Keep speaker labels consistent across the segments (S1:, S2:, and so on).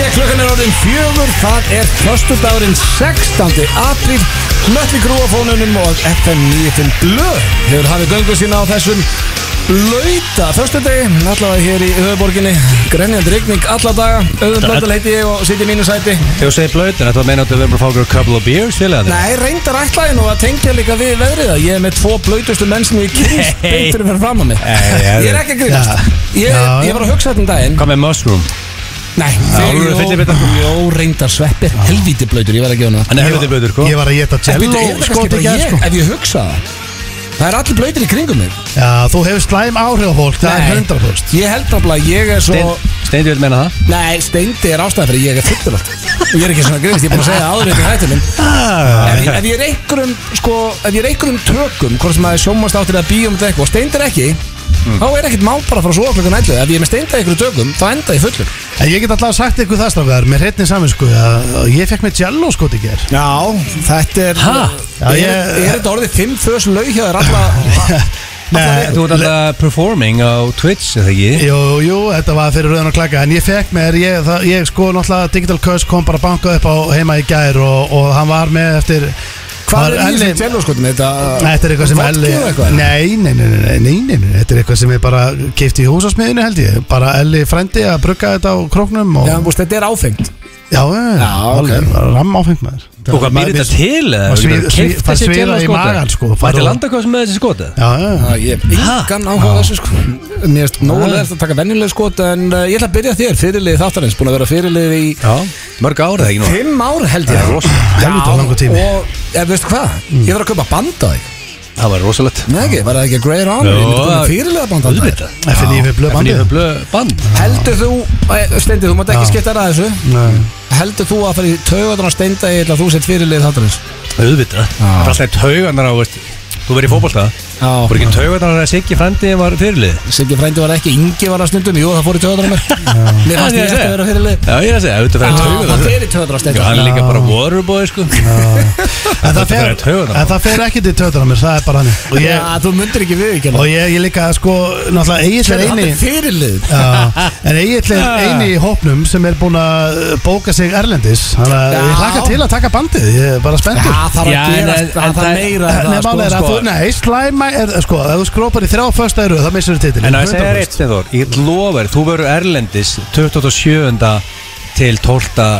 S1: orðin fjögur, það er föstudagurinn 16. apríl Mötli grúafónunum og FM 95 Blöð hefur hafið göngu sína á þessum blöyta föstudegi, allavega hér í höfuborginni grenjandi rigning alla daga auðvitað blöndal heiti ég og sitt í mínu sæti
S2: Ef þú segir blöytan, þetta meina að þú verður bara að fá okkur a couple of beers, félagarnir?
S1: Nei, reyndar ætlaði nú að tengja líka við veðrið að ég er með tvo blöytustu menn sem ég kynst
S2: Nei.
S1: beinturum fyrir fram að mig
S2: Nei, ja,
S1: Ég er ekki að grínast Ég,
S3: Já,
S1: ég var að hugsa þetta um daginn
S2: Hvað með mushroom?
S1: Nei,
S2: alveg fyllir við
S1: þegar
S2: þetta.
S1: jó reyndar sveppir Helvíti blöytur, ég var ekki á hana
S2: Hann er helviti blöytur, sko
S3: Ég var að geta
S1: En
S3: jello
S1: býtu, er þetta
S3: skot
S1: kannski
S3: í
S1: bara
S3: gær,
S1: ég,
S3: sko.
S1: ef ég hugsa það Það er allir blöytir í kringum mig
S3: Já, þú hefur slæm áhrif á fólk, það er
S1: Nei.
S3: 100%
S1: Ég held nefnilega að ég er svo
S2: Steindi vil meina það
S1: Nei, steindi er ástæðan fyrir ég er fyllur allt Ég er ekki svona grifist, ég er búin að segja það áður eitthvað hættunum
S3: Ah.
S1: ef, ég- ef ég er einhverjum, sko, ef ég er einhverjum tökum Hvort sem að sjómast áttir að bíum um eitthvað Og steindir ekki,
S3: Hmm.
S1: þá er ekkert mál bara frá svo klukkan 11 Ef ég er með steindi einhverjum tökum, þá enda ég fullur
S3: En ég get alltaf sagt ykkur það strafgar Með hreinni samin sko að Ég fekk með jello skot í ger
S1: Já, þetta er Hæ?
S3: Já,
S1: Er,
S3: ég-
S1: er þetta orðið fimm fös laug hjá þér alla Eh,
S3: Nei,
S2: Þú ert alltaf performing á Twitch, eða ekki?
S3: Jú, jú, þetta var fyrir rauðan og klaka En ég fekk með, ég, það, ég sko náttúrulega Digital Curse kom bara bankað upp á heima í gær Og, og hann var með eftir
S1: Hvað
S3: var
S1: er í
S3: Elli-
S1: þessu jello skotum? Þetta,
S3: Nei, Þetta er eitthvað sem
S1: Vodka
S3: Elli
S1: eða eitthvað?
S3: nei nei nei, nei, nei, nei, nei, nei, þetta er eitthvað sem ég bara keipti í húsasmiðinu held ég Bara Elli frændi að brugga þetta á króknum og,
S1: Já, þú veist, þetta er áfengt
S3: Já, já,
S1: ok.
S3: alveg, okay. ramm áfengt maður
S2: Og hvað býr þetta til? eða?
S3: maður
S2: Þú getur
S3: svíð-
S2: keypt
S3: svíð- það
S2: þessi
S3: svíða
S2: jello
S3: í
S2: skota.
S3: magann, sko,
S2: Mætti
S3: farðu-
S2: landakosum með þessi skota?
S3: Já, já, já.
S1: Já, ég hef engan áhuga á þessu sko Mér finnst nógulega eftir að taka venjuleg skot En uh, ég ætla að byrja á þér, fyrirlið þáttarins Búin að vera fyrirlið í
S2: Já, mörg árið ekki nú
S1: Fimm ár held ég
S2: Það er rosalega.
S3: Helvita langur tími. Mm.
S1: og ja, veistu hvað, ég þarf að kaupa band á þig
S2: Það var rosalegt
S1: Nei ekki, var það ekki að greið rán Fyrirlega band á þig
S3: FNIF blöð bandið.
S2: FNIF blöð band
S1: Heldur þú, eh, Steindi, þú mátt ekki
S3: Já.
S1: skipta þér að þessu
S3: Nei.
S1: Heldur þú að fara í taugadana Steinda Ég ætla að þú sett fyrirlið þáttarins
S2: Auðvitað Það er alltaf taugarnar á, veist Þú verið í fótbolta Þú
S1: Já,
S2: ekki taugarnar að Siggi frændi var fyrirlið
S1: Siggi frændi var ekki, Ingi var að snundum Jú, það fór í taugadana mér Mér fannst ég
S2: Já, ég
S1: eftir
S2: segi.
S1: að vera fyrirlið
S2: Já, ég er að segja, auðvitað fyrir
S1: Já, Það
S2: taugarnar
S1: fer í taugadana
S2: Já,
S1: Steinda
S2: hann er líka bara waterboy, sko
S3: En
S2: Þetta
S3: það fer,
S2: fer í taugarnar.
S3: en það fer ekki til töðunar mér, það er bara hann Og
S1: Já,
S3: ég,
S1: þú myndir ekki við ekki
S3: og ég, ég líka sko, náttúrulega Egil er
S1: Hann
S3: eini
S1: er fyrirlið
S3: Já, en Egil er eini í hópnum sem er búinn að bóka sig Erlendis Þannig að
S1: Já.
S3: ég hlakka til að taka bandið, ég er bara spenntur
S1: Það þarf
S2: Já,
S1: að
S2: en-
S1: gera
S2: en-
S1: Það
S2: en-
S1: þarf meira en
S3: Nei,
S1: það,
S3: málið er að
S1: sko,
S3: þú,
S1: sko.
S3: nei, slæma er, sko, ef þú skrópar í þrjá fyrsta eru, þá missur þú titilin
S2: En að segja reitt, Steinþór, ég lofa þér, þú verður Erlendis 27. til 12.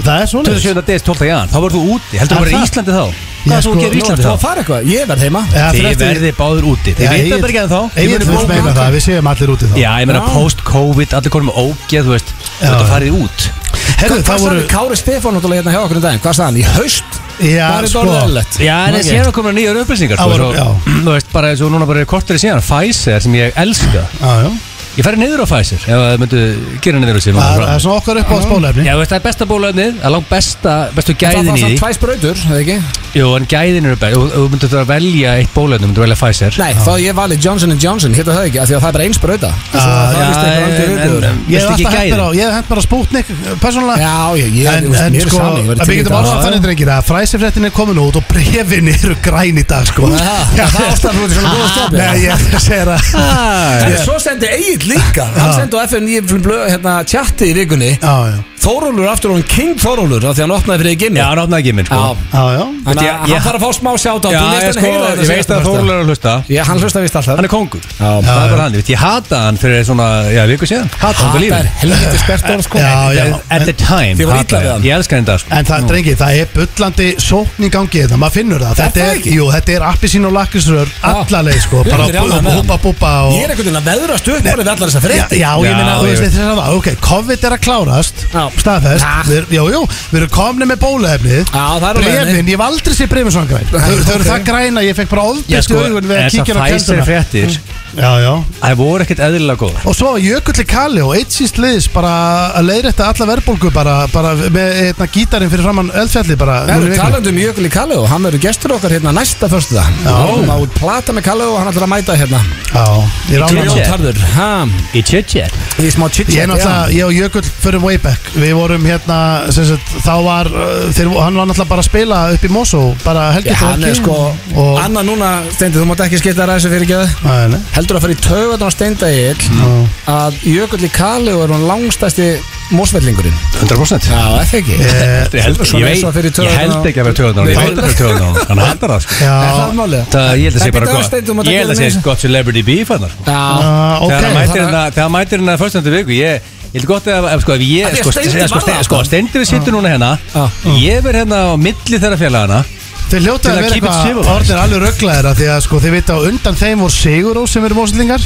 S3: Það er svona
S2: 27. des 12. jan, þá verður þú úti, heldur
S3: Er
S2: þú verður í
S3: það?
S2: Íslandi þá?
S3: Já,
S2: Hvað er þú
S3: sko,
S2: að gera í
S1: Nú ertu
S2: Íslandi
S1: að
S2: þá?
S1: fara eitthvað Ég verð heima
S2: Þið verðið báður úti, þið veit þetta ekki en þá
S3: Ég
S2: Þið
S3: veit
S2: verðið báðir-
S3: meina það, við séum allir úti þá
S2: Já, ég meina
S1: Já.
S2: post-covid, allir konum með ógeð, þú veist Þú
S3: Já.
S2: ert að farið út
S3: Herðu,
S1: Hvað
S3: það
S1: sagði
S3: voru
S1: Kári Stefán náttúrulega hérna hjá okkur um daginn? Hvað sagði hann? Í haust?
S3: Já,
S1: Var þetta
S3: sko.
S1: orðið eðlilegt?
S2: Já, en
S3: Ok.
S2: þessi hérna komur nýjar upplýsingar
S3: Það
S2: sko,
S3: voru-
S2: svo- Þú veist, bara eins og núna bara er kortur í síðan Pfizer sem ég elska
S3: Ah, Já, já.
S2: Ég færi niður á Pfizer, ef það myndu gera niður á sig
S3: Það það er svona okkar upp á spólefni
S2: Já, þú veist, það er besta bólöfnið, það er langt besta, bestu
S1: Það
S2: gæðin
S1: var
S2: í
S1: samt
S2: því
S1: tvær sprautur, eða ekki?
S2: Jú, en gæðin eru bara, og og þú myndir þú að velja eitt bólöfni, myndir þú velja Pfizer
S1: Nei, þá ég vali Johnson Johnson, hitta það ekki, af því að það er bara einn sprauta Svo það
S3: Já,
S1: er víst eitthvað aldrei viðbjóður.
S3: Ég
S2: Viltu ekki
S3: hef alltaf hent mér á,
S2: gæðin?
S3: ég hef hent mér á Sputnik eh, Persónulega
S1: Já, ég, ég,
S3: En,
S1: þú veist,
S3: en
S1: mér er
S3: sko,
S1: sami, ég
S3: að
S1: væri
S3: við
S1: til í
S3: getum
S1: þetta.
S3: orðað þannig drengir að fræsifréttin er komin út og brefin eru græn í dag sko
S1: Já, það er ástæðan fyrir þetta svona góða stefni.
S3: Nei, ég segir að
S2: Ah,
S1: En svo sendi Egil líka Hann
S3: Já.
S1: sendi á FN í blöð, hérna, chatti í vikunni
S3: Já, já,
S1: Þórólur aftur hún King Þórólur af því hann opnaði fyrir Egil
S2: Já, hann opnaði ekki minn, sko
S1: Já,
S3: já, já
S1: Þannig
S2: Ég-
S1: að
S2: ég-
S1: hann þarf að fá smá sjátt á
S2: Já, ég, sko, ég veist að Þórul er að hlusta
S1: Já, hann hlusta vist alltaf
S2: Hann er kongur
S1: Já.
S2: Það er bara hann, ég veit, ég hata hann fyrir svona, já, viku síðan Hata hann fyrir
S1: Það er
S2: lífið
S1: helviti spert orð sko
S3: Já, já.
S2: En At the time
S1: Þið voru
S2: hataði
S1: illa við hann.
S2: Ég elskar hann í dag, sko
S3: En það, drengi, það er bullandi sókn í gangi þetta, maður finnur það Þetta
S1: það
S3: er,
S1: ekki?
S3: jú, þetta er appisín og lakkisrör allaleg, sko,
S1: Ég er
S3: bara
S1: aldrei ánægður með
S3: búpa,
S1: hann.
S3: búpa
S1: Ég er
S3: og
S1: einhvern veginn að veðrast upp bara við allar þessar
S3: Já,
S1: frétti
S3: já, ég
S2: Já,
S3: minna, þú
S2: ég
S3: veist,
S2: veit.
S3: þess að það, ok, COVID er að klárast,
S1: Já.
S3: staðfest,
S1: Ha.
S3: við, jú, jú, við erum komni með bólaefnið
S1: Já, það er á leiðinni.
S3: Brefin, ég hef aldrei séð brefin svona græn, þau þau eru það græna, ég fekk bara
S2: Já,
S3: ofbist
S2: sko,
S3: augun við að
S2: þessar
S3: kíkja á
S2: Pfizer
S3: kjönduna
S2: fréttir
S1: Mm.
S3: Já, já
S2: Það voru ekkert eðlilega góð
S3: Og svo Jökulli Kalli og eitt síst liðs bara að leiðrætta alla verðbólgu bara, bara með hérna, gítarinn fyrir framann eldfjalli bara
S1: Það
S3: núna í
S1: eru
S3: vikunni.
S1: talandi um Jökul í Kalló Hann verður gestur okkar hérna næsta förstu það Hann át plata með Kalló og hann ætlar að mæta hérna
S3: Já, ég er ánægður.
S2: Grjótharður.
S1: Grjótarður
S2: Í tjötjér
S1: Í smá chit-chat
S3: Ég er náttúrulega,
S1: já.
S3: ég og Jökull förum way back Við vorum hérna, sem sagt, þá var uh, þeir, Hann var náttúrulega bara að spila upp í Mosó Bara
S1: Já,
S3: helgið
S1: hann er sko
S3: og,
S1: Anna núna, Steindi, þú mátt ekki skipta þér um að þessu fyrir ekki
S3: Nei, nei
S1: Heldur að fara í taugatná Steindi Egil
S3: Já.
S1: að Jökull í Kali og er hún langstæsti mósvellingurinn
S2: 100%
S1: Já, er það ekki
S3: Eh,
S2: Ég held, ég,
S1: Svona eins og fyrir
S2: veit,
S1: taugarnar
S2: ég held ekki að vera töðan á hann Ég veit að vera töðan á hann Hann haldar það sko.
S3: Já,
S1: Er það málið?
S2: Það ég held að sé
S1: Þetta
S2: bara
S1: er
S2: gott
S1: Steindór, maður
S2: Ég held
S1: tekur með
S2: að sé
S1: þessu.
S2: gott celebrity beef hann sko.
S1: Já
S3: Ah,
S2: Þegar hann
S3: ok,
S2: mætir
S1: þannig að-
S2: hérna- þegar hann mætir hérna fyrstöndu viku Ég ég held gott ef, ef sko, ef
S1: Af
S2: ég
S1: því að
S2: sko,
S1: Steindi
S2: sko,
S1: var það,
S2: sko,
S1: sko.
S2: Steindi við sittum núna hérna
S1: Ah.
S2: Ég verð hérna á milli þeirra félagana
S3: Þeir hljóta
S2: Til
S3: að
S2: að
S3: vera
S2: keep it
S3: eitthvað
S2: civilized.
S3: orðin alveg rugglaðir af Því að sko þið vita á undan þeim voru Sigurós sem eru mósendlingar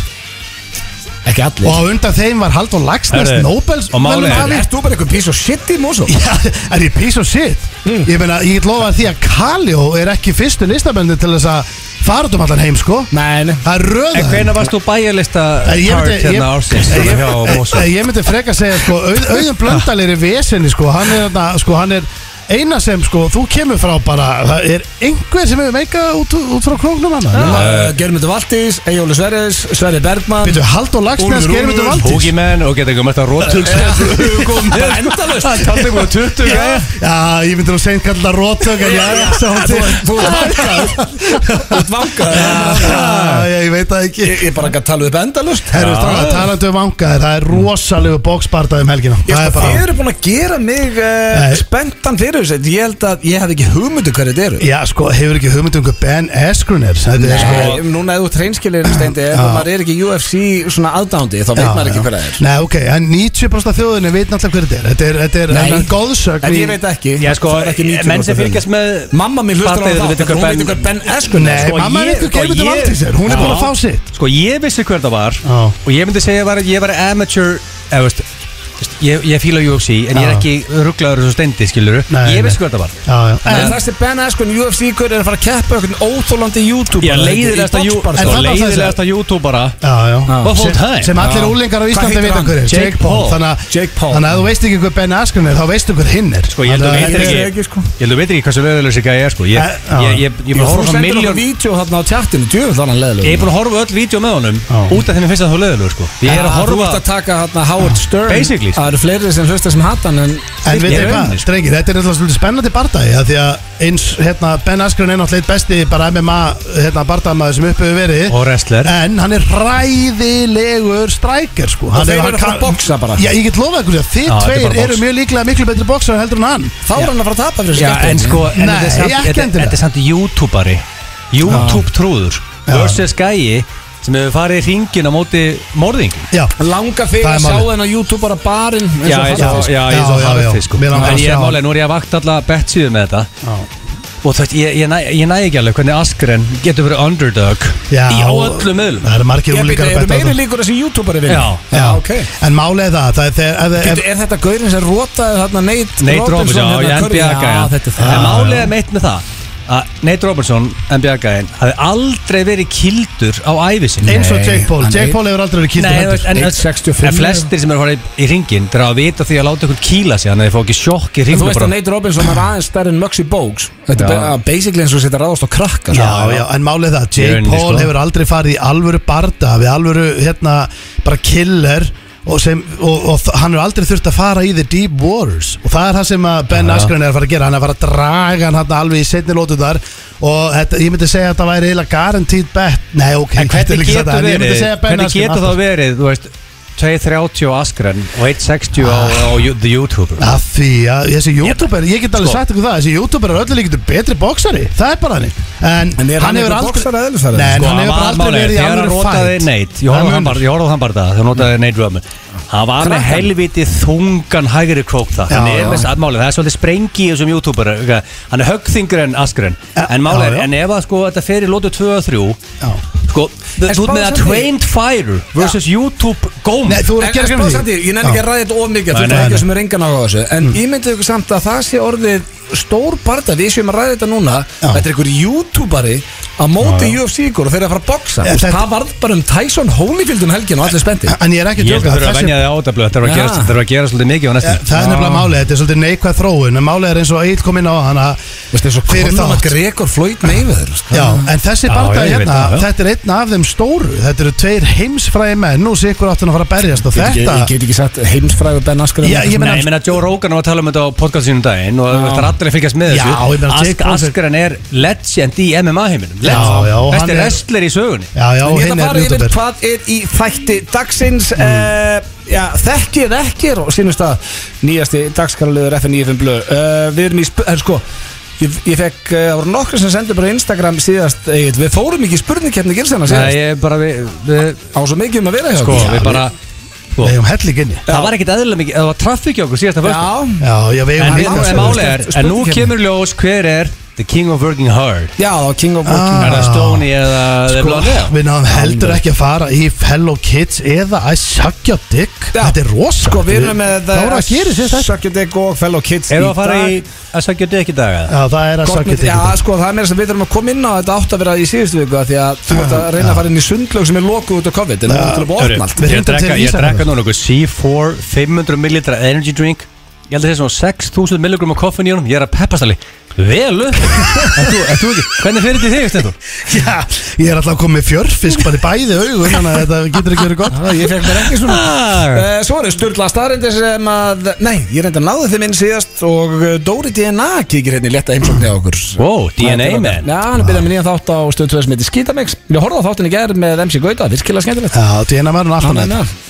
S1: Ekki allir
S3: Og á undan þeim var Haldur Lagsnes
S2: Herru,
S3: Nobels
S2: og málið er-
S3: verðlaunahafi.
S1: Ert þú bara einhver piece of shit í Mosó?
S3: Já, er ég piece of shit?
S2: Hmm.
S3: Ég meina, ég get lofað því að Kaljó er ekki fyrstu listabenni til þess að fara út um allan heim, sko
S1: Nei, nei
S3: Það er
S2: En
S3: röða
S2: hvena varst þú bæjarlista
S3: En ég
S2: part
S3: myndi- ég-
S2: hérna ársins
S3: en
S2: hérna
S3: ég-
S2: hjá Mósó?
S3: en Eh, Ég myndi freka að segja, sko, Auð- auðum blöndal er í vesinni, sko Hann er, þarna, sko, hann er eina sem, sko, þú kemur frá bara Það er einhver sem hefur meikað út, út frá króknum hann
S1: Germundur eh, Valdís, Ejóli Sverris, Sverri Bergman
S3: Býtu, Haldur Lagsnes,
S1: Úlfur,
S3: Geirmundur
S1: Úlfur,
S3: Valdís
S2: Boogie-man og geta eitthvað mætt að rótug
S1: Endalaust.
S2: Það taldi eitthvað 20 gæja
S3: Já, ég myndi nú seint kalla það róttök En já, já, sá hún til
S1: Þú ert vangað Þú ert vangað
S3: Já, já, ég veit það ekki
S1: Ég ég bara ekki að tala upp endalust
S3: Herru, strákar, talandi um vangaðir Það er rosalegu bókspartað um helgina
S1: Ég sko,
S3: Það er bara
S1: þið eru búin að gera mig uh,
S3: Nei.
S1: spenntan fyrir þessu Ég held að ég hef ekki hugmyndu hverju þetta eru
S3: Já, sko, hefur ekki hugmynd um hvað Ben Eskruner Þetta er sko
S1: Nei, Núna ef þú treynskilir steindi Ef maður er ekki UFC svona aðdándi Þá veit
S3: Já,
S1: maður
S3: já.
S1: ekki hverja það er
S3: Nei, ok, en 90% af þjóðinni veit náttúrulega hver þetta er Þetta er, þetta er,
S1: Nei.
S3: þetta er góðsögn
S1: En
S3: í-
S1: ég veit ekki
S2: Já sko,
S1: það er ekki 90%
S2: menn sem
S1: fyrir.
S2: fylgjast með
S1: Mamma mín hlustar á
S2: Barnið,
S1: það
S2: þau vita
S1: Hún
S2: hver
S1: veit hver
S2: Ben-
S1: Ben sko. Eskun
S3: Nei,
S2: Sko,
S3: mamma
S2: ég-
S3: veit ekki hver þetta
S2: ég-
S3: valdís er Hún er búin
S2: Já.
S3: að fá sitt
S2: Sko ég vissi hver það var
S3: Já.
S2: Og ég myndi segja var, að ég var amateur eða, veist, veist, Ég, ég fíla UFC En ég er
S3: Já.
S2: ekki rugglaður svo stendi skilur
S3: Nei,
S2: Ég vissi
S3: nei.
S2: hver það var
S3: Já, já
S1: En
S3: En
S1: þessi Ben Askren UFC hver er að fara að keppa einhvern óþólandi YouTube
S2: Ég leiðilegasta jú- sko,
S3: En það var það sem-
S2: leiðilegasta youtubera
S3: Já, já
S2: Of all
S3: Sem-
S2: time.
S3: Sem allir
S1: Já.
S3: úlingar á
S1: Hvað
S3: Íslandi
S1: heitir
S3: vita
S1: hann?
S3: hver er
S2: Jake Paul.
S3: Þannig að-
S1: Jake Paul.
S3: þannig að ef þú veist ekki hver Ben Askren er Þá veistu hver hinn er
S2: Sko ég held að
S3: Þannig
S2: veit
S1: ég-
S2: ekki
S1: ég- ég- sko.
S2: Ég held að veit ekki hversu leiðilegur þessi gæja er sko Ég,
S3: Já.
S2: ég, ég, ég,
S1: Jú,
S2: bara
S1: þú
S2: horfa á
S1: sendur okkur
S2: miljón
S1: vídeo þarna á tjattinu Djöfull þannig leðileg
S2: Ég er búin að horfa á öll vídeo með honum
S3: Já.
S2: Út af þeim ég finnst að þú leiðilegur sko Ég er að
S1: Þú
S2: horfa
S1: ert að taka hérna Howard Stern
S2: Basically, sko.
S1: Það eru fleiri sem hlusta sem hatt hann En,
S3: En veit
S2: Ég
S3: þið
S2: er
S3: hvað,
S2: rauninni, sko.
S3: strengir, þetta er eitthvað svolítið spennandi bardagi að Því að eins, hérna, Ben Askren er náttúrulega eitt besti bara MMA, hérna, bardagamaður sem upp hefur verið
S2: Og wrestler.
S3: En hann er ræðilegur strækir, sko Hann
S1: þeir eru
S3: er- hann
S1: að fara
S3: kann-
S1: að boxa bara.
S3: Já, ég get lofað ykkur því að þið
S2: Já, þetta er
S3: tveir
S2: bara box.
S3: eru mjög líklega miklu betri boxar heldur en hann
S1: Þá er hann að fara að tapa fyrir þessu
S2: Já, en
S1: skemmtilegu.
S2: sko, en
S3: Nei,
S2: þetta er samt-
S3: ekki
S2: þetta-
S3: endilega.
S2: Þetta er samt youtuberi Youtube trúður
S3: Já.
S2: Versus gæi sem hefur farið í ringin á móti morðingum
S3: Já,
S1: Langar þig
S3: Það er
S1: að sjá
S3: málið.
S1: þennan YouTube bara barinn eins og
S2: Já,
S1: hann
S2: já,
S1: er.
S2: já, ég
S3: Já,
S2: er svo
S3: já, já.
S2: hafði þið sko
S3: Mér langar
S2: En
S3: að
S2: ég er
S3: sjá.
S2: málega, nú er ég að vakta alla bettsýðu með þetta
S3: já,
S2: Og þetta, ég, ég, næ, ég næ ekki alveg hvernig Askren getur verið underdog
S3: já
S2: Í á öllum öðlum
S3: Það eru margir
S1: Ég veit,
S3: úlíkar
S1: eru meiri líkur þessi YouTuberi vinna?
S2: Já.
S3: Já,
S1: ok
S3: En málið er það, það er þegar ef- ef-
S1: Bíddu, Er þetta gaurinn sem rotaði þarna Nate,
S2: Nate Robinson,
S1: Robinson
S2: já,
S1: hérna,
S2: ég
S1: körfu-
S2: NBA
S1: Já,
S2: gæjan
S1: þetta er
S2: En
S1: það
S2: málega er meitt með það að Nate Robinson, NBA gæjan hafði aldrei verið kildur á ævi sinni
S3: Eins og
S1: Nei,
S3: Jake Paul,
S1: hann
S3: Jake
S1: er-
S3: Paul hefur aldrei verið kildur
S2: Nei, þú
S3: heldur
S2: veist, en,
S1: Nate
S2: en,
S1: 65
S2: en flestir sem eru að fara í, í ringin Það er að vita því að láta ykkur kýla sig Þannig að þið fá ekki sjokk í
S1: En
S2: ringin
S1: þú veist að Nate Robinson er aðeins stærri en Muxi Bogues Þetta er
S2: Já.
S1: bara- basically eins og setja ráðast á krakka sko.
S3: Já, já, en málið það,
S2: Í
S3: Jake
S2: rauninni,
S3: Paul
S2: sko.
S3: hefur aldrei farið í alvöru barda við alvöru, hérna, bara killer og, sem, og, og þ- hann hefur aldrei þurft að fara í the deep waters og það er það sem að Ben Askren er að fara að gera hann er að fara að draga hann hérna alveg í setni lótu þar og þetta, ég myndi segja að það væri eiginlega guaranteed bet, nei ok
S2: En
S3: þetta er
S2: hvernig
S3: líka satt,
S2: getur
S3: en ég myndi
S2: verið
S3: segja Ben
S2: Hvernig
S3: Askren
S2: getur
S3: alltaf.
S2: það verið, þú veist 2.30 á Askren og 1.60 á, á you- The YouTuber
S3: Af því að þessi youtuber, ég get alveg
S2: Sko.
S3: sagt ykkur það Þessi youtuber er öllu líktur betri boksari Það er bara þannig En,
S1: En er hann
S3: hefur
S1: einhver
S3: aldrei-
S1: boxari eðlisfærið?
S3: Nei, en
S2: Sko,
S3: hann hefur bara
S2: var-
S3: aldrei
S2: málið er,
S3: verið í
S2: þegar hann
S3: alvöru
S2: rotaði
S3: fight.
S2: Nate Ég horfði á
S3: Það er
S2: hann
S3: munur.
S2: bara- ég horfði á hann bara það Þegar hann rotaði Nate Drummond Hann var með
S1: Krakkan.
S2: helviti þungan hægri krók það
S3: Já,
S2: Hann er
S3: já.
S2: með sattmálið Það er svolítið sprengi í þessum YouTuber eitthvað. Hann er höggþingur en Askren
S3: Ja,
S2: En málið
S3: já,
S2: er,
S3: já.
S2: en ef að sko þetta fer í lótu 2 og 3
S3: Já.
S2: Sko, þú
S1: En
S2: ert
S1: spáðu
S2: með að
S1: samt í-
S2: trained fire versus YouTube gómi
S3: Nei, þú
S1: Þú
S3: er
S1: er
S3: að gera
S1: ekki
S3: grein fyrir
S1: Ég nefnir ekki að ræða þetta of mikið Þú
S2: Nei, nei,
S1: er ekki
S3: nei. Mm.
S1: sem er engan á þessu En ég myndi ykkur samt að það sé orðið stór barda Við séum að ræða þetta núna
S3: Já.
S1: Þetta er ykkur YouTuberi að móti UFC ykkur og þeir eru að fara að boxa
S3: En
S1: Þú veist,
S3: þetta-
S1: Það varð bara um Tyson Holyfield um helgin og allir spendi
S3: En ég er ekki að
S2: Ég held
S3: djóka
S2: að þurfa að
S3: þessi-
S2: venja þig á þetta blöð, þetta
S1: Já.
S2: þarf að gera svolítið mikið á
S3: Ja,
S2: næstum
S3: Það er nefnilega málið, þetta er svolítið neikvæð þróun En málið er eins og Egil kom inn á hann að
S1: Vist, eins og
S3: Fyrir
S1: Conor
S3: þátt.
S1: McGregor Floyd Mayweather
S3: Já, en þessi
S2: Já,
S3: barndagi
S2: já, ég veit
S3: hérna,
S2: það, já.
S3: þetta er einn einn af þeim stóru Þetta eru tveir heimsfræði menn Nú sé ykkur áttin að fara að berjast og
S1: Ég get
S3: þetta
S1: ekki- Ég get ekki sagt heimsfræðu Ben Askren
S3: Já, ég meina-
S2: Nei, ég meina Joe Rogan var að tala um þetta á podcast sínum daginn og þetta er allir að fylgjast með
S3: Já,
S2: þessu
S3: ég meina,
S2: Ask-
S3: Jake Paul-
S2: Askren er legend í MMA heiminum
S3: Já, já, og hann
S2: Besti
S3: er-
S2: wrestler í sögunni
S3: Já, já,
S1: En ég ætla
S3: hinn
S1: að
S3: er
S1: fara yfir
S3: youtuber
S1: hvað er í þætti dagsins mm. já, Þekki eða ekki er og sínust að nýjasti dagskanaliður FN95 blöð uh, Við erum í, sp- er, sko Ég, ég fekk, eh, það voru nokkur sem sendu bara á Instagram síðast, Egill. við fórum ekki í spurningkeppni gilsana
S2: Nei,
S1: síðast,
S2: ég er bara við, við
S1: á svo mikið um að vera hjá
S2: Sko,
S1: okkur.
S2: við bara sko,
S3: Við hefum helliginni
S2: Það var ekkit eðlilega mikið, það var traffík hjá okkur síðasta föstu
S1: Já,
S3: Já, já, við
S2: En
S3: hefum
S2: við- en
S1: máli-
S3: helliginni
S2: málið er, en nú
S1: Spurning
S2: kemur ljós hver er The King of Working Hard
S1: já, þá King of Working
S3: Ah. Sko,
S2: Er það Stoney eða The Blondie?
S3: Við náðum heldur ekki að fara í Fellow Kids eða að sakja dick
S1: Já.
S3: Þetta er rosa
S1: Sko, við erum með
S3: Það voru að gera sér þetta
S1: Suck Your Dick og Fellow Kids
S2: Erum við að fara í að sakja dick í dag eða?
S3: Já, það er að
S1: Gott
S3: sakja
S1: með-
S3: dick
S1: Já,
S3: í dag.
S1: sko, það er meira sem við þurfum að koma inn á þetta átt að vera í síðustu viku af Því að þú ert að reyna að fara inn í sundlög sem er lokuð út á COVID En það er til að bóða
S2: Hörru,
S1: opna allt
S3: Við
S2: Ég
S3: reyndum til
S2: drekka, ég
S3: Ísafjarðar.
S2: drekka núna okkur C4 500 millilitra energy drink Ég held að það sé svona 6000 milligram á koffin í honum Ég er að peppast alveg Vel upp En þú, en þú ekki Hvernig fyrir þetta í þig, Stendur?
S3: Já, ég er alltaf að koma með fjörfisk bara í bæði augun Þannig að þetta getur ekki verið gott
S1: Já, Ég fekk mér ekki svona
S2: Ah,
S1: uh, Svo eru sturla staðrindir sem að Nei, ég reyndi að náðu þeim inn síðast Og eh, Dóri DNA kíkir hérna í letta heimsóknir á okkur
S2: Wow, DNA
S1: Það er
S2: man. Ah.
S1: Já, hann er byrjað með nýjan þátt á stöð 2 sem heitir Skítamix Ég horfði á þáttin í gerð með MC Gauta, virkilega skemmtilegt
S3: Já, þetta er eina verður alltaf
S1: Þannig
S3: nætt
S1: að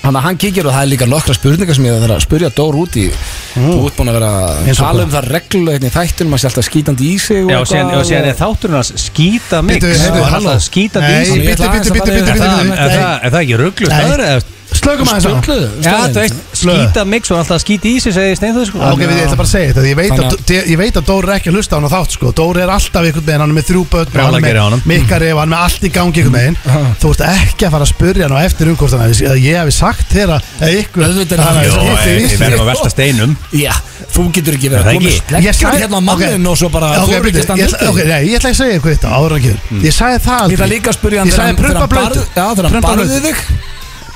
S1: Þannig að hann kíkir og það er líka nokkra spurningar sem ég þarf að spurja Dór út í Þú ert búin að vera að
S3: Eins og
S1: tala
S3: hvað?
S1: um það reglulega hérna í þættinum að sé alltaf skítandi í sig
S2: Já, og síðan, og síðan er
S1: það
S2: þátturinn hans skýta mix
S3: Bíddu, heyrðu,
S2: Hann er
S3: halló.
S2: alltaf skýta
S3: Nei,
S2: mix
S1: Ég
S3: bíddu,
S1: ætla aðeins
S3: bíddu,
S1: að fara
S3: bíddu,
S1: yfir
S2: Er
S3: bíddu,
S1: þetta.
S2: það
S3: bíddu,
S2: er það- er það ekki rugglu
S3: Nei.
S2: staður eða?
S3: Slökum aðeins á
S1: Sturlu,
S2: Já, þú veist,
S3: Slöð.
S2: skýta mix og hann er alltaf að skýta í sig segir Steinþór sko
S3: Ok, við ég ætla bara að segja þetta Ég veit,
S1: Þannig
S3: að, ég- ég veit að Dóri er ekki að hlusta á hann á þátt sko. Dóri er alltaf einhvern veginn, hann er með þrjú börn og
S2: Brjálæði
S3: Hann
S2: gerir á
S3: er
S2: honum.
S3: með mikkari og hann er með allt í gangi einhvern veginn Þú ert ekki að fara að spurja hann á eftir um hvort hann hafi- að ég hafi sagt þér að að ykkur
S1: Auðvitað er
S3: að
S1: hann-
S3: hafi
S2: Jó,
S3: sagt
S2: eh,
S3: þér í
S2: við
S3: sig.
S2: verðum að velta steinum
S1: Já, þú getur ekki verið
S2: Er það
S1: að koma
S2: ekki?
S1: sleggjur
S3: Ég sagði-
S1: hérna á manninn
S3: ok.
S1: og svo bara þú
S3: Ok,
S1: eru
S3: bíddu,
S1: ekki að standa
S3: ég
S1: undir
S3: ætla- ok,
S1: því.
S3: nei, Ég ætla ekki að segja ykkur þetta áður en kjör Ég sagði það
S1: Ég ætla
S3: aldrei
S1: líka að spurja hann
S3: Ég sagði
S1: þegar hann-
S3: prumpa
S1: þegar hann
S3: blötu.
S1: barð- Já, þegar hann
S3: Prumpa
S1: barði
S3: blötu.
S1: þig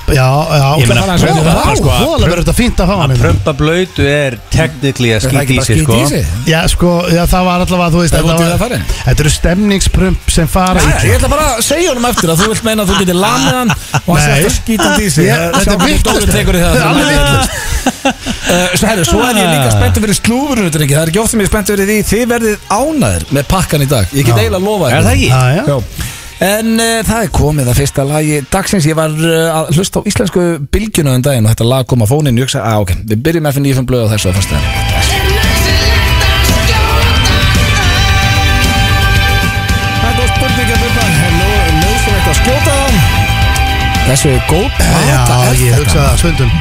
S3: Já, já
S2: Ég meina,
S1: Svo-
S3: Vá,
S1: prumpa-
S2: sko, að
S3: Þóðalega verður þetta fínt að fá hann
S2: Að
S3: hérna.
S2: prumpa blöytu er technically að
S1: Er það
S2: skýta
S1: ekki
S2: í
S1: bara
S2: sig sko
S1: skít í sig?
S3: Já, sko, já, það var allavega, þú veist
S1: Það er
S3: þetta
S1: út í það
S3: var-
S1: farin.
S3: Þetta eru stemningsprump sem fara
S1: Jæja,
S3: illa.
S1: Ég ætla bara að segja honum eftir að þú vilt meina að þú getur lamið hann og hann sé
S3: Nei.
S1: alltaf skítandi í sig
S3: Ég- þetta er
S1: Sjáum hvernig
S3: vitlaust.
S1: Dóri tekur í það
S3: Þetta er alveg vitlaust.
S1: Uh, Svo herru, svo er ég líka spenntur fyrir slúfurinn þetta er ekki, það er ekki oft sem ég er spenntur fyrir því þið verðið ánæður með pakkan í dag ég get eiginlega að lofa
S2: Er það ekki?
S3: Já, já.
S1: En uh, það er komið að fyrsta lagi dagsins Ég var uh, að hlusta á íslensku bylgjuna um daginn og þetta lag kom að fónin Ég hugsa, að ok, við byrjum með fyrir nýjum blöð á þessu að fyrsta Það er góð spurning um að byrja Hello, nöðsum að skjóta það Þessu er góð plata
S3: Já,
S1: er
S3: ég
S1: þetta?
S3: hugsa það stundum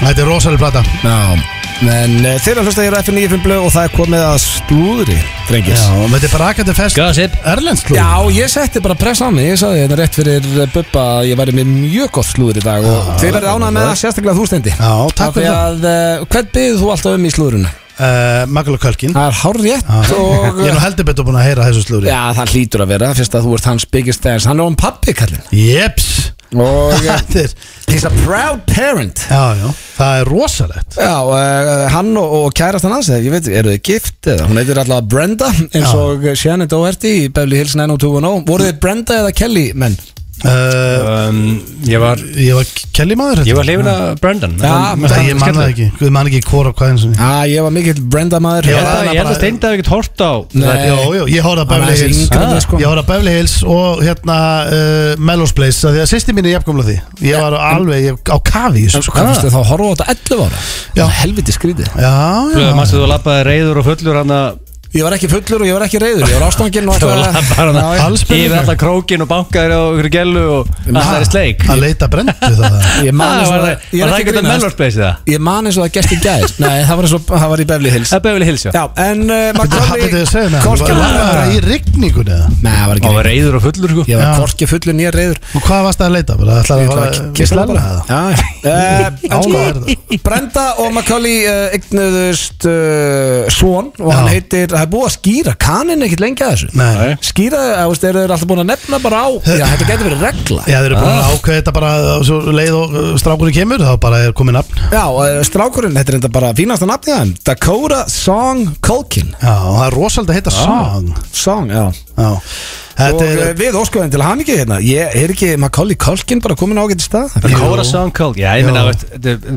S3: Þetta er rosalega plata
S1: Já En uh, þeirra hlusta hér á FN 95 blöð og það er komið að slúðri, drengis
S3: Já, og þetta er bara akkandi fest
S2: Gossip.
S3: Erlendsklúð
S1: Já, ég setti bara press á mig Ég sagði hérna rétt fyrir eh, Bubba að ég væri með mjög gott slúður í dag og þið verðið ánað með það sérstaklega þú stendi
S3: Já, takk fyrir það
S1: að, uh, Hvern byggðu þú alltaf um í slúðurinn?
S3: uh, Magala Kölkin
S1: Það er hár rétt og
S3: Ég er nú heldur betur búin að heyra þessu slúri
S1: Já, það hlýtur að vera fyrst að þú ert hans biggest fans Hann er um pappi kallinn
S3: Jeps
S1: og eh,
S3: Þetta er
S1: he's a proud parent
S3: Já, já, það er rosalegt
S1: Já, uh, hann og, og kærastan hans, ég veit, eru þið gift eða? Hún heitir allavega Brenda, eins
S3: Já.
S1: og eh, Shannon Doherty í Beverly Hills 90210 Voruð þið Brenda eða Kelly menn?
S3: uh,
S2: Um, Ég var
S3: Ég var Kelly maður
S2: Ég var hlifin að Brendan
S1: Já,
S2: Hann-
S3: Það
S2: hann-
S3: ég man það ekki Guð man ekki hvora hvað eins og
S1: Já, ég var mikill Brenda maður
S3: Ég
S2: Ég held að- ég
S3: Já,
S2: held að
S3: bara-
S2: Steinda hef ekkert hort á
S1: Nei.
S3: Jó, jó, ég horfði að
S1: Hann
S3: Beverly
S1: aðeins
S3: Hills
S1: yngri en
S2: Ah.
S1: ég, sko.
S3: Ég horfði að Beverly Hills og hérna uh, Melrose Place af Því að sýsti mín er jafnkomla því Ég var alveg ég, á kafi í þessu, sko.
S1: Hvað fyrstu þá að horfa á þetta 11 ára?
S3: Já.
S1: Það er helviti skrítið
S3: Já, já
S2: Mæstu þú lappaði reyður og fullur hann að
S1: Ég var ekki fullur og ég var ekki reyður Ég var ástanginn og
S2: Þú lappaði hann
S1: Já,
S2: að
S1: já.
S2: Yfir alltaf krókin og bankaðir á ykkur gellu og allar í sleik
S3: Að leita brendu það
S1: Ég man
S2: Ah,
S1: eins og
S2: Var það
S1: það Ég er ekki
S2: var það ekki þetta
S1: grínast
S2: mellorspleysið það?
S1: Ég man eins og það gest í gæð Nei, það var eins og það var í Beverly Hills
S2: Það beðið hilsja
S1: Já, en uh, maður
S3: Hvað
S1: kom í-
S3: betur þið að segja með
S1: Hvorki
S3: hann? Var
S1: var
S3: það bara í rigningunni eða?
S1: Nei, það var
S2: Og
S1: ekki
S2: reyður og fullur sko
S1: Ég var
S3: Já.
S1: hvorki fullur nýja reyður
S3: Og hvað varst það að leita? Bara
S1: Ég
S3: ætlaði að
S1: ætla
S3: fara
S1: að
S3: að
S1: kissa
S3: kissa
S1: það
S3: lella eða?
S1: Já, en
S3: Ála er það.
S1: sko Brenda og Macaulay uh, eignuðust uh, Svon og hann
S3: Já.
S1: heitir Það er búið að skýra, kaninn ekkit lengi að þessu
S3: Nei.
S1: Skýra, eða veist, eru þeir alltaf búin að nefna bara á Já, þetta getur verið regla Ah.
S3: Já, þeir eru búin að ákveða þetta bara á svo leið og uh, strákurinn kemur, þá bara er komið nafn
S1: Já, eh, strákurinn, þetta er enda bara fínasta nafnið hann Dakota Song Culkin
S3: Já, og það er rosalega að heita song
S1: Song, já
S3: Já,
S1: Ah. Og
S3: Þetta er,
S1: eh, við óskuðum til hamingi hérna Ég er ekki Macaulay Culkin bara komin á ágætt stað
S2: Kóra Sound Cold Já, ég
S3: Jú.
S2: meina veist, þetta er- þú-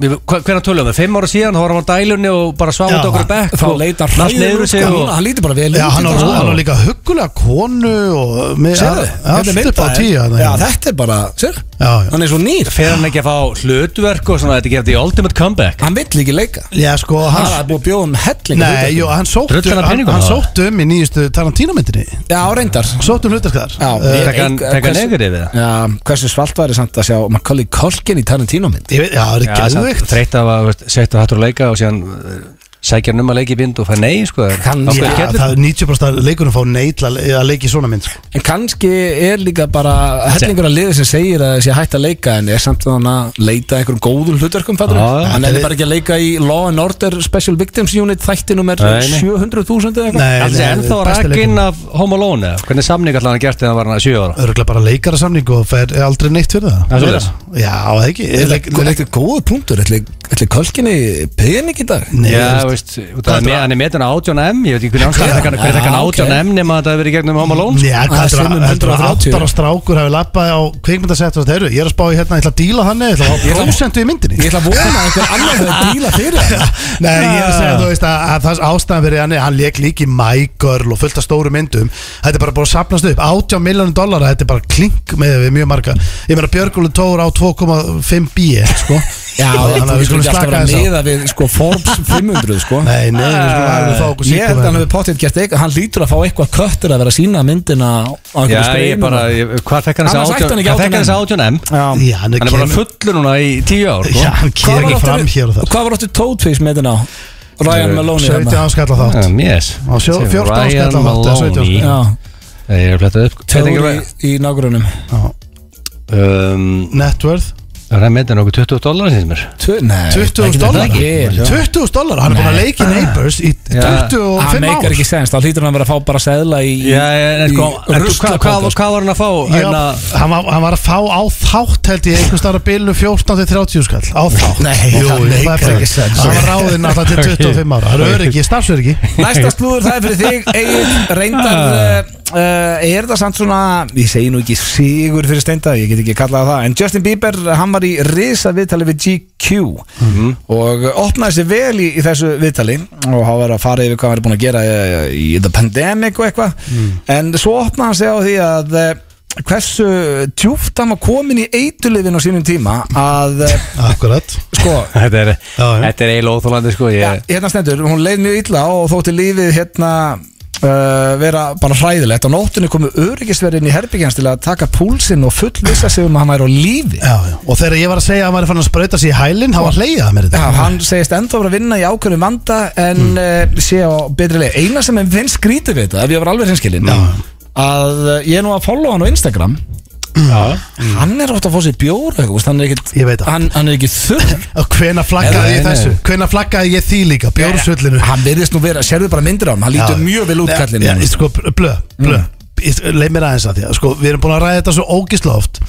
S2: við- hva- Hvernig tölum við? Fimm ára síðan þá var hann á dælunni og bara sváði
S3: Já,
S2: okkur í bekk
S1: Þá
S2: og
S1: leitar
S2: Last
S1: hræður
S2: neyður sig
S1: hann,
S2: og
S1: hann lítur bara vel
S3: já,
S1: út í
S3: hann á
S1: dag.
S3: hann á líka huggulega konu og með
S1: Sérðu,
S3: allt
S1: þetta er mynd
S3: upp á
S1: af
S3: tíu
S1: þér.
S3: þarna. hérna.
S1: Já, þetta er bara, sér
S3: Já, já.
S1: Hann er svo nýr
S2: Fer hann ekki að fá hlutverk og svona Þetta er gefið í Ultimate Comeback
S1: Hann vill ekki leika
S3: já, sko,
S1: Það er
S3: hann
S1: búið að bjóða um helling
S3: Nei, jú, hann sóttu,
S2: Drullan af
S3: hann,
S2: peningum
S3: hann
S2: þá?
S3: sóttu um í nýjustu Tarantino myndinni
S1: Já, reyndar
S3: Sóttu um hlutarkar
S1: Já,
S3: uh,
S1: ég-
S2: Taka hann-
S1: eh,
S2: taka
S1: hversu-
S2: negative eða?
S1: Já, hversu svalt væri samt að sjá Macaulay Culkin í Tarantino mynd
S3: ég veit, já, það er gæðvikt
S2: Þreytt af að veist, setja hattur að leika og síðan uh, sækja hann um að leika í vind og fær nei sko, er-
S1: Kann-
S2: ákveðið
S1: Já,
S2: kellur.
S3: Það er 90% að leikunum fá neitt að le- að leiki svona mynd sko.
S1: En kannski er líka bara hellingur að liði sem segir að þessi hætt að leika en er samt þannig að leita að einhverjum góðum hlutverkum fattur
S2: Já, já.
S1: Hann er bara ekki að leika í Law and Order Special Victims Unit þætti nummer
S2: Nei, nei.
S1: 700.000 eða eitthvað
S3: Nei,
S2: Alls
S3: nei,
S2: er ennþá
S3: besti
S2: rakinn
S3: leikurinn.
S2: af Home Alone eða? Hvernig samning allan hann gert þegar hann var hann að 7 ára
S3: Örgulega bara leikara samning og fer aldrei neitt fyrir það
S2: Það er svoleiðis.
S3: Já, það ekki Er leik-
S1: Þetta er góða punktur Þetta er Culkin í pening í dag
S3: Nei,
S2: Já,
S3: þú
S2: veist, út af að me- hann er metin að 18M Ég veit ekki hvernig ástæðan
S1: Já,
S2: þegar hvernig þegar hann
S1: já,
S2: 18M nema að það hefur verið í gegnum Home Alone sko?
S3: Já,
S1: Það er
S3: hvað
S1: sömu
S3: heldur að
S1: 130.
S3: áttar og strákur hafi lappað á kvikmyndasett og þetta eru, ég er að spá í hérna, ég ætla að díla þannig, ég ætla
S1: Ég
S3: að
S1: ætla
S3: hafa
S1: að-
S3: prósentu í myndinni
S1: Ég ætla að vona að einhver annar hefur díla fyrir það
S3: Nei, ég er að segja,
S1: Ah.
S3: þú veist, að, að það ástæðan fyrir hann, hann leik líki My Girl og fullt af stóru myndum þetta er bara búin að sapnast upp, 18 miljónum dollara þetta er bara klink með við mjög marga ég meina Björgulun Tóra á 2,5 bí sko,
S1: Já, þú
S3: þannig að við
S1: veist
S3: skulum
S1: ekki alltaf
S3: slaka
S1: vera
S3: þess á
S1: meða við sko Forbes 500 sko Ah,
S3: Nei, nei, við skulum alveg fá okkur
S1: Ég held að hann
S3: síkkum
S1: hefur potið gert eitthvað Hann lítur að fá eitthvað köttur að vera að sína myndina á
S2: Já,
S1: einhverju
S2: ég
S1: skreinu.
S2: bara, ég, hvað fekk hann
S1: Annars
S2: þessi
S1: ætti hann
S2: 18
S1: ekki
S2: Hvað fekk
S1: 18M?
S2: hann þessi 18M?
S1: Já.
S3: Já, hann
S2: Hann er bara
S3: kemur-
S2: fullur núna í 10 ár sko.
S3: Já,
S1: Hvað
S3: hann kýr
S1: var
S3: ekki
S1: áttu-
S3: fram hér og þar
S1: Hvað var áttu Toadface með þetta á? Ryan Maloney
S3: 17 áskall á þátt
S2: Um, yes.
S3: Á sjó- 14
S2: Ryan
S3: skall á þátt, eða 17
S2: Maloney
S1: Já,
S2: Ég er að fletta upp
S1: tveir
S2: Hvernig
S1: í,
S2: er-
S1: í nágrunum
S3: Já.
S2: Um,
S3: Net worth
S2: Það er metin okkur 20 dólar síðan mér
S1: Nei,
S3: 20.000 dollara
S1: ekki, ekki.
S3: 20.000 dollara, hann er búin að leiki Neighbors í
S2: Já.
S3: 25
S1: Hann meikar
S3: ár
S1: ekki sens, þá hlýtur hann að vera að fá bara seðla í
S2: Já, en
S1: í
S2: sko en þú- Hvað hvað-
S1: ruslapoka, sko.
S2: hvað var hann að fá?
S3: Já,
S2: hérna,
S3: hann, var, hann var að fá á þátt held ég einhvers staðar að bylnu 14-30 skall sko, á þátt
S1: Nei,
S3: Jú,
S1: það
S3: jú,
S1: meikar
S3: það
S1: ekki
S3: er ekki
S1: sens.
S3: hann var ráðinn alltaf til 25 ára það er öryggi, starfsöryggi
S1: Næsta slúður það er fyrir þig Egil, reyndar uh, Er það samt svona, ég segi nú ekki sigur fyrir steinda, ég get ekki kallað það En Justin Bieber, hann var í risa viðtali við GQ Mhm. Og opnaði sér vel í, í þessu viðtali Og hann var að fara yfir hvað hann er búin að gera eh, Í the pandemic og eitthvað En svo opnaði hann sig á því að eh, Hversu djúft hann var komin í eitulifin á sínum tíma Að, eh,
S3: akkurat
S1: sko,
S2: Þetta er,
S3: Já, já.
S2: þetta er eiginlega óþólandi sko
S1: Já,
S2: ég,
S1: hérna stendur, hún leið mjög illa og þótti lífið hérna uh, vera bara hræðilegt á nóttunni komu öryggisverðin í herbyggjans til að taka púlsinn og fullvisa sig um að hann er á lífi
S3: já, já. og þegar ég var að segja að hann var fann að sprauta sig í hælinn hann var að leiða mér
S1: Já,
S3: þetta
S1: hann segist ennþá vera að vinna í ákveðinu vanda en
S3: Hmm.
S1: mm. sé á betri leið eina sem er finnst skrítið við þetta, ef ég var alveg hinskilin
S3: Já.
S1: að eh, ég er nú að follow hann á Instagram
S2: já.
S1: hann er átt að fá sér bjór eitthvað, þú veist, hann er ekkit,
S3: Hmm. Ég veit það.
S1: hann, hann er ekki þurr
S3: og hvena
S2: Nei,
S3: flaggaði ég
S2: nei,
S3: þessu
S2: nei.
S3: hvena flaggaði ég því líka, bjórsullinu
S1: hann virðist nú vera, sérðu bara myndir á hann hann lítur mjög vel út kallinn
S3: Já, sko, blö, blö mm. Leif mér aðeins að því að sko, Við erum búin að ræða þetta svo ógisla oft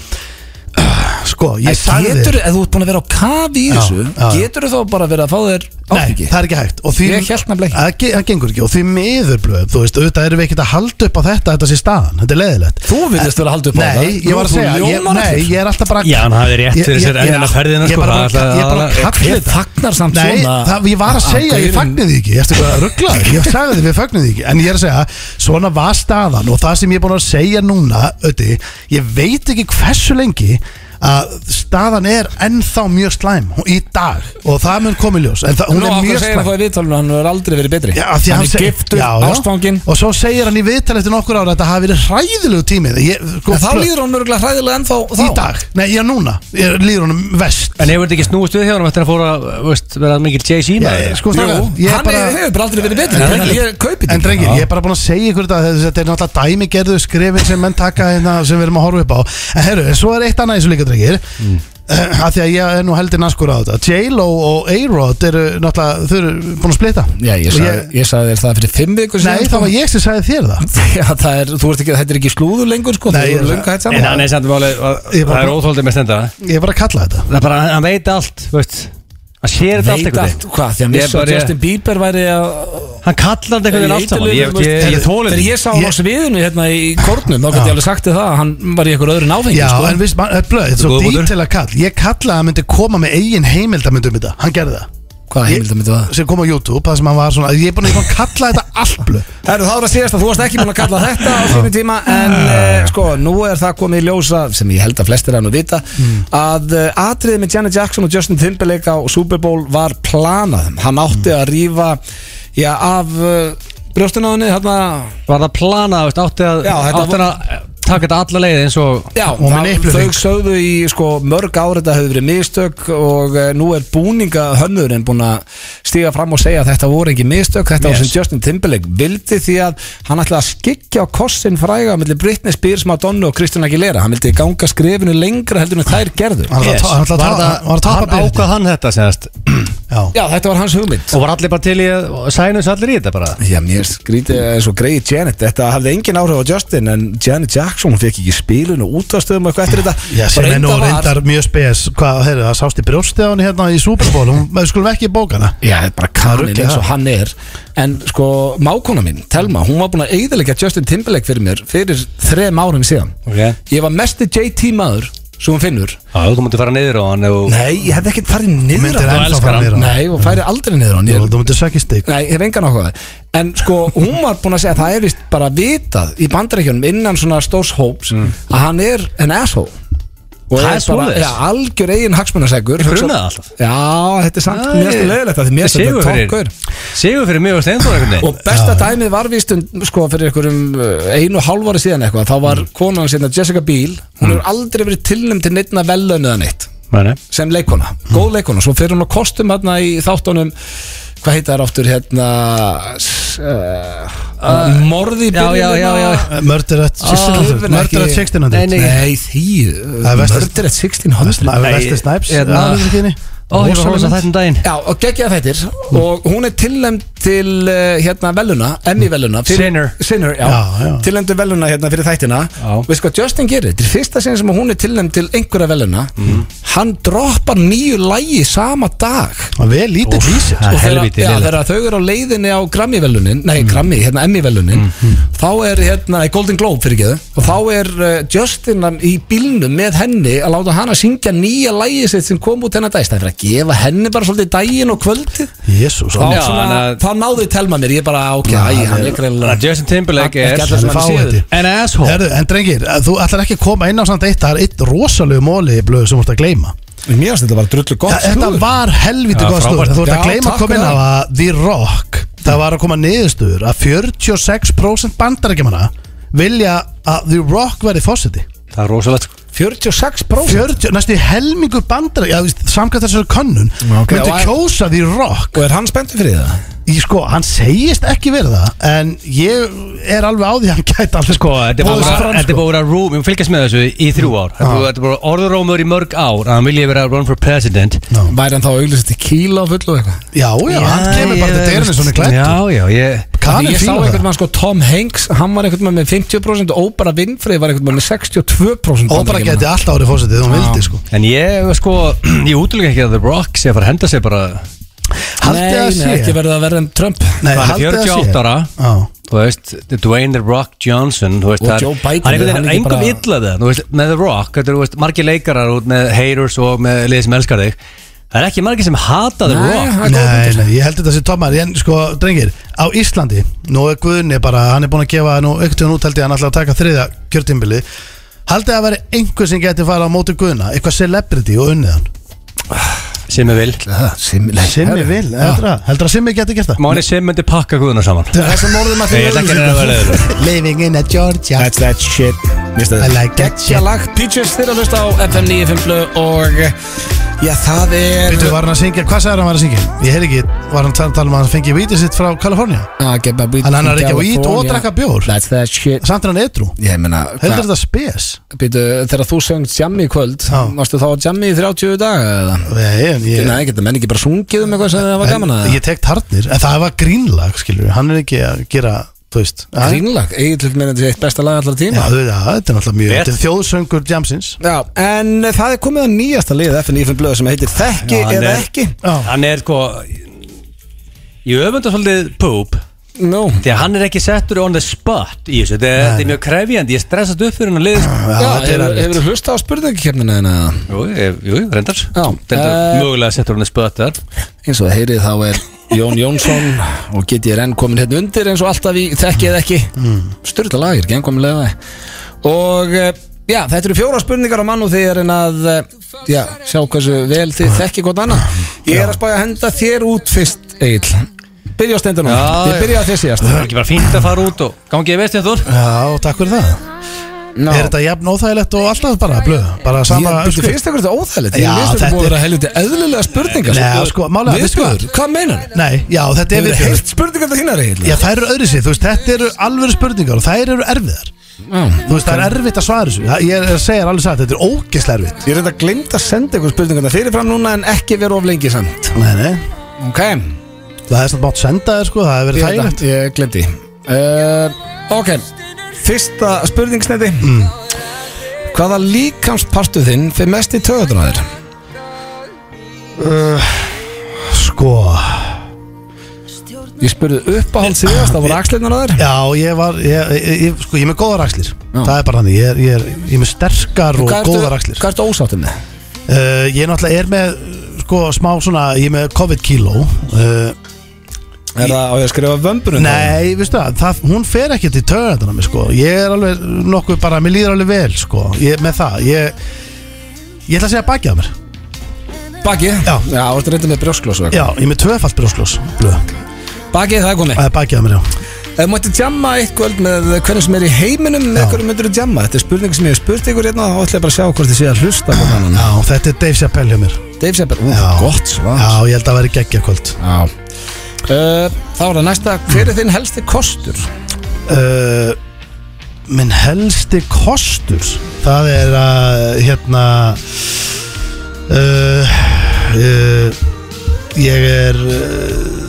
S3: Sko, ég sagði
S1: getur, ef þú ert búin að vera á kafi í
S3: Já,
S1: þessu
S3: já, já.
S1: getur þú þá bara verið að fá þér
S3: Nei,
S1: áfengi
S3: það er ekki hægt Og því,
S1: Ég hélt nefnilega ekki.
S3: Það ge- það gengur ekki Og því miður blöð Þú veist, auðvitað erum við ekkert að halda upp á þetta Þetta sé staðan, þetta er leiðilegt
S1: þú vilist vera að halda upp á það
S3: Nei, ég var að
S1: Þú
S3: segja ég,
S1: ljómar
S3: Nei,
S1: eftir.
S3: ég er alltaf bara
S2: Já, hann hafði rétt
S3: Ég-
S2: fyrir
S3: ég-
S2: sér
S3: ég-
S2: ennina ferðina,
S3: Ég
S2: sko,
S3: er bara
S2: það er
S3: ég er bara
S2: aðalega-
S3: að kalla
S1: hver
S3: þetta
S1: fagnar samt
S3: Nei,
S1: svona Ah,
S3: það, ég var að segja,
S1: gaurinn-
S3: ég fagnir því ekki Eftir hvað rugglaður, ég sagði því við fagnir því ekki En ég er að segja, svona var staðan Og það sem ég er búin að segja núna öti, Ég veit ekki hversu lengi að staðan er ennþá mjög slæm hún- í dag og það mun komið ljós en það, hún
S1: Nú,
S3: er
S1: af hverju
S3: mjög
S1: segir
S3: slæm
S1: hann það í viðtalinu, hann hefur aldrei verið betri
S3: Já, af því
S1: Hann
S3: hann
S1: er
S3: segir-
S1: giftur,
S3: Já, já.
S1: ástfanginn
S3: Og svo segir hann í viðtal eftir nokkur ára að þetta hafi verið hræðilegu tímið ég, sko,
S1: En þá líður hann mörgulega hræðilega ennþá þá
S3: Í dag, nei, já núna ég, Líður honum vest
S2: En hefur þetta ekki snúist við hjá hann Þetta er að fóra, veist, vera mikil Jay-Z maður?
S3: Ég- Sko,
S1: Jú, hann
S3: strákar, ég er bara
S1: er- hefur bara aldrei verið betri þannig að ég kaupi þetta
S3: En drengir, ég er bara búin að segja ykkur þetta Þetta er náttúrulega dæmigerðu skrifin sem menn taka hérna sem við erum að horfa upp á En herru, en svo er eitt annað eins og líka drengir mm. að Því að ég er nú heldur naskur á þetta J-Lo og A-Rod eru náttúrulega Þau eru búin að splita
S1: Já, ég
S3: Og
S1: sagði, ég sagði þér það fyrir fimm vikur
S3: Nei,
S1: síðan,
S3: það
S1: sko.
S3: var ég sem sagði þér það
S1: Já, það er, þú ert ekki, þetta er ekki slúður lengur sko,
S3: Nei,
S1: þú
S3: ég-
S1: eru löngu hætt
S2: En
S1: saman
S2: hann er samt máli,
S3: Ég bara-
S2: það er óþóldið með stenda
S3: Ég er bara að kalla þetta
S2: Það er bara, hann veit allt, veist Hann sér þetta allt
S1: Veit
S2: einhvern
S1: allt,
S2: veginn.
S1: hvað, því að
S2: Ég
S1: missa
S2: bara-
S1: að Justin Bieber væri að
S2: Hann kallar þetta einhvern veginn allt saman Ég, ég, ég, ég þóli
S1: Þegar
S2: þetta
S1: ég sá hann á
S3: Ég-
S1: sviðinu hérna í kórnum, þá gæti ég alveg sagt þér það að hann var í einhver öðru náfengi
S3: Já,
S1: sko.
S3: en viðst, man- þetta er blöð, þetta er
S2: Góður
S3: svo
S2: punktur.
S3: dítela kall Ég kallaði að hann myndi koma með eigin heimildamönd um þetta Hann gerði það
S1: Hvaða heimildar myndi það?
S3: sem kom á YouTube, það sem hann var svona Ég er búin að ég er búinn að kalla þetta allt blöð
S1: Það eru þá að síðast að þú varst ekki búin að kalla þetta á sínum tíma en uh, sko, nú er það komið í ljósa sem ég held að flestir hann að vita að uh, atriðið með Janet Jackson og Justin Timberlake á Super Bowl var planað hann átti að rífa já, af uh, brjóstunáðinni hérna,
S2: Var það planað, veist, átti að
S1: Já, þetta
S2: Átti hann að taka þetta alla leið eins og
S1: já,
S3: Og með nippluhring.
S1: þau sögðu í sko, mörg árið þetta hefur verið mistök og uh, nú er búninga hönnurinn búin að stíga fram og segja að þetta voru ekki mistök þetta var
S2: Yes.
S1: sem Justin Timberlake vildi því að hann ætlaði að skikja á kossin fræga mellir Britney Spears, Madonna og Christina Aguilera hann vildi ganga skrefinu lengra heldur en þær gerðu
S3: Hann var að
S2: Yes.
S3: ta- hann var
S2: Var
S3: að ta-
S2: það-
S3: hann var að tapa
S2: Hann
S3: byrjandi.
S2: ákvað hann þetta senast
S3: Já,
S1: Já, þetta var hans hugmynd
S2: Og var allir bara til í að og sænu þessu allir í þetta bara
S1: Já, mér skrítið eins og greið Janet Þetta hafði engin áhrif á Justin En Janet Jackson, hún fekk ekki spilun og útastöðum og eitthvað eftir þetta
S3: Já, sem
S1: Bara
S3: er nú
S1: enda var-
S3: reyndar mjög spes Hvað, heyrðu, það sást í brjósti á hann hérna í Super Bowl Hún, maður skulum ekki bóka hana
S1: Já, þetta er bara
S3: Það
S1: kaninn
S3: rugglar
S1: eins og
S3: það.
S1: hann er En sko, mákona mín, Telma Hún var búin að eigðalega Justin Timberlake fyrir mér Fyrir þrem árum síðan
S2: Ok.
S1: Ég var mesti JT maður Svo hún finnur
S2: Já, þú mútti fara niður á hann og
S1: Nei, ég hefði ekkert farið niður
S3: myndir
S1: á hann.
S3: ennþá fara niður á hann.
S1: Nei, og færi aldrei niður á hann
S3: Þú
S1: Ég er
S3: þú myndir sökja í stig
S1: Nei, ég hef engan áhuga á það. En sko, hún var búin að segja að það er vist bara vitað í bandarækjunum innan svona stórs hóps að hann er en asshole Mm. og
S2: Það
S1: er
S2: er svoleiðis?
S1: já, algjör eigin hagsmunasegur
S2: Ég grunaði það alltaf.
S1: Já, þetta er samt mjög stu leiðilegt að því mér
S2: Sigur
S1: stu
S2: fyrir-
S1: tókur
S2: Sigur fyrir mig og Steindur einhvern veginn
S1: Og besta dæmið var víst um, sko, fyrir einhverjum uh, einu hálfari síðan eitthvað þá var
S2: Mm.
S1: konan sinna Jessica Biel hún hefur aldrei verið tilnum til neittna velönuða neitt
S2: Nei, nei.
S1: sem leikona,
S2: Mm.
S1: góð leikona svo fyrir hún á kostum hérna í þáttunum hvað heita þær aftur hérna s- uh, uh, morði í
S2: Ah, já,
S1: byrjun
S2: já, já, já. Ah.
S1: hérna?
S3: Murder at
S1: Skrifin ekki-
S3: 1600 Murder at 1600
S1: nei því
S3: Það er vestur-
S1: mördir at 1600
S3: Það er
S2: Nei,
S3: Vesti Snipes
S2: hérna-
S3: aðalhlutverkinni.
S2: Ó, ég var að
S3: Rosalega
S2: horfa
S3: mynd.
S2: á þetta um daginn
S1: Já, og geggjaði þættir og hún er tilnæmd til uh, hérna veluna, Emmy veluna
S2: Sinner.
S1: Sinner, já,
S3: Já, já.
S1: tilnæmd til veluna hérna fyrir þættina
S2: Já.
S1: Veist hvað Justin gerir, þetta er fyrsta sinni sem hún er tilnæmd til einhverja veluna
S2: Mhm.
S1: Hann droppar nýju lægi sama dag
S3: Það er vel lítið í
S2: Það
S3: sér
S1: og þegar,
S2: er helviti
S1: já,
S2: lélegt. Mm.
S1: þegar þau eru á leiðinni á Grammy-velunin nei, Grammy, hérna Emmy-velunin þá er hérna, nei, Golden Globe fyrir og þá er uh, Justin að- í bílnum með henni að láta hana syngja nýja lægi sitt sem kom út hennar dæst það er fyrir að gefa henni bara svolítið daginn og kvöldið
S3: Jésús
S1: þá,
S2: Já,
S1: svona,
S2: en að-
S1: þá náðu telma mér, ég bara ok,
S3: Já,
S1: æ, hann
S3: það
S1: er greinlega
S2: Þannig að Justin Timberlake
S1: Ekki
S2: er
S1: allir sem
S3: hann er
S1: hann séð.
S3: fáið.
S2: An asshole
S3: Herðu, en drengir, að þú ætlar ekki að koma inn á samt eitt Það er eitt rosalegu móli í blöðu sem þú ert að gleyma
S1: mér finnst þetta bara drullu sko.
S3: Já, Þetta var helviti
S2: Já,
S3: góð slúður
S2: frábært.
S3: Þú ert
S1: Já,
S3: að gleyma
S1: takk
S3: að koma inn á
S1: fyrir það.
S3: að The Rock Það var að koma niðurstöður að 46% bandarækjumanna vilja að The Rock verði fósiti
S2: Það er rosalegt sko.
S1: 46%
S3: 40, næstu helmingu bandarækjumanna samkvæmt þessari könnun
S1: ok.
S3: myndu
S1: Já,
S3: kjósa The Rock
S1: og er hann spenntur fyrir það?
S3: Í sko, hann segist ekki verið það en ég er alveg á því að hann gæti alveg
S2: Sko,
S3: sko
S2: þetta er
S3: boðið sig
S2: bara-
S3: fram,
S2: þetta er bara
S3: sko.
S2: að vera rúm Ég fylgjast með þessu í þrjú ár Þetta er bara- þetta er bara orðurómur í mörg ár að hann vilji vera run for president
S1: væri hann þá auglýsist í kíla og fullu eitthvað
S3: Já, já, hann kemur bara til
S2: ég-
S3: dyrinu svona
S2: Já,
S3: klættur
S2: já, ég
S1: Því
S3: Kanir
S1: ég sá
S3: fíla
S1: einhvern
S3: það
S1: mann sko Tom Hanks hann var einhvern mann með 50% og Óbara Winfrey var einhvern mann með 62%
S3: Og bara geti
S1: Bandaríkjamanna.
S3: allt árið fósitið, hún vildi sko
S2: En ég, sko, ég útlöka ekki að The Rock sé að fara að henda sér bara
S3: Haldið
S1: Nei,
S3: að
S1: nei,
S3: sé.
S1: ekki verið að verða um Trump
S3: Nei,
S2: Hann er
S3: haldið að sé.
S2: 48 ára.
S3: Já.
S2: Þú veist, Dwayne The Rock Johnson þú veist,
S1: Og
S2: það er-
S1: Joe Biden,
S2: Hann er einhvern
S1: hann er
S2: veginn
S1: ekki
S2: engum
S1: bara-
S2: illa það Þú veist, með The Rock Þetta eru, þú veist, margir leikarar út með haters og með liðið sem elskar þig Það er ekki margir sem hata The
S1: Nei,
S2: Rock
S1: það er góð
S3: Nei,
S1: punktur.
S3: nei, ég held þetta sé tómar En sko, drengir, á Íslandi Nú er Guðni bara, hann er búin að gefa Nú ekkert hún útældi hann alltaf að taka þriðja kjörtimbili Haldið að vera einhver sem geti fara á móti Guðna Eitthvað celebrity og unnið hann
S2: sem er vil
S1: Ah, Simmi
S3: Simmi vil, heldur að, heldur að Simmi geti gert það
S2: Máni sem myndi pakka guðuna saman
S1: Þessum orðum að
S2: Nei,
S1: því
S2: ég ætla ekki að reyna að vera leiðilegur.
S3: Living in a Georgia
S1: That's that shit Mista
S3: I like that shit.
S1: Gekkja lag Peaches þeirra að hlusta á FM 95 Blu og Já, það er
S3: Býtu, var hann að syngja, hvað sagði hann var að syngja? Ég heyr ekki, var hann að tala um að hann fengi vítið sitt frá Kalifornía
S1: Ah, get my weed
S3: En hann
S1: from
S3: er ekki á ít og
S1: California.
S3: drakk bjór.
S1: That's that shit
S3: Samt er hann edru,
S1: Ég meina
S3: heldur
S1: hvað-
S3: þetta spes?
S1: Býtu, þegar þú söngst jammi í kvöld
S3: Já.
S1: Varstu þá að jammi í 30 daga eða?
S3: Nei, en ég,
S1: Nei, geta menn ekki bara sungið um eitthvað sem það var gaman að
S3: en, ég tek tartnir, en það var grínlag skilur, hann er ekki að gera þú veist að-
S1: Grínlag, eiginlega meina þetta er eitt besta lag allra
S3: Já,
S1: tíma
S3: þú veit að þetta er náttúrulega mjög
S2: Rétt.
S3: Þetta er þjóðsöngur jamsins
S1: Já, en það er komið að nýjasta lið FN Blöð sem heitir Þekki
S2: Já, hann
S1: eða
S2: er-
S1: ekki
S3: Já,
S2: Hann er sko Ég öfunda svolítið Pope
S1: Nú,
S2: Því að hann er ekki settur on the spot í þessu Þetta er, þetta er mjög krefjandi, ég stressast upp fyrir hann að liðs
S3: já, þetta er
S1: hefur,
S3: erfitt.
S1: hefur hlustað á spurningakefnina þina eða?
S2: Jú, ég- jú, reyndar
S1: Já,
S2: Reyndar
S1: eh,
S2: mögulega settur on the spot þar
S1: eins og það heyrið þá er Jón Jónsson og GTRN komin hérna undir eins og alltaf í þekki eða ekki mm. styrla lagir, gengomilega og eh, já, þetta eru fjóra spurningar á mann og þið er en að eh, já, sjá hversu vel þið þekki hvort annað ég er að spája að henda þér út fyrst Egil, byrja á stendunum
S2: Já,
S1: ég byrja að þér síðast
S2: Það er ekki bara fínt að fara út og gangi ég veist þetta úr
S3: já, takk fyrir það
S1: Ná,
S3: Er þetta jafn óþægilegt og alltaf bara blöð Bara sama
S1: ég, byrju, finnst ykkur þetta óþægilegt
S3: sko- Já,
S1: ég finnst þetta
S3: þetta
S1: búið að
S3: er-
S1: vera helviti eðlilega spurningar
S3: Nei, sko, málega, veistu
S1: viðskuður, hvað meinar þið?
S3: Nei, já, þetta er
S1: Hefur þið
S3: við
S1: heyrt spurningar það þínar Egil?
S3: Já, þær eru öðru sér, þú veist, þetta eru alveg spurningar og þær eru erfiðar Þú veist, það er erfitt að svara þessu Það- Ég er að segja þér alveg satt, þetta er ógeðslega erfitt
S1: Ég reynda að glemta að senda ykkur spurningarna fyrirfram núna en ekki vera of lengi samt
S3: Nei, nei,
S1: Ok,
S3: það er samt mátt senda þér sko, það hefur verið
S1: ég,
S3: þægilegt
S1: ég, ég glemti uh, Ok, fyrsta spurningsneti mm. Hvaða líkamspartu þinn fyrir mest í töðunar á þér?
S3: Sko,
S1: Ég spurði upp á hálf síðast, það voru axlirnar á þér
S3: já, ég var, ég, ég, ég, sko, ég er með góðar axlir
S1: Já.
S3: Það er bara þannig, ég er, ég er, ég er með sterkar og
S1: Hvað ertu-
S3: góðar axlir
S1: Hvað ertu ósáttum með?
S3: Uh, ég náttúrulega er með sko smá svona, ég er með COVID-kíló uh,
S1: Er það á ég að skrifa vömbunum?
S3: Nei, veistu það, það, hún fer ekkert í töðan á mig sko Ég er alveg nokkuð bara, mér líður alveg vel sko ég, Með það, ég, ég ætla að segja bakið á mér
S1: Baki?
S3: Já.
S1: Já, orðið reynda með brjóskloss og
S3: Já, ég er með tvöfalt brjósklós Blöð,
S1: eitthvað Baki, það er komið
S3: það er bakið á mér, já
S1: Ef mætti jamma eitt kvöld með hvernig sem er í heiminum með
S3: Já.
S1: hverju myndur þú jamma? Þetta er spurning sem ég hef spurt ykkur hérna og þá ætla ég bara að sjá hvort þið sé að hlusta hvort annan
S3: Já, þetta er Dave Chappelle hjá mér
S1: Ah. Dave Seppel, ú,
S3: Já.
S1: gott svar
S3: Já, ég held að það væri geggja kvöld
S1: Já. Uh, Þá er það næsta, hver er þinn helsti kostur?
S3: uh, Minn helsti kostur Það er að Hérna uh, uh, Ég er uh,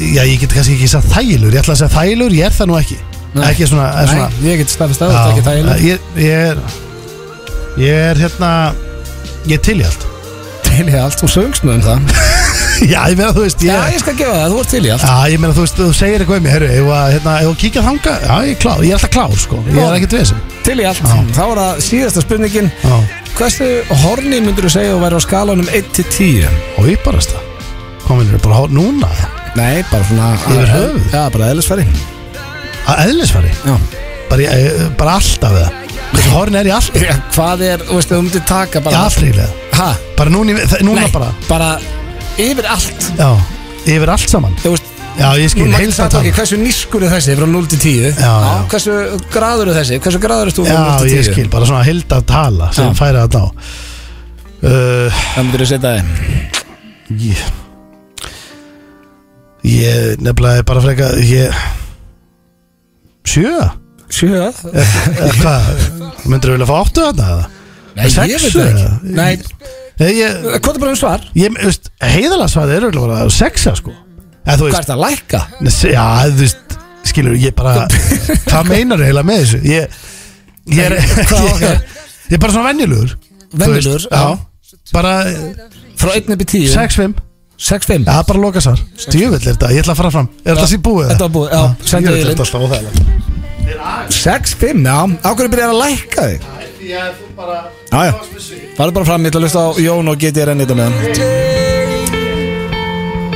S3: Já, ég get kannski ekki sagt þælur Ég ætla að segja þælur, ég er það nú ekki
S1: Nei.
S3: Ekki svona, er svona
S1: Nei, ég get staðfist að
S3: Já,
S1: þetta er ekki þægilega
S3: ég, ég er Ég er hérna Ég er til í allt
S1: Til í allt, þú söngst nú um það
S3: Já, ég meina þú veist
S1: Já,
S3: ég,
S1: ég skal gefa það, þú ert til í allt
S3: Já, ég meina þú veist, þú segir eitthvað um mig, herru, ef að, hérna, ef að kíkja þanga, já, ég er klár, ég er alltaf klár, sko, ég er ekkert vesinn.
S1: Til í allt, þá er það síðasta spurningin
S3: Já,
S1: Hversu horni myndur þú segja að væri á skalanum 1 til 10?
S3: og ég bara stað, komin er bara hár núna,
S1: Nei, bara svona
S3: Yfir höfuð?
S1: Já, bara eðlisfæri
S3: að eðlisfari,
S1: Já
S3: bara, ég, eh, bara alltaf það, þessu horn er ég alltaf,
S1: Hvað er, þú veist, þú myndir taka
S3: ég
S1: bara
S3: alltaf líklega,
S1: Ha?
S3: bara núna, í- þa- núna
S1: Nei,
S3: bara,
S1: bara yfir allt
S3: já, yfir allt saman,
S1: Þú veist,
S3: já, ég skil,
S1: Magnús
S3: heilsa
S1: sagði,
S3: tann,
S1: ok, hversu nískur er þessi frá 0 til 10
S3: Já, já.
S1: hversu graður er þessi hversu graður er þú frá 0
S3: já,
S1: til 10
S3: ég skil, bara svona heilda tala sem
S1: Já.
S3: færa það á, uh,
S1: það myndir þú setja þið
S3: ég, ég nefnilega er bara freka, ég, sjö,
S1: sjö
S3: Eða Hvað, myndur þú vilja fá áttu þarna eða?
S1: nei, ég veit
S3: Sexu,
S1: það ekki
S3: eða?
S1: nei,
S3: Nei, ég,
S1: hvað er bara um svar
S3: ég, þú veist, heiðalega svaðið er auðvitað bara sexa sko Eða þú
S1: hvað
S3: veist,
S1: er það að lækka
S3: ne, se- já, þú veist, skilur, ég bara, hvað meinar eiginlega með þessu? Ég, ég er,
S1: Hvað,
S3: ég,
S1: ok.
S3: er- ég er bara svona venjulegur þú veist,
S1: Venjulegur, já.
S3: Já, bara
S1: frá 1 upp í 10
S3: sex-fimm,
S1: 6 5
S3: já, bara loka svar Stjöfull er þetta, ég ætla að fara fram, er þetta síðan búið?
S1: þetta var búið já, sendu
S3: Ég veit
S1: Eilin
S3: alltaf óþægilegt
S1: 6 5 já á hverju byrjar að lækka þig já, já farðu bara fram ég ætla að lusta á Jón og geti ég rennið þetta með hann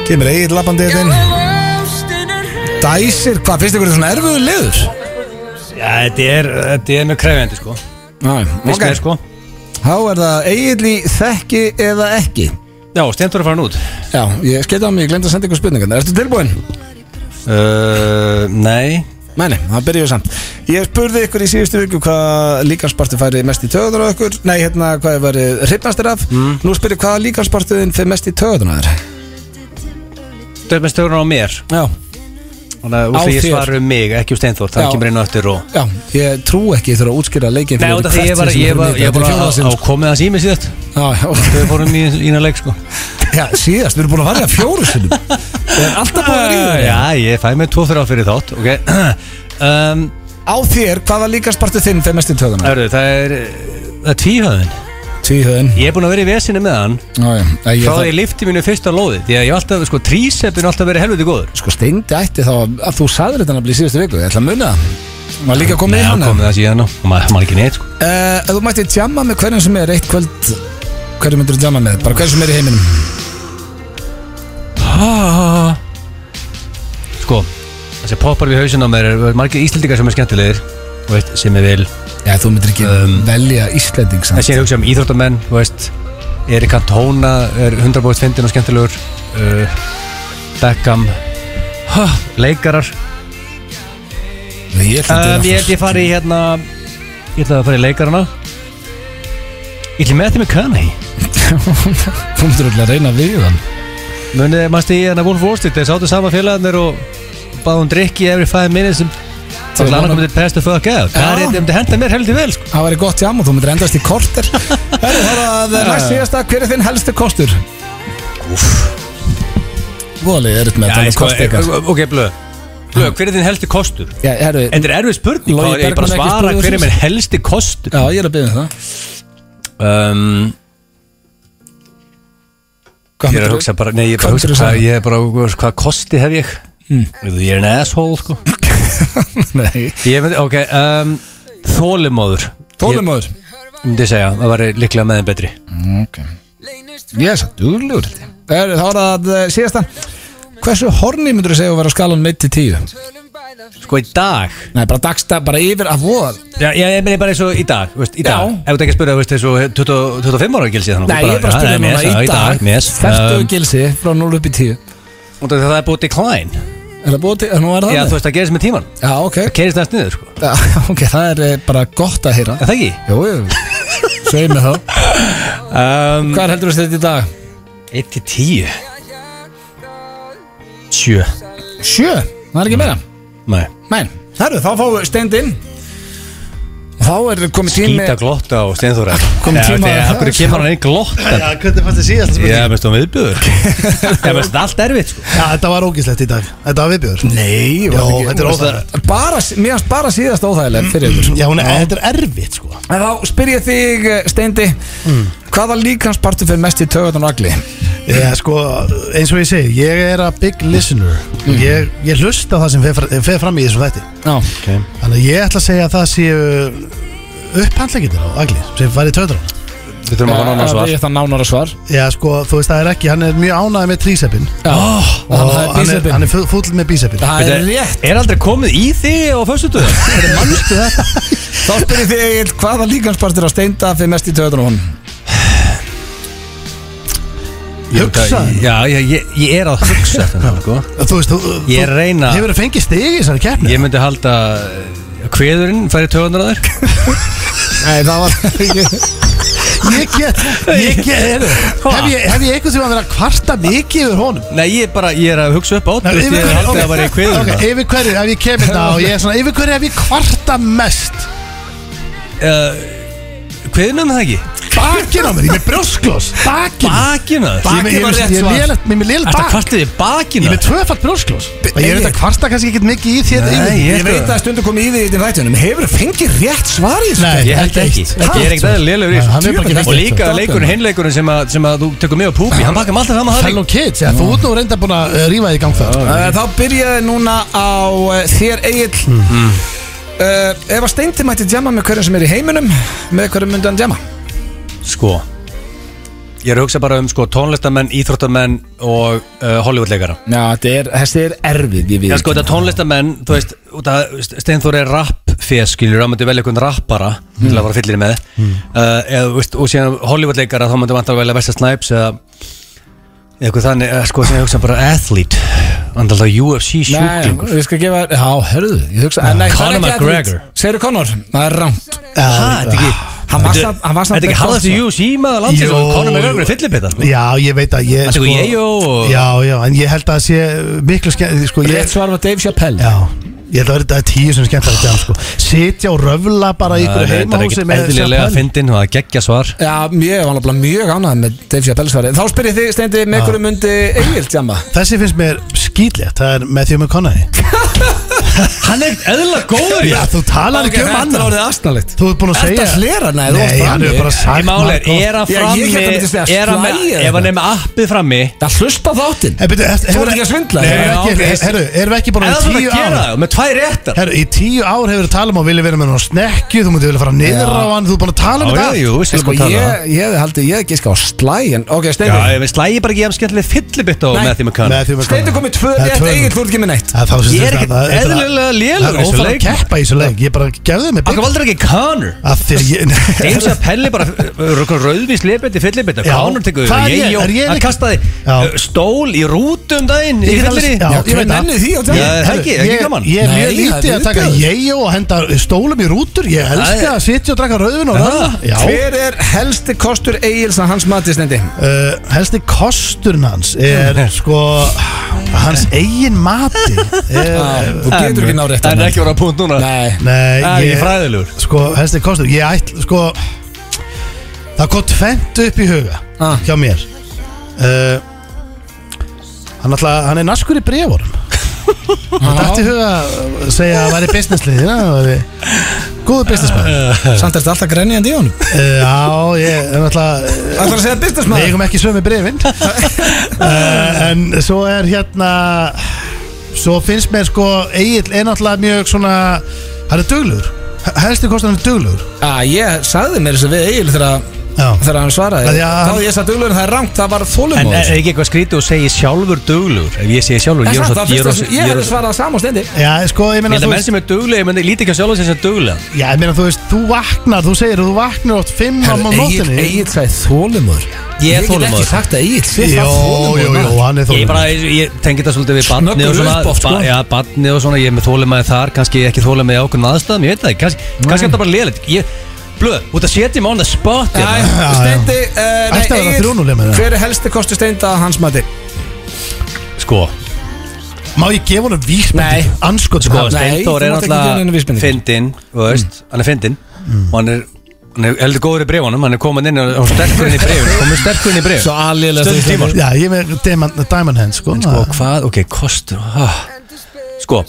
S1: kemur eigin lappandið þinn dæsir hvað finnst ykkur þetta svona erfiðu liður
S2: Já, þetta er, þetta er mjög krefjandi sko
S1: Næ,
S2: Finnst mér, sko.
S1: Þá er það eiginli þekki eða ekki
S2: Já, stendur að fara hann út
S1: Já, ég skeita á mig, ég glemt að senda ykkur spurningarna Ertu tilbúin?
S2: uh, Nei
S1: Nei, nei, það byrjum við samt Ég spurði ykkur í síðustu viku hvað líkansparti færi mest í töðunar á ykkur Nei, hérna, hvað ég væri hrifnastir af
S2: Mm.
S1: Nú spyrir hvað líkanspartiðin fyrir mest í töðunar þér
S2: Döfnir stjórnar á mér
S1: Já,
S2: Þannig að
S1: Á
S2: úr því ég
S1: þér.
S2: svara um mig, ekki um Steinþór
S1: Já.
S2: Það kemur inn á eftir og
S1: já, ég trú ekki þegar að útskýra leikin
S2: Nei, út af því ég var, ég var, ég var, á
S1: var
S2: komið hans í mig síðast
S1: Já, já,
S2: Þau fórum í ína leik sko
S1: já, síðast, við erum búin að fara í það fjóru sinum Við erum alltaf búin að ríða
S2: Já, ég fæ mig tvo þrjá fyrir þátt ok um,
S1: Á þér, hvaða líkanspartur þinn fer mest í töðuna?
S2: Hörðu, það er eh, Það er tvíhöðin
S1: Tvíhöðin
S2: Ég er búin að vera í vesinu með hann
S1: Ég
S2: Frá því ég lifti mínu fyrsta lóði Því að ég hef alltaf, sko, trísepin alltaf verið helviti góður
S1: Sko steindi ætti þá að að þú saður þetta nafnilega í síðustu viku Ég ætla að muna það Hún var líka komið í
S2: hann
S1: hana
S2: komið það síðan og maður maður ekki neitt, sko
S1: Eh, Ef þú mætti tjama með hverjum sem er eitt kvöld Hverjum myndir þú tjama með? Bara hverjum sem er í heiminum
S2: Ah. Sko, það sem poppar við hausinn á mér er- eru margir íslendingar sem er skemmtilegir þú veist, sem er vil
S1: Já, þú myndir ekki
S2: Um,
S1: velja Íslending samt
S2: Þessi er hugsað um íþróttamenn þú veist, Erik Cantona er 100% fyndin og skemmtilegur uh, Beckham ha, Leikarar
S1: Nei, Ég ætla
S2: um,
S1: að
S2: Ég held ég fari í hérna Ég ætla að fara í leikarana Ég ætla með þeim með Kani
S1: Þú myndir öll að reyna við hann
S2: Munið, mannst ég hérna Wolf Wall Street Þeir sáttu sama félagarnir og báðum drikki every five minutes sem Það var annað komið til best of fuck out Það er þetta henda mér heldur vel sko.
S1: Það væri gott tjama og þú myndir endast í korter Herru, það var að
S2: Eh.
S1: næst síðasta Hver er þinn helsti kostur? Úff Voli, eruð með að tala um
S2: sko-
S1: kosti ykkar
S2: Ok, blöð Blöð, hver er þinn helsti kostur?
S1: Já, herru
S2: Þetta er erfið spurning
S1: Logi
S2: Logi, Ég bara
S1: Bergmann ekki spurði
S2: svara hver er
S1: þessu.
S2: minn helsti kostur
S1: Já, ég er að byggja það
S2: um,
S1: Hvað
S2: Ég er að
S1: myndirðu?
S2: hugsa bara Nei, ég er bara
S1: Hvað
S2: að hugsa
S1: myndirðu
S2: hvað,
S1: segja?
S2: ég er bara, að hugsa hvað kosti hef ég mm. Ég er an asshole sko.
S1: Nei
S2: ég myndi, Ok, um, þólimóður
S1: Tólumóður
S2: Ég myndi segja, það væri líklega með þeim betri
S1: Ok Ég er svo duglegur held ég. Herru, Það var að eh, síðasta Hversu horni myndirðu segja að vera á skalan 1 til 10?
S2: Sko í dag
S1: Nei, bara dagsta, bara yfir að voða
S2: Já, já, ég meina bara eins og í dag, þú veist, í dag
S1: Já.
S2: Ef þú ert ekki að spyrja, þú veist, eins og 20 25 ára gilsið þannig
S1: Nei, ég er bara að spyrja núna í dag Fertuðu
S2: Fertu
S1: gilsi frá 0 upp í 10
S2: Það er búið decline
S1: Er það búið til, er nú er
S2: Já, þú
S1: það
S2: veist, það gerist með tíman
S1: Já, ok
S2: Það kerist næst niður, sko
S1: Já, ok, það er eh, bara gott að heyra
S2: Er það ekki?
S1: Jú, jú, segir mér það
S2: Um,
S1: Hvað heldur þú þetta í dag?
S2: 1 til 10 7
S1: Sjö, það er ekki meira
S2: Nei
S1: Nei, herru, þá fáum við steindinn Og Þá er komið tími
S2: Skýta glotta á Steinþóra
S1: Kom tíma-
S2: Akkur kemur hann einn glotta
S3: hvernig fannst þið síðast
S2: Já, mest hún viðbjöður Já, mest þetta er allt erfitt, sko
S3: Já, þetta var ógíslegt í dag Þetta var viðbjör
S1: Nei, var það
S3: Jó,
S1: ekki-
S3: þetta er óþægilegt.
S1: bara, Mér hans bara síðast óþægilegt fyrir ykkur
S3: Já, hún er, þetta er erfitt sko
S1: En þá spyr ég þig, eh, Steindi Hvaða líkanspartur fyrir mest í tögutan og agli?
S3: Já, sko, eins og ég segi Ég er a big listener
S2: Mhm.
S3: Ég, ég hlusta á það sem fer, fr- fer fram í þessum þætti
S1: Já,
S2: okay.
S3: Þannig að ég ætla að segja að það séu upphandlegitir á Agli sem var í töður
S2: Við þurfum að fá nána
S1: það
S2: svar
S1: er það nánara svar
S3: Já, sko, þú veist það er ekki, hann er mjög ánægð með tríseppin
S1: Já,
S3: og hann er,
S1: bíseppinn.
S3: hann er fu- fúll með bíseppin
S1: Það er rétt
S2: Er aldrei komið í þig á föstutöðum? Hvernig mannstu þetta?
S1: Þá spyr ég þig Egill, hvaða líkanspartur á steinda fyrir mest í töðunum hún?
S3: Hugsa
S2: Já, ég, ég, ég er að hugsa þetta, sko
S3: Þú veist, þú,
S2: Ég er að reyna-
S3: Hefur það fengið stig í þessari keppni?
S2: Ég myndi halda Kveðurinn færi töðunar að þér
S1: Nei, það var
S3: Ég get, ég get heyrðu, hef, ég, hef ég einhvern tíma verið að kvarta mikið yfir honum?
S2: Nei, ég er bara, ég er að hugsa upp á þetta Ég er haldið að væri kveðurinn
S3: okay, yfir hverju hef ég kemur þetta og ég er svona Yfir hverju hef ég kvarta mest?
S2: Kveðurinn er það ekki?
S3: Bakinn á mér, ég er með brjósklós Bakinn
S2: Bakina
S1: Bakið
S3: Ég er
S1: var
S3: með-
S1: rétt
S3: ég er
S1: svar.
S3: með lélegt- ég er með lél
S2: Þetta
S3: bak
S2: kvartið er
S3: Ég
S2: bakina
S3: er með tvöfalt brjósklós Ég er
S1: Egill.
S3: þetta kvarta kannski ekkert mikið í þér
S2: Nei,
S3: yfir.
S2: ég-
S1: Ég veit að stundum komið í því í þeim þættunum Hefur þú fengið rétt svar í þessu?
S3: Nei.
S2: Ég held ekki
S3: Ha?
S2: Ég er ekkert aðeins lélegur í
S3: Nei, hann er bara ekki
S2: þessu Og
S3: neitt eitt.
S2: líka leikurinn, hinleikurinn sem að sem að þú tekur mig á púpi Hann bakkar alltaf saman það
S3: Hello kids, ja, þú ert nú reynda búin að eh, rífa þig í gang það sko.
S1: Uh, Þá byrjaði núna á uh, þér Egill uh, Ef að steindi mætti djama með hverjum sem er í heiminum Með hverjum myndi hann djama?
S2: líka. Sko Ég er að hugsa bara um sko tónlistamenn, íþróttamenn og uh, Hollywoodleikara
S1: Já, þetta er, þessi er erfið
S2: Já sko þetta tónlistamenn, þú veist, út að Steinþór er rappfér, skiljur, þá myndi velja einhvern rappara til að fara fyllir með mm. uh, eða, þú veist, og síðan Hollywoodleikara þá myndi vantar að velja Vesta Snipes eða eða eitthvað þannig, eða, sko, sem ég hugsa bara athlete, vantar alltaf UFC sjúklingur
S1: Nei, ég skal gefa Já, hörðu, ég hugsa en nei, það er
S2: Conor
S1: ekki erfitt.
S2: McGregor.
S1: Segirðu Conor? Það er rámt
S3: Já,
S2: Ha, þetta ekki
S1: Hann var
S2: Ah. Þetta-
S1: samt- hann var samt
S2: Þetta ekki
S1: með
S2: harðast í
S1: gott,
S2: UFC maður landsins
S3: Jú.
S2: og Conor McGregor er fyllibita
S3: Já, sko. ég veit að ég
S2: Hann tekur Yeo og-
S3: Já, já, en ég held að það sé miklu skemmt sko, ég-
S1: Rétt svar var Dave Chappelle
S3: Já, Ég held að verði þetta tíu sem skemmt að þetta sko. Sitja og röfla bara í
S2: þetta
S3: ykkur
S2: er
S3: heimahúsi
S2: ekkert
S3: með
S2: eðlilega
S3: champagne.
S2: fyndin og það geggja svar
S1: Já, ég var alveg mjög ánægð með Dave Chappelle svarið Þá spyr ég þig, Steindi, með hverju myndi Egil tjama?
S3: Þessi finnst mér skýtlegt, það er Matthew McConaughey
S2: Hann er eðlilega góður
S3: Já, þú talar ekki um
S1: Þetta er
S3: annan
S1: orðið astanlegt
S3: Þú ert búin að
S1: Ertu
S3: segja
S1: að hlera? Nei, þú varst
S3: Nei, hann
S1: frammi.
S3: er bara
S2: Í
S3: sagt
S2: máli er, er hann
S1: Já, ég
S2: frammi
S1: hérna myndi segja,
S2: er hann með,
S1: slægja
S2: ef hann
S1: þetta.
S2: er með appið frammi
S1: Það hlusta á þáttinn
S3: Hefur
S1: ert ekki að svindla?
S2: Já, ok.
S3: Erum við ekki búin
S2: eða
S3: að
S2: þú þarf
S3: í
S2: að
S3: tíu
S2: gera
S3: ár
S2: það með tvær réttar
S3: Herru, í tíu ár hefur við talað um að vilja vera með hann á snekju Þú mútið vilja fara niður á hann Þú er búin að tala um
S2: Já,
S3: þetta
S2: já, jú, við
S1: Sko,
S2: skulum að tala um það.
S1: ég, ég haldi, ég giska á slæ en, Ok,
S2: Já,
S1: Steindi
S2: ég veist, slægi bara ekki að skemmtilega fyllibitt á
S1: Nei.
S2: með því maður kann
S3: Matthew McConaughey.
S1: Steindi komið tvö
S3: Það er
S1: rétt, Egil,
S3: tvö núll.
S1: þú ert ekki með neitt
S3: Það, það,
S2: Ég er
S3: það,
S2: ekkert
S3: það- það-
S2: eðlilega lélegur í
S3: Það er
S2: þessu
S3: óþarf að
S2: leik.
S3: keppa í þessu leik Ég bara gefðu mig
S2: Akkur
S3: bygg
S2: valdur ekki Connor
S3: Af því að ég
S2: James að Pelli bara eh, rauðvís leifbeti, fyllibeti,
S3: Já.
S2: Connor tekur
S3: Það
S2: ég,
S3: er ég-
S2: ég,
S3: er ég
S2: hann
S3: líka-
S2: kastaði
S3: Já.
S2: uh, stól í rútum daginn í
S3: Ég get
S2: fyllir
S3: alveg- Já,
S1: Ég veit
S3: ég veit
S1: nenni því á
S2: Já,
S1: tjama
S2: það er ekki, það er ekki
S3: Ég-
S2: gaman
S3: Ég er
S1: Nei, það
S3: mjög
S1: er
S3: lítið að taka
S1: viðbjóður.
S3: ég og henda stólum í rútur Ég
S2: Það
S3: elska
S2: er-
S3: að sitja og draka rauðin og röða Já,
S1: Hver er helsti kostur Egil's að hans mati, Steindi?
S3: uh, helsti kosturinn hans er sko hans eigin mati er,
S1: Þú getur ekki náð rétt
S2: Það er ekki voru að punkt núna
S1: Nei
S3: Nei,
S2: Það Ah. er ekki fræðilegur
S3: sko, helsti kostur ég ætl, sko það kom tvent upp í huga
S1: Ah.
S3: hjá mér uh, hann, ætla, hann er naskur í breforum hann dætti í huga að segja að það væri businessliðin að það væri góðu businessman
S2: Ah.
S3: uh,
S1: Samt ertu alltaf grenjandi í honum
S3: já, ég er náttúrulega
S1: Það er að segja
S3: Nei,
S1: businessman
S3: ég kom ekki sömu brefin uh, En svo er hérna Svo finnst mér sko Egil er náttúrulega mjög svona Hann er duglugur Helstu kostar hann er duglugur
S1: Já, ég sagði mér þess að við Egil þegar
S3: Já.
S1: þegar hann
S3: Það
S1: svaraði
S3: er að
S1: þá
S3: hann- eh,
S1: ég sagði duglurinn það er rangt, það var
S2: En
S1: þólumóður
S2: er ekki eitthvað skrítið og segi sjálfur duglugur Ef ég segi sjálfur,
S1: En
S2: ég er
S1: samt,
S2: svo
S1: það
S2: Ég er
S1: fyrst
S2: svo-
S1: að ég
S2: ég er
S1: hefði
S2: svo-
S1: svarað sama stendi
S3: Já, sko, ég
S2: Ég
S3: meina
S2: held að
S3: þú
S2: menn sem er dugleg, ég menn líti ekki á sjálfur sem sem duglega
S3: Já, ég meina þú veist, þú vaknar Þú segir, þú vaknar oft fimm á nóttinni
S1: Egil sagði þólumóður
S2: Ég er
S1: get ekki
S2: þolinmóður.
S1: sagt að Egil sé
S3: Jó,
S1: það
S3: jó,
S1: þolinmóður,
S3: jó,
S1: maður.
S3: hann er
S2: Ég bara,
S3: þólugur
S2: ég, ég tengi þetta svolítið við barnið og
S1: Snöggur
S2: svona
S1: upp oft, sko.
S2: ba- Já, barnið og svona, ég er með þólimaði þar Kannski ekki þólimaði ákveðin aðstæðum, ég veit það ekki Kannski, kannski er þetta bara liðlegt Ég, blöð, út að setja mig on the spot
S1: Æ,
S2: hérna.
S3: já.
S1: Steindi,
S3: Ætti að vera
S1: eh, nei,
S3: 3-0 með
S1: Egill,
S3: það.
S1: hver er helsti kostu Steinda að hans mati?
S2: Sko,
S3: Má ég gefa honum vísbendingu?
S1: Nei.
S3: Anskot
S2: sko,
S1: Nei, þú
S2: Steindór er
S1: mátt ekki gefa neina
S2: alltaf
S1: vísbendingu.
S2: fyndinn, þú veist, hann er fyndinn Og hann er, hann er heldur góður í brefunum Hann er komin inn og og sterkur inn í brefun Komur sterkur inn í brefun
S1: alíðlega
S2: Stundum tíma,
S3: Já, ég er með Diamond, diamond Hands, sko
S2: Sko, hvað, ok, kostur ah. Sko,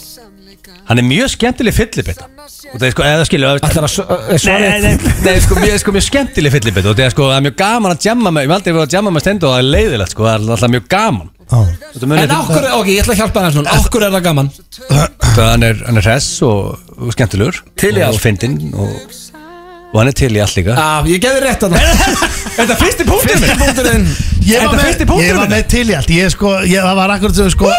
S2: hann er mjög skemmtileg fyllibita Og það er sko, eða skilur
S1: Það er að s- eh,
S2: Nei,
S1: svara
S2: nei, nei, nei, sko, mjög, sko, mjög skemmtileg fyllibita Og það er sko, það er mjög gaman að jamma með Ég hef aldrei verið að jamma með stendu og það er leiðilegt sko, Það er alltaf mjög gaman
S3: Já.
S2: Þetta munið
S1: En okkur, ok, ég ætla að hjálpa hans núna Okkur er það gaman
S2: Það hann er, hann er hress og, og skemmtilegur
S1: Til í allt.
S2: Og fyndinn og, og hann er til í allt líka
S1: Já, Ah, Ég geði rétt að það
S2: Þetta fyrsti punktur
S1: Fyrsti punkturinn
S3: Ég
S2: Þetta
S3: var,
S2: fyrsti
S3: með,
S2: punkturinn
S3: ég var
S2: minn.
S3: með til í allt Ég sko, ég, það var akkurat sem sko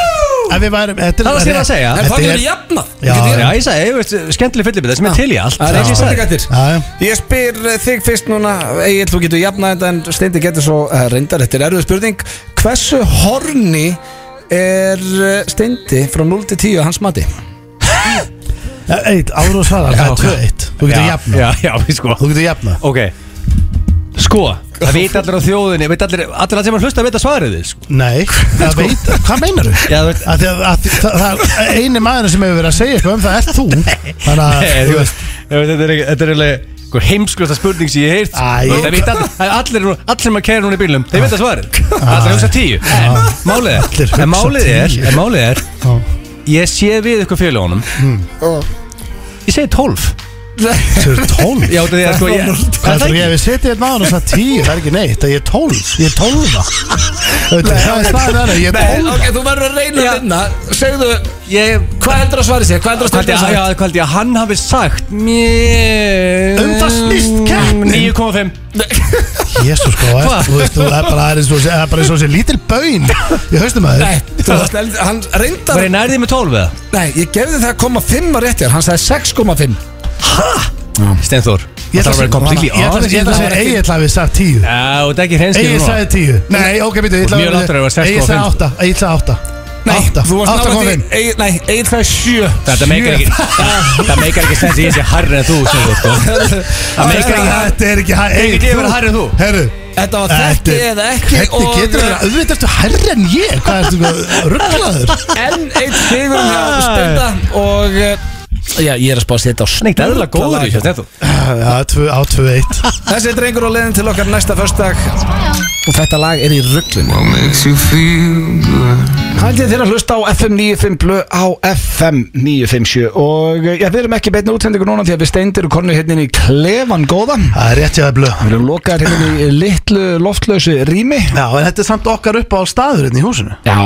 S3: Ef við værum þetta er-
S2: Það var sér að segja.
S1: En
S3: Þetta
S1: það
S3: er-
S1: getur jafnað
S3: Já,
S1: Getur ég-
S2: Já, ég sagði, ég veist, skemmtileg fyllibita sem er til í allt
S1: Það er ekki
S2: Já.
S1: spurning eftir
S3: Já, já.
S1: Ég spyr eh, þig fyrst núna Egil, þú getur jafnað þetta en Steindi getur svo eh, reyndar Þetta er erfið spurning Hversu horni er eh, Steindi frá 0 til 10 að hans mati?
S3: Eitt, áður og svara, það er
S2: ok.
S3: 2-1 Þú getur
S2: Já,
S3: jafna
S2: Já, já, sko
S3: Þú getur jafna
S2: Ok Sko, það veit allir á þjóðinni veit allir, allir sem að hlusta veit að svarið þið sko.
S3: Nei, það veit, hvað meinar þú?
S2: Já, þú veist-
S3: Að því að, að, það, það er eini maður sem hefur verið að segja eitthvað um það er þú Þannig að,
S2: Nei,
S3: þú
S2: þú
S3: veist
S2: veist, ég veit, Þetta er ekki- þetta er alveg einhver heimsklösta spurning sem ég heirt
S3: Æ.
S2: Það veit allir, það er allir, allir maður kæra núna í bílum Þeir veit að svarið Allir hugsa tíu En málið
S3: Allir
S2: er,
S3: hugsa
S2: en málið er,
S3: tíu.
S2: en málið er
S3: Já.
S2: Ég sé við ykkur félagunum
S3: Hmm.
S2: Ég segi tólf
S3: Þú er 12
S2: Já, þetta er sko ég
S3: Það er ég við setja hérna á hann og það 10 Það er ekki neitt, það er 12 Ég er 12 Það er það er, ég er
S1: Nei,
S3: 12
S1: ok, þú verður að reyna
S2: Já.
S1: að vinna Hérna, Segðu,
S2: Ég
S1: hvað heldur að svari sér? Hvað heldur að um
S2: Hvað
S1: Steindi að
S2: er það
S1: svari?
S2: að hvað held ég að hann hafi sagt Mér
S3: Um það snýst keppnin.
S2: 9,5
S3: Jésu sko, er,
S2: Hva?
S3: þú veist, þú er bara það er eins og það er bara eins og þessi lítil bön Ég haustu maður
S1: Nei, þú varst eld- hann reyndar
S2: Var ég nærðið með 12 eða?
S1: Nei, ég gefði það að koma 5 rétt hér Hann sagði 6,5
S2: Steinþór
S3: Ég ætla að segja
S2: komplikli
S3: Ég ætla- ég ætla að segja Egil hafi sagt 10
S2: Já, þetta er ekki hreinskil
S3: Egil sagði 10 Nei, ok, býttu, ég ætla
S2: Mjög langt að það var 6,5.
S3: Egil sagði 8 Egil sagði 8
S1: Nei,
S3: 8
S1: þú varst
S3: 8
S1: nálægt
S3: kom
S1: því-
S3: inn
S1: Egill- Nei, Egil sagði 7
S2: Þetta meikar ekki Þetta meikar ekki sens að ég sé harri en þú Steinþór, sko. Það meikar ekki
S3: Þetta er ekki hæ-
S2: Egil,
S3: Egil,
S2: ég verð
S3: þú-
S2: hærri en þú.
S3: Herru,
S1: Þetta var þekki eða ekki
S3: Þetta getur verið Auðvitað ertu herri en ég Hvað ertu eitthvað rugglaður
S1: Enn eitt sigur hjá Stenda Og eh, Já, ég er að spá að setja á
S2: Neitt eðla góður í
S1: lag.
S2: hjá þú
S3: Já, tvö- á 2-1
S1: Þessi er drengur á leiðin til okkar næsta förstak Og þetta lag er í rugglinu
S4: What makes you feel good?
S1: Haldið þér að hlusta á FM 95 blöð á FM 957 og eh, já, við erum ekki beinu útsendingu núna því að við steindir og konu hérna inn í klefan góða Við
S3: Það er rétt hjá það blöð
S1: erum lokaðir hérna inn í litlu loftlausu rými
S3: Já, en þetta er samt okkar upp á staðurinn í húsinu
S1: Já,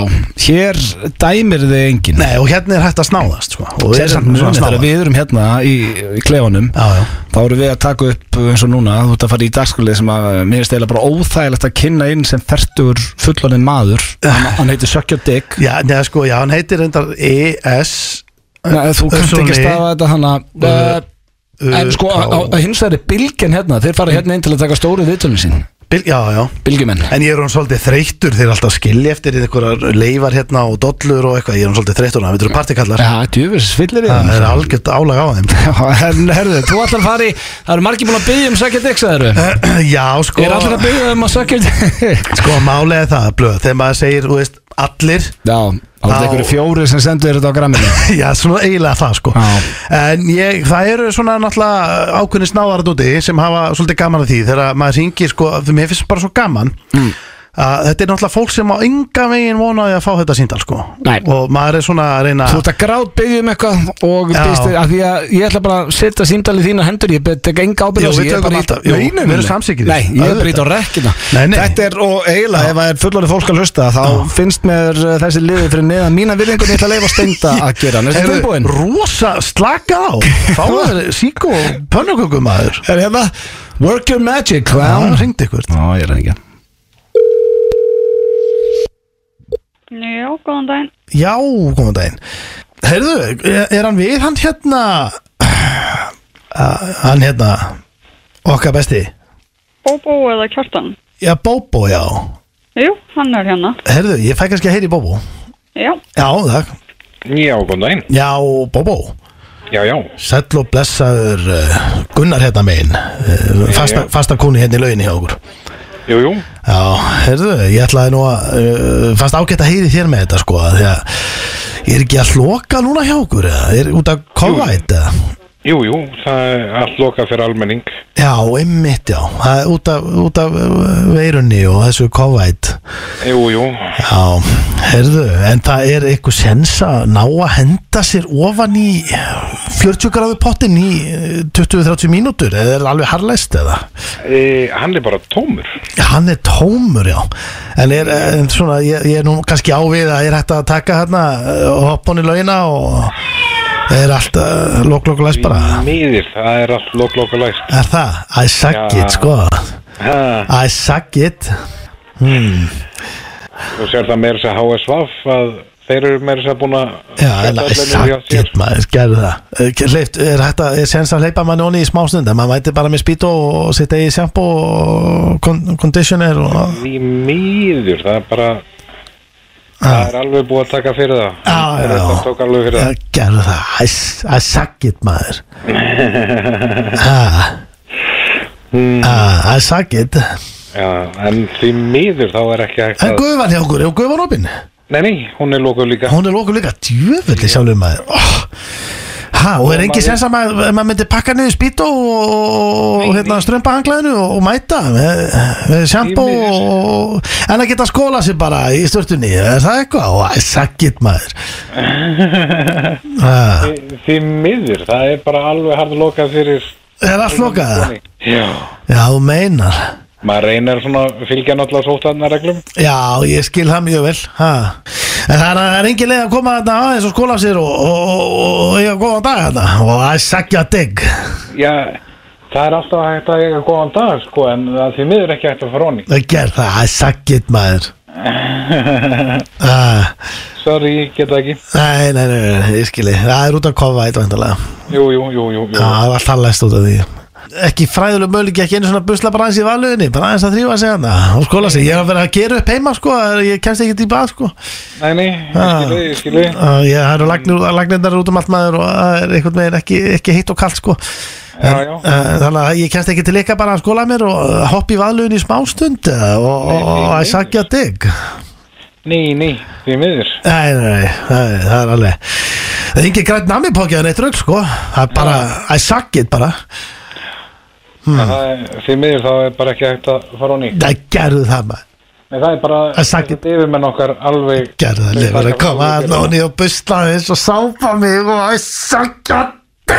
S1: hér dæmir þið engin
S3: Nei, og hérna er hægt að snáðast sko. Og er samt svona
S1: Þegar
S3: snáðast Já,
S1: við erum hérna í, í klefanum
S3: já
S1: þá erum við að taka upp uh, eins og núna þú ert að fara í dagskulið sem að eh, mér er stela bara óþægilegt að kynna inn sem fertur fulloninn maður hann, hann heitir Sökkja Dick
S3: Já, neða sko, já, hann heitir reyndar E ES
S1: Nei, þú kannst ekki
S3: Sonny.
S1: stafa þetta hann að
S3: Uh,
S1: En sko, á, á, á hins vegar er bylgjan hérna Þeir fara hérna inn til að taka stóru viðtölun sín
S3: Bil, já, já
S1: Bylgjumenn
S3: En ég er hún svolítið þreyttur Þeir eru alltaf að skilja eftir einhverjar leifar hérna og dollur og eitthvað Ég er hún svolítið þreyttur Það veitur partikallar
S1: Já, djöfis, fyllir í
S3: Það
S1: það
S3: er algjört álag á þeim
S1: En herðu, þú ætlar að fara í Það eru margir búin að byggja um Sucker Dick, sagður
S3: Já, sko
S1: Er allir að byggja um að Sucker Dick?
S3: Sko, málega það, blöð Þegar maður segir, þú veist, allir
S1: Já, það er
S3: Já.
S1: einhverju fjóri sem sendur þetta á gramminu
S3: Já, svona eiginlega það, sko
S1: Já.
S3: En ég, það eru svona náttúrulega ákveðni snáðar að úti sem hafa svolítið gaman að því Þegar maður syngir, sko, því mér finnst bara svo gaman mm. Þetta er náttúrulega fólk sem á enga veginn vonaði að fá þetta síndal, sko
S1: Nei.
S3: Og maður er svona að reyna
S1: Þú ert að gráð byggja um eitthvað og
S3: Já.
S1: býst þig að því að ég ætla bara að setja símdalið þína hendur ég tek enga
S3: Jú,
S1: ábyrð
S3: við tökum alltaf. Jú,
S1: Nei, nei,
S3: við erum
S1: nei.
S3: samsíkir.
S1: Nei, ég er
S3: Auðvitað.
S1: bara ít á rekkina
S3: Nei, nei.
S1: Þetta er og eiginlega, ef það er fullorðið fólk að hlusta þá finnst mér uh, þessi liðið fyrir neðan mína virðingun ég ætla að leifa steinda að gera Næstu
S3: Heyrðu,
S1: tilbúin
S3: Rosa, slaka á Fáðu þér sík og pönnukökum maður
S1: Er hérna Work your magic,
S3: Já,
S1: clown
S3: hringdi ykkur
S1: Ná, ég er ekki
S5: Já, góðan daginn.
S3: Já, góðan daginn Herðu, er, er hann við hann hérna Ah, Hann hérna Okkar besti
S5: Bóbó eða Kjartan?
S3: Já, Bóbó, já
S5: Jú, hann er hérna.
S3: Herðu, ég fæ kannski að heyri Bóbó
S5: Já,
S3: Já, takk
S6: Já, góðan daginn.
S3: Já, Bóbó
S6: Já, já.
S3: Sæll og blessaður eh, Gunnar hérna megin eh, fasta,
S6: Já.
S3: fasta kúni hérna í lauginni hjá okkur
S6: Jú, jú.
S3: Já, heyrðu, ég ætlaði nú að uh, fannst ágætt að heyri þér með þetta sko að því að ég er ekki að sloka núna hjá okkur eða, er út að COVID eða
S6: Jú, jú. Það er allt lokað fyrir almenning.
S3: Já, einmitt já, það er út af, út af uh, veirunni og þessu COVID
S6: Jú, jú.
S3: Já, heyrðu, en það er eitthvað sens að ná að henda sér ofan í 40 gráðu pottin í eh, 20-30 mínútur eða er það alveg harlæst eða?
S6: E, hann er bara tómur.
S3: Já, Hann er tómur, já En, er, en svona, ég, ég er nú kannski ávið að ég er hægt að taka hérna eh, og hoppa hann í laugina og það er allt eh, lok, lok, læs bara
S6: Miður, það er allt lok, lokað læst.
S3: Er það? I suck
S6: Já.
S3: it, sko
S6: Ha,
S3: I suck it
S6: þú sér það meira sér HSV að þeir eru meira sér búin að...
S3: Já, en I suck it, maður, gerðu það Eh, Leift, er hægt að, er sens að hleypa manni onni í smástund en maður mæti bara með spýtu og sitta í sjampo og kon- conditioner og
S6: Því miður, það er bara... Það er alveg búið að taka fyrir það.
S3: Já, já, já.
S6: Það tók alveg fyrir
S3: Já,
S6: það.
S3: Eh, gerðu það, I, s- I suck it maður ah.
S6: Hmm.
S3: ah, I suck it
S6: Já, en því miður þá er ekki hægt
S3: En
S6: að...
S3: gufan hjá okkur, er gufan opinn?
S6: Nei, nei, hún er lokuð líka.
S3: Hún er lókur líka djöfulli sjálfur maður oh. Ha, og er engi sens að maður, maður myndi pakka niður spýtu og, og hérna, strömpa hanglaðinu og, og mæta með, með sjampo
S6: Því miður.
S3: og, en að geta skóla sér bara í störtunni er það eitthvað? Oh, I suck it maður ah,
S6: Því- Því miður, það er bara alveg hardt lokað fyrir...
S3: Er allt lokað? það?
S6: Já.
S3: Já, þú meinar
S6: maður reynir svona að fylgja náttúrulega sótarnarreglum
S3: Já, ég skil það mjög vel ha. En það er, það er engin leið að koma þarna aðeins og skóla sér og, og, og, og eiga góðan dag þarna og að sakja deg
S6: já, það er alltaf hægt að eiga góðan dag sko, en það því miður ekki hægt að fara honni
S3: Það ger það, að sakjit maður ah,
S6: sorry, geta ekki
S3: nei, nei, nei, nei, ég skili Það er út að kofa eitt vandalega Ah.
S6: jú, jú, jú, jú, jú.
S3: Það er alltaf læst út af því ekki fræðuleg möguleik ekki einu svona busla bara aðeins í valuðinni bara aðeins að þrýfa sig hana og skóla sig ég er að vera að gera upp heima sko að ég kemst ekki til bað sko
S6: Nei, nei, ég
S3: Ah.
S6: skilu, ég skilu
S3: að ég það eru lagnir- lagnirnar út um allt maður og það er einhvern veginn ekki, ekki heitt og kallt sko en,
S6: já.
S3: eh, þannig að ég kemst ekki til ykkar bara að skóla mér og eh, hoppa í valuðinni í smástund eh, og, og, og að sakja dig
S6: Nei, nei, því miður
S3: Nei, nei, nei, nei, það er alveg Það er ekki grænt nami pókjaðan eitt rögg sko Það er bara, I suck it bara Hmm.
S6: Það er, Því miður þá er bara ekki hægt að fara á ný
S3: Nei, gerðu það maður
S6: Nei, það er bara
S3: Það er sagt-
S6: þetta yfirmenn okkar alveg
S3: Gerðu það, lefur að
S6: Nei,
S3: koma
S6: það er-
S3: að náni og busla þess og sápa mig og I suck it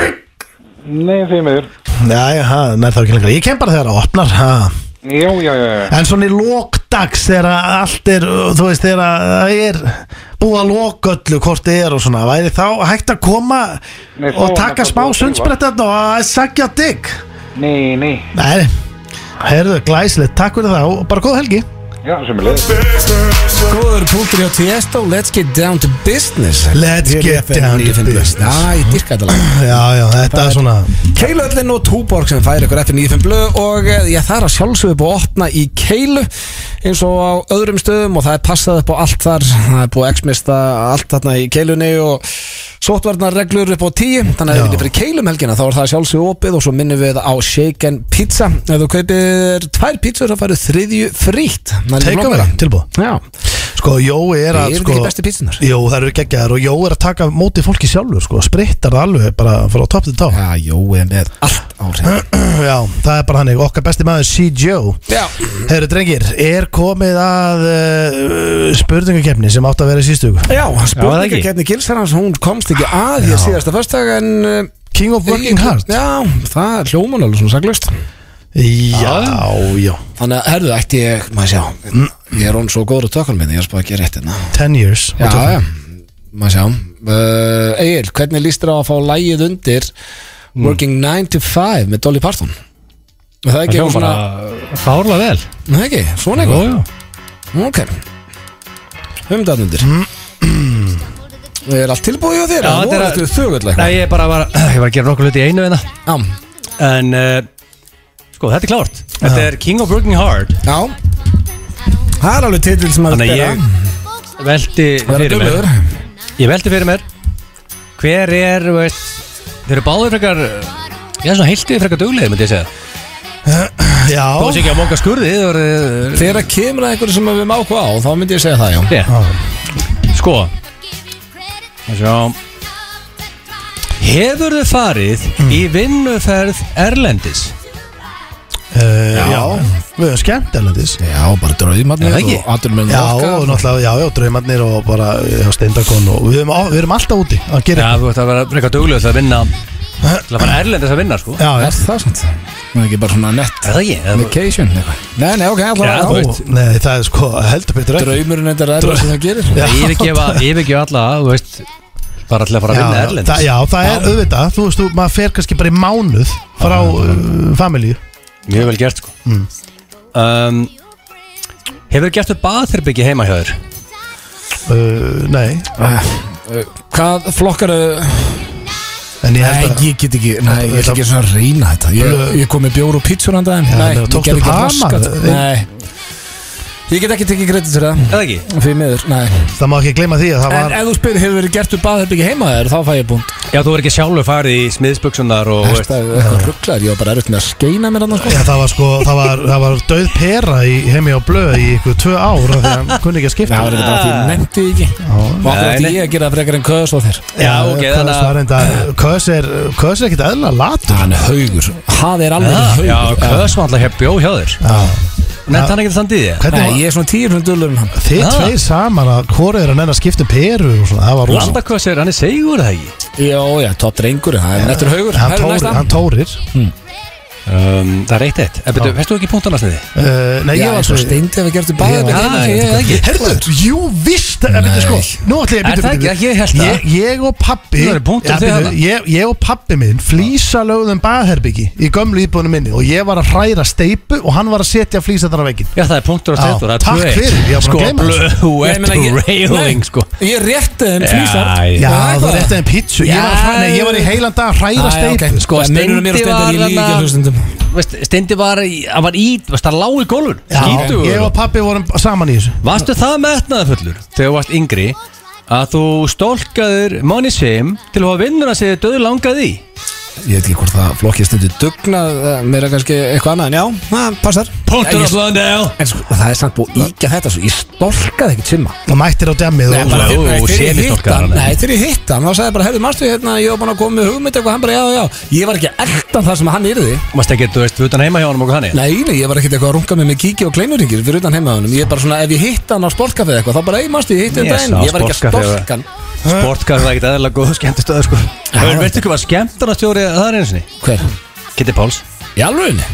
S6: Nei, því miður
S3: Nei, það er þá ekki lengra Ég kem bara þegar það opnar ha.
S6: Já, já, já, já
S3: En svona í lókdags þegar að allt er, þú veist, þegar að það er búið að lóka öllu hvort þið er og svona Væri þá hægt að koma
S6: Nei, þá
S3: og taka
S6: er náttúrulega
S3: smá
S6: búið að þrífa.
S3: sundsbrettan og I suck it dick
S6: Nei, nei,
S3: Nei, heyrðu, glæsilegt, takk fyrir það og bara góð helgi
S6: já, sem er leið
S1: Góður punktur hjá Tiesto Let's get down to business
S3: Let's
S1: Hér í
S3: get
S1: FM
S3: down to
S1: 95
S3: business.
S1: Já, ég dyrka þetta lag
S3: Já, já, þetta er svona
S1: Keilöllin og Túborg sem færi ykkur eftir 95 blöð og eh, ég þarf að sjálfsögðu búið að opna í Keilu eins og á öðrum stöðum og það er passað upp á allt þar það er búið að exmista allt þarna í Keilunni og sótvarnarreglur upp á 10 þannig að ef
S3: Já.
S1: við viljum fyrir Keilum helgina þá er það sjálfsögðu opið og svo minnum við á Shaken Pizza ef þú kaupir tvær pizzur þá færu þriðju frítt Það er
S3: Take
S1: ekki
S3: away,
S1: flóknara.
S3: tilbúð
S1: Já,
S3: Sko, Jói er að
S1: Eru þetta
S3: sko,
S1: ekki bestu pítsunar?
S3: Jó, það eru geggjaðar og Jói er að taka móti fólki sjálfur sko, sprittar það alveg bara frá topp til topp
S1: Já, Jói er með allt áhrif
S3: Já, það er bara hannig, okkar besti maður C. Joe
S1: Já,
S3: Herru drengir, er komið að uh, spurningakefni sem átt að vera í sístu viku?
S1: Já
S2: það ekki.
S1: spurningakerni Gilsarans hún komst ekki að hér síðasta föstdag en eh,
S3: King of Working Hard Já,
S1: Já, það er hljóman alveg svona saglust
S3: já,
S1: Þannig að, herðu, ætti ég, maður sjá Ég er hún svo góður að tökum minni, ég er spáð ekki rétt hérna
S3: 10 years
S1: Já, já, maður sjá uh, Egil, hvernig líst þér á að fá lægið undir Working 9 to 5 með Dolly Parton? Er Það er ekki eitthvað svona,
S2: fárlega vel
S1: Nei, það er ekki, svona eitthvað Ok Höfum þetta undir Mm. Er allt tilbúið hjá þér?
S2: Já,
S1: Það
S2: þetta er
S1: voru
S2: að-
S1: eftir þögull eitthvað
S2: Nei, ég bara var, ég var að gera nokkuð hluti í einu hérna
S1: Já,
S2: En, uh, sko, þetta er klárt Þetta er King of Working Hard
S1: já Það er alveg titill sem
S2: Þannig að ég velti fyrir mér Ég velti fyrir mér Hver er, þú veist Þeir eru báðir frekar Ég er svona heiltið frekar duglegir, myndi ég segja
S3: já.
S2: Þá sé ekki að móka skurði Þeir eru
S1: Þegar kemur að einhverju sem við höfum áhuga á þá myndi ég segja það, já
S2: Já. Sko Sjá Hefur þau farið
S1: Mm.
S2: í vinnuferð Erlendis?
S3: Uh, já, við höfum skemmt erlendis
S1: Já, bara draumarnir
S2: Er það ekki?
S1: og atur með
S3: Já, og náttúrulega, já, já, draumarnir og bara já, steindakon og við erum, á- við erum alltaf úti að
S2: Já,
S3: gera
S2: þú ætti að vera frekar duglegur til að vinna Til að fara Erlendis að vinna, sko
S3: Já, já,
S1: Er það sant? Það er ekki bara svona nett
S2: Er það ekki? Eða-
S1: vacation eitthvað Nei, nei, ok,
S2: Já,
S1: allavega
S2: þú
S1: já,
S2: veist.
S3: nei, það er sko heldur betur ekki
S1: Draumurinn þetta er aðra sem það gerir
S3: Já,
S2: Ég yfirgefa, yfirgefa alla, þú veist Bara til að fara að
S3: Já,
S2: vinna
S3: já, það,
S2: Erlendis
S3: já, það er auðvitað, þú veist, þú, maður fer kannski bara í mánuð frá uh, familju
S2: Mjög vel gert, sko
S1: Mm.
S2: um, Hefur þau gert upp baðherbyggi heima hjá þér?
S3: uh, Nei,
S1: Hvað flokkar
S3: en ég held að
S1: ég get ekki Nei,
S3: ég ætla ekki
S1: svona að reyna þetta
S3: Ég-
S1: kom með bjór og pítsur handa þeim
S3: Nei, ég gerði ekki raskat, sko.
S1: Nei Ég get ekki tekið kredit fyrir það
S2: Eða ekki?
S1: Fyrir miður, nei
S3: það má ekki gleyma því að það
S1: En
S3: var
S1: ef þú spyrir, hefur verið gert úr baðherbyggi heima þér, þá fæ ég búnt
S2: Já, þú er ekki sjálfur farið í smiðsbuksunar og þú veist
S1: Þetta er eitthvað rugglar, ég var bara erut með að skeina mér annars sko
S3: Já, það var sko, það var, það var döð pera í heimi á blöð í ykkur tvö ár af því að hann kunni ekki að skipta
S1: Það var þetta bara því ég nefndi því ekki Og okkur
S2: Ah. Nei,
S1: ætti
S2: nei.
S1: ég að gera það frekar en köðs á þér
S2: Já, ok,
S3: Kös
S2: þannig
S3: var
S2: að
S3: enda, Kös er, Kös er ekkit eðla latur
S1: Hann er haugur Það er alveg haugur
S2: Ah. Já, Kös var alltaf hér bjó hjá þér
S3: Já.
S2: Nefnt hann ekki þannig í því?
S3: Hvernig
S1: Nei,
S3: var,
S1: ég er svona tíur hundar dullur en hann
S3: þið
S2: Ha?
S3: tveir saman að hvora er að nenn að skipta um perur og svona, það var rosa
S2: Landaköss er, hann er segur það ekki
S1: Já, já, topp drengur, það er nettur haugur
S3: Hann
S1: Herru,
S3: tórir,
S1: næsta.
S3: hann tórir
S2: Já, um, Það er eitt eitt En betur, veistu ekki punktarnasniði?
S3: Uh, nei,
S7: Já,
S3: ég var
S7: eins og steindi ef við gertum bæði
S2: Ég var-
S7: þetta
S2: Já,
S7: einu
S2: Ah, ég-
S7: sinni,
S2: ég-
S7: sko.
S3: Herðu, jú, vist Nei sko, Nú ætla ég
S2: Er
S3: að
S2: það
S3: byrja
S2: ekki? Ég held það.
S3: ég, ég og pappi
S2: Nú eru punktum
S3: Já,
S2: til
S3: bíddu,
S2: þarna.
S3: ég, ég og pappi minn flýsa lögðum baðherbyggi Í gömlu íbúinu minni Og ég var að hræra steipu Og hann var að setja flýsa þarna á vegginn
S2: Já, það er punktur og
S3: Já,
S2: stendur, það er
S3: takk
S2: 2-1.
S3: fyrir, ég var búin að
S2: Sko,
S3: gleyma þessu.
S2: blöð, þú
S1: Nei, ég meina, ég-
S2: ert railing,
S1: nei,
S2: sko
S1: Ég rétti þeim flýsar
S2: Já,
S3: Já,
S1: Það er
S3: þú
S1: eitthvað.
S3: rétti þeim pítsu Ég var, að hræ- nei, ég var í heilan dag að hræra
S1: Æ,
S3: steipu
S1: ok, Sko,
S2: En
S1: steinur er mér og
S2: Steindi
S1: steindur, ég
S2: var
S1: líka
S2: þarna-
S1: hlustundum
S2: Veist, Steindi var í, hann var í, veist, það lág í gólun
S3: Já, ég og pappi vorum saman í þessu
S2: Varstu það metnaða fullur þegar þú varst yngri að þú stólkaður Money Sim til að hafa vinnuna sem þið döðu langaði í
S7: Ég veit ekki hvort það flokkist undir
S1: Dugnað, eh, meira kannski eitthvað annað En já, það passar
S2: Punktur
S1: Ég-
S2: og slöndel
S1: En sko, það er samt búið að íkja þetta svo Ég stolkaði ekkert simma
S3: Og mættir á demmið og-
S2: bara- Ó,
S1: þegar ég hitt
S2: semistokkaði
S1: hann
S2: hann.
S1: Nei, þegar ég hitt hann, þá sagði ég bara Herðu, marstu hérna, ég var búin að koma með hugmynd eitthvað Hann bara, já, já, ég var ekki að elta það sem hann yrði
S2: Mást ekki, þú veist, við utan heima hjá honum og þannig
S1: Nei, nei, ég var ekkert eitthvað að runga með mig kíki og kleinurringir Fyrir utan heimaðunum, ég er bara svona, ef ég hitt hann á sportkafið eitthvað Þá bara, ei, marstu, ég hitt hann
S2: Ég
S1: daginn
S2: sá
S1: Ég var ekki að
S2: sportkaffi-
S1: stolka hann
S2: Sportkar var ekkert eðlilega góð skemmtistöðu sko
S1: já.
S2: En veistu hvað skemmtarastjóri það er einu sinni?
S1: Hver?
S2: Kitty Páls,
S1: Í alvöginni?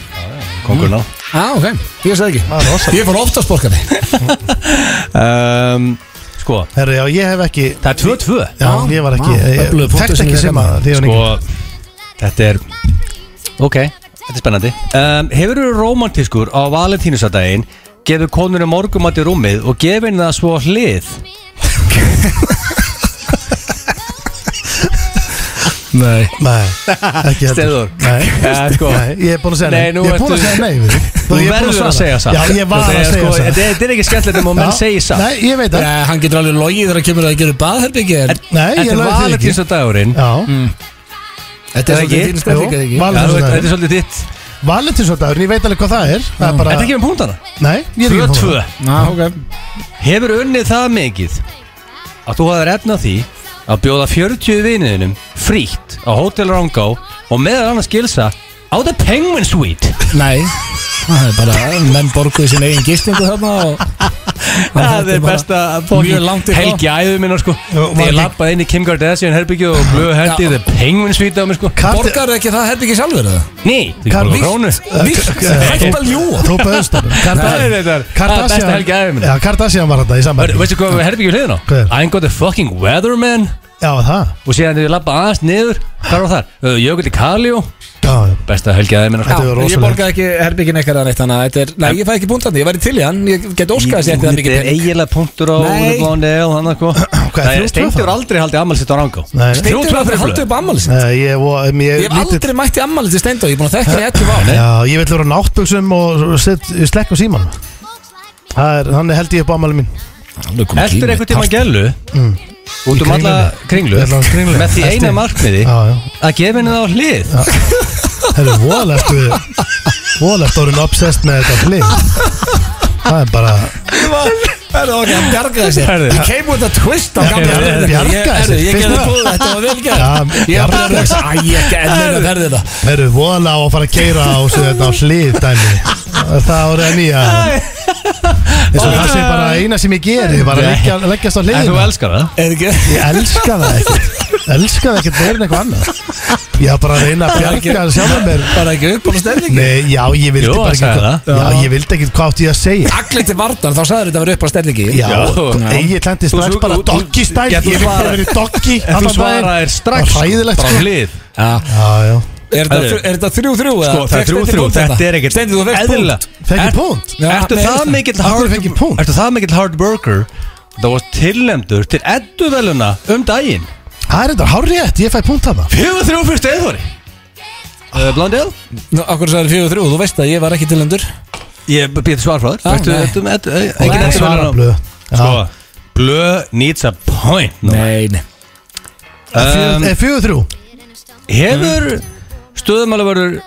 S2: kongurinn á
S3: Mm.
S1: Já, ok, ég sagði ekki Ég fór ofta sporkaði
S2: um, Sko,
S3: Herru, já, ég hef ekki
S2: það er 2-2
S3: Já, ég var ekki
S1: vá,
S3: Ég
S1: öflugur punktur
S3: þekkt
S1: sem
S3: ekki
S1: ég
S3: sem að því ég var
S2: Sko,
S3: yngri.
S2: þetta er Ok, þetta er spennandi um, Hefur þú romantískur á valentínusadaginn gefið konunum morgumat í rúmið og gefið henni það svo á hlið
S1: Nei
S3: Nei, ekki heldur.
S2: Steinþór.
S3: Nei,
S2: Ja, sko.
S3: nei, ég er búin að segja nei
S2: Nei, nú
S3: Ég er búin að
S2: ertu-
S3: segja nei við þig.
S2: Þú
S3: ég er búinn
S2: verður að segja satt
S3: Já, ég var
S2: Þetta
S3: að
S2: er
S3: segja
S2: sko-
S3: satt
S2: Þetta er- þetta er ekki skemmtilegt um að menn
S3: Já,
S2: segja satt
S3: Nei, ég veit það
S1: Nei, Eh, hann getur alveg logið þegar að kemur að gera baðherbyggi en
S3: Nei, ég
S2: Þetta er Mm.
S3: lög því ekki
S2: valentínusadagurinn
S3: Já,
S1: Þetta
S2: er
S1: er svolítið
S2: ekki?
S1: þín
S3: jú,
S1: stefning eða ekki?
S2: Já, þú veit, Þetta
S3: Valentinsdagurinn.
S2: er svolítið þitt
S3: Valentinsdagurinn, ég veit alveg hvað það er Það er
S2: Þetta
S3: bara,
S2: er ekki um punktana
S3: nei, ég er ekki
S2: 2-2
S1: Já, ok
S2: Hefur unnið það mikið að þú hafðir efna því að bjóða 40 viniðinum frítt á Hotel Rangá og meðal annars gilsa á The Penguin Suite
S1: Nei Það er bara, menn borguði sín eigin gistingu þarna og
S2: Það er
S1: bara
S2: besta
S1: mjög langt í frá.
S2: Helgi æðu minna sko
S3: var
S2: Þegar ég
S3: ekki-
S2: lappaði inn í Kim Kardashian herbyggju og blöðu hendi
S1: Já.
S2: The Penguin Suite á mig sko
S3: Karl-
S1: Borgar ekki það herbyggi sjálfur eða?
S2: Nei, þú er
S3: Karl-
S2: bara krónu
S1: Víst, hægt að ljúa
S3: Þú bauðst hann
S2: Það er þetta Það er besta Helgi æðu minna
S3: Já, Kardashian var þetta í sambandi
S2: Veistu hvað herbyggju hliðin á?
S3: Hver?
S2: I ain't got the fucking weatherman
S3: Já, það
S2: Og síðan þegar ég lappa aðeins niður Hvað var þar? Jökulli Kaljó
S3: Já, já.
S2: Besta Helgi æðu minna sko
S3: Þetta var
S1: Ég
S3: rosalegt.
S1: borgaði ekki herbyggin eitthvað neitt þannig að þetta er Nei, ég fæ ekki búntandi, ég væri til í hann Ég get óskað að setja það mikið
S2: Þetta er
S1: pening
S2: eiginlega punktur á
S1: Nei.
S2: Úlfbóndi og hann að
S3: Hvað er
S2: hvað
S3: þrjú, tvö
S2: Steindur
S3: þá?
S2: aldrei haldið ammæli sitt á rangá
S3: Nei.
S2: Þrjú,
S1: Steindur
S2: tvö,
S1: var fyrir
S2: þrjú.
S1: að halda upp ammali sitt
S3: Nei, Ég vo- um, ég-
S1: Ég hef
S3: lítið-
S1: aldrei mætti ammali til Steindu Ég er búin að þekka hann í 11 ár
S3: Já, ég vil vera á náttbuksum og set- slekk á síman Það er, þannig held ég upp á ammali mín
S2: Eltur eitthvað tíma gælu Út um alla kringlu
S3: Í Kringlunni.
S2: Með því
S3: Eltu.
S2: eina markmiði
S3: Já, já
S2: að gefa henni það á hlið
S3: Það er voðalegt við Voðalegt orðin obsessed með þetta flið Það er bara
S1: Það er ok, hann bjargaði sér
S2: Herðu.
S1: Ég came with a twist á gamla
S2: Herðu,
S1: herðinni.
S3: bjargaði
S1: Ég-
S3: sér,
S1: herðu, Ég
S3: finnst
S1: gerði
S3: það?
S1: búið, þetta var vel
S3: Já,
S1: gerð Ég var
S3: bjargaði
S1: bara að hugsa, æ, ég gerði enn að verði þetta
S3: Það eru voðalega á að fara að keira á sig þetta á hlið dæmi Er Það orðið að nýja Eins og það sé bara eina sem ég geri Bara
S2: Nei.
S3: leggja, leggjast á
S2: En þú
S3: hliðina
S2: elskar það
S1: Er ekki?
S3: Ég elska það ekkert Elska það ekkert meira en eitthvað annað Ég var bara að reyna að bjarga að sjálfa mér
S1: Bara ekki upp á stemningi
S3: Nei, já, ég vildi
S2: Jú,
S3: bara
S2: hann
S3: ekki
S2: sagði
S3: hvað- Já, ég vildi ekki hvað átti ég að segja
S1: Allir til varnar, þá sagður þetta að vera upp á stellingi
S3: Já,
S2: Já, já.
S3: ég klendi strax
S2: Þú-
S3: bara
S2: þú-
S3: doggy style
S2: Já,
S3: Ég
S2: þú
S3: vil bara
S2: svarar-
S3: verið doggy
S2: En þú
S3: allan daginn.
S2: svaraðir
S3: Það
S2: strax
S3: var hræðilegt
S2: Bara á
S3: sko.
S2: hlið
S3: Já, já,
S1: Er
S2: Herðu.
S1: þetta- er þetta þrjú þrjú?
S2: Sko, það er 3-3 Þetta er ekkert
S1: Stendur þú fekk
S2: eðlilega.
S1: punkt
S3: fekk ég
S2: Er-
S3: punkt
S1: Já,
S2: Ertu
S1: nei,
S2: það
S1: það-
S2: mikill
S3: Af hverju
S2: hard
S3: fekk ég punkt?
S2: Ertu það mikill hard worker Það var tilnæmdur til edduveluna um daginn
S3: Það er þetta hárétt, ég fæ punkt af það
S2: 4-3 fyrir Steinþóri Eh, Blondel
S1: Nú, Akkur sagður fjögur þrjú, þú veist að ég var ekki tilendur
S2: Ég býði svar frá
S1: Já,
S2: þér Veistu,
S1: Ah, nei.
S2: þetta með- þetta-
S3: Ég
S2: engin
S3: get
S2: ekki
S3: svara
S2: verið á-
S3: blöð
S2: Sko, blö needs a point nú.
S1: Nei, nei
S2: um,
S3: Fjögur þrjú
S1: eh, mm.
S2: Hefur stöðumælaverður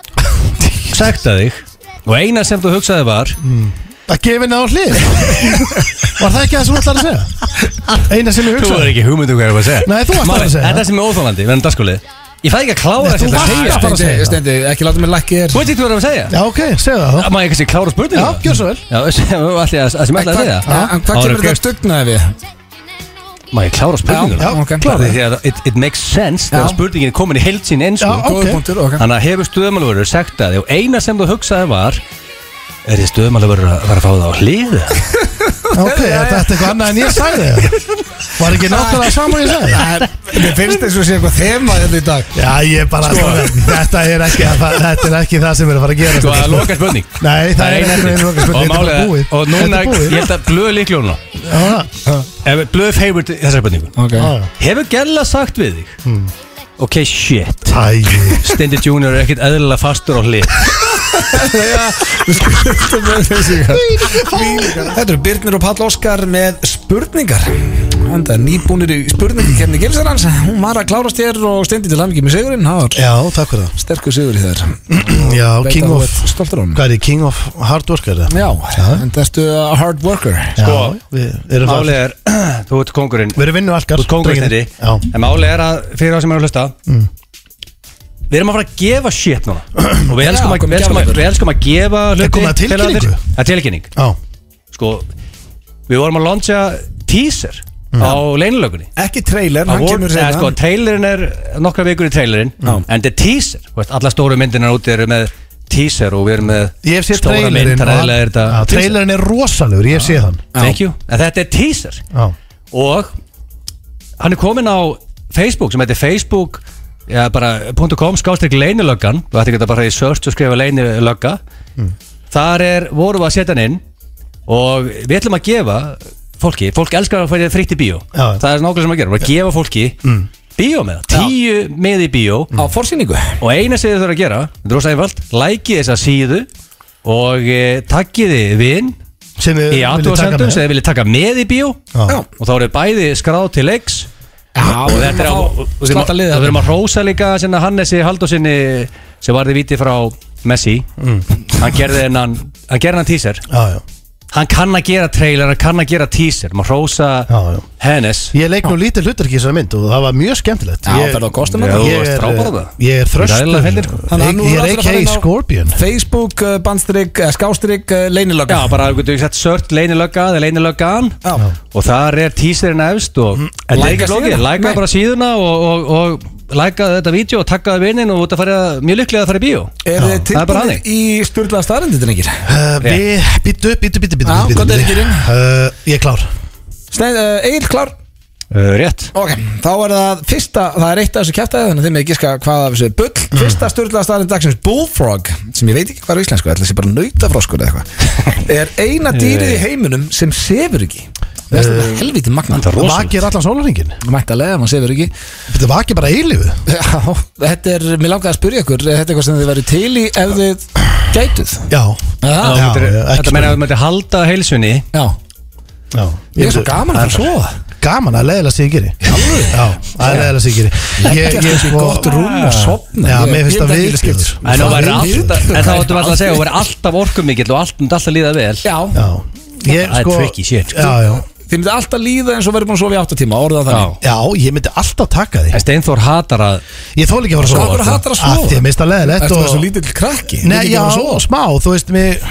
S2: sagt að þig og eina sem þú hugsaði var
S3: Að gefa henni á hlið Var það ekki það sem þú ætlar að segja? Eina sem ég
S2: Þú er
S3: hugsaði
S2: ekki hugmyndu hvað ég var að segja
S3: Nei, þú varst að
S2: Málið,
S3: segja.
S2: Þetta sem er óþólandi, verðan dagskólið Ég fæ ekki að klára
S3: Nei, þú
S2: þetta að
S3: varst
S2: segja
S3: að- bara að segja það.
S1: Stendi, ekki láta mig lækki þér
S2: Þú veit ekki hvað þú er að segja
S3: Já, ok, segja það þá
S2: Má ég kannski klára spurningu?
S3: Já, gjör svo vel.
S2: Já, sem, allir, að, að sem ætlaði að segja
S1: En hvað
S2: Áður
S1: kemur
S2: en
S1: þetta
S2: gerst-
S1: stugnaði við?
S2: Má ég klára spurninguna?
S3: Já, já,
S1: ok,
S2: klára
S1: klára.
S2: Því að it, it makes sense þegar spurningin er komin í heild sín eins
S3: Já,
S2: og
S3: sko. ok.
S1: Góður punktur, ok
S2: Þannig að hefur stöðumálvörður sagt að og eina sem þú hugsaði var Er þið stöðumálvörður að vera að fá það á hliðu?
S3: Ok, þetta er eitthvað annað en ég sagði það. Var ekki nákvæmlega saman ég sagði það?
S1: Mér finnst þess að sé eitthvað þema hérna í dag
S3: Já, ég bara,
S2: Sko.
S3: þetta, er ekki, þetta er ekki það sem er að fara að gera
S2: Þú Sko, að loka spurning
S3: Nei, það
S2: Nei,
S3: er ekki
S2: nei.
S3: neina loka spurning,
S2: Og
S3: þetta er bara
S2: málið
S3: búið
S2: er- Og núna,
S3: Þetta er
S2: ég
S3: búið.
S2: held að blöðu líklega núna
S3: Já, já,
S2: Ef blöðu fegur þessar spurningu
S1: Ok
S3: já, já.
S2: Hefur Gella sagt við þig
S3: Hmm.
S2: Ok, shit
S3: Æ,
S2: Stendi Junior er ekkert eðlilega fastur á hlið
S8: hérna Þetta eru Birnir og Pall Óskar með spurningar Enda nýbúnir í spurningi kemni Gilsarans Hún var að klárast hér og stendi til hamngi með sigurinn Það var
S3: já, takk fyrir það
S8: sterkur sigur í þér
S3: Já, King of,
S8: Stoltur á hann
S3: hvað er þið, King of Hard Work er það?
S8: Já, en ertu a hard worker
S3: Já, við erum það
S2: Sko, Málið er, þú ert kongurinn
S3: Við erum vinnu algar
S2: Þú ert kóngur, Steindi.
S3: Já, Hmm.
S2: En máli er að fyrir það sem er að hlusta Við erum að fara að gefa shit núna Og við elskum, að,
S1: komum
S2: við elskum, að,
S1: gjafir.
S2: við elskum að gefa hluti
S3: hérna. Er komið að
S2: til
S3: tilkynningu?
S2: aðrir. Það er tilkynning
S3: já,
S2: Sko, við vorum að launcha teaser
S3: Hmm.
S2: á leynilökunni
S1: Ekki trailer, hann
S2: Award,
S1: kemur
S2: eða,
S1: seinna.
S2: sko, trailerin er nokkra vikur í trailerin En þetta er teaser Þú veist, Alla stóru myndirnar úti eru með teaser Og við erum með
S3: ég hef séð
S2: stóra
S3: trailerinn
S2: mynd Þannig
S3: og hann-
S2: að er þetta
S3: Já,
S2: teaser.
S3: Trailerinn er rosalegur, ég hef séð hann
S2: Thank you En þetta er teaser
S3: Já,
S2: og hann er komin á Facebook sem heitir facebook ja, bara, .com skástrík leynilöggan þú ætti ekki að bara í search og skrifa leynilögga þar er, vorum við að setja hann inn og við ætlum að gefa fólki, fólk elskar að færi fritt í bíó
S3: Já.
S2: það er nákvæmlega sem að gera, bara að gefa fólki mm. bíó með, tíu með í bíó
S1: Á forsýningu
S2: og eina sem þið þurfa að gera þetta er rosa einfalt, læki þessa síðu og e, takkiði vin
S3: sem við
S2: í aðtóðsendum sem þið viljið taka með í bíó
S3: Já,
S2: og þá eru bæði skráð til leiks
S1: Já,
S2: og þetta er á og við erum
S1: Slata
S2: að-
S1: liðið
S2: og við erum að hrósa líka sinna Hannesi Haldósinni sem varði viti frá Messi hann gerði hennan hann gerði hennan teaser
S3: já, já
S2: hann kann að gera trailer hann kann að gera teaser maður hrósa
S3: Já, já.
S2: hennes
S3: Ég leik nú lítið hlutarki í þessari mynd og það var mjög skemmtilegt
S1: Já,
S3: Ég-
S1: ferðu á kostum
S2: þetta? Já,
S3: Ég
S2: þú varst
S3: er, eh,
S2: frábær þarna.
S3: ég er
S2: Ræðilega
S3: þröstur
S2: fyndir, sko.
S1: Þannig að
S3: Ég
S1: nú
S3: ég
S1: eru
S3: er
S1: allir að fara
S3: a.k.a.
S1: inn á-
S3: Scorpion
S1: Facebook, uh, bandstrik, uh, skástrik, uh, leynilögg
S2: já bara þú getur sett sört leinilögga eða leinilöggan
S1: Já.
S2: og þar er teaserinn efst og þetta er
S1: Læka
S2: ekki flókið,
S1: síðuna?
S2: læka
S1: Nei.
S2: bara síðuna og, og, og læka þetta vídeo og takka það vinnin og þú ert að fara mjög lykklega að fara í bíó
S1: Er þið
S2: Það er bara
S1: tilbúinir
S2: þannig.
S1: í styrlaða staðarindu, drengir?
S3: Uh, Við, býttu, býttu, býttu, býttu
S1: Já,
S3: býttu,
S1: hvað er
S3: býttu.
S1: ekki í rauninni?
S3: Uh, Ég er klár
S1: Sneið, uh, Egil, klár?
S2: uh, rétt
S1: Ok, þá er það fyrsta, það er eitt af þessu kjæftæði þannig að þið með giska hvað af þessu er bull
S2: Mm.
S1: Fyrsta styrlaða staðarinn dagsins Bullfrog sem ég veit ekki hvað er á íslensku, ætla þessi bara nautafroskur eða eitthvað er eina
S2: Eh.
S1: dýrið í heiminum sem sefur ekki Það er þetta helvítið magna
S2: Þetta er rosalegt.
S3: Vaki er allan sólaringin
S1: Mættalega, maður sefur ekki
S3: Þetta vaki bara eilifu
S1: Já, þetta er, mér langaði að spyrja ykkur er þetta eitthvað sem þið verið til í ef þið gætuð?
S3: Já,
S1: Já,
S3: Ah. já,
S2: Þetta er-
S3: já, ekki
S2: Þetta meina að þú myndir halda heilsunni
S1: Já,
S3: já.
S1: ég er svo gaman að fara að sofa
S3: Gaman að leiðilega sig ég geri Já, það er leiðilega sig ég geri Ég,
S1: Þetta
S3: ég
S1: er
S3: sko
S1: gott rúm og sopna
S3: Já,
S1: Ég-
S3: mér
S1: ég
S3: finnst það
S1: myndi ekki
S3: viðbjör
S1: skipta.
S2: En þá
S3: Það
S2: væri
S3: er viðbjör.
S2: alltaf, en þá ættum við alltaf að segja, þú væri alltaf orkumikill og allt myndi alltaf líða vel
S1: Já,
S3: Já,
S2: Það
S3: ég
S2: er
S3: sko
S2: tricky shit, sko.
S3: Já, já
S1: þið myndi alltaf líða eins og verið búin að sofa í 8 tíma orðað þannig
S3: Já, ég myndi alltaf taka því
S2: En Steinþór hatar að
S3: Ég þóli ekki að fara að sofa
S1: Hvað bara
S3: sko.
S1: hattar að sofa?
S3: Af Því að mista leðilegt
S1: Ertu þessu lítill krakki?
S3: Nei,
S1: Mikið
S3: já,
S1: gaman að sofa?
S3: smá, þú veist mér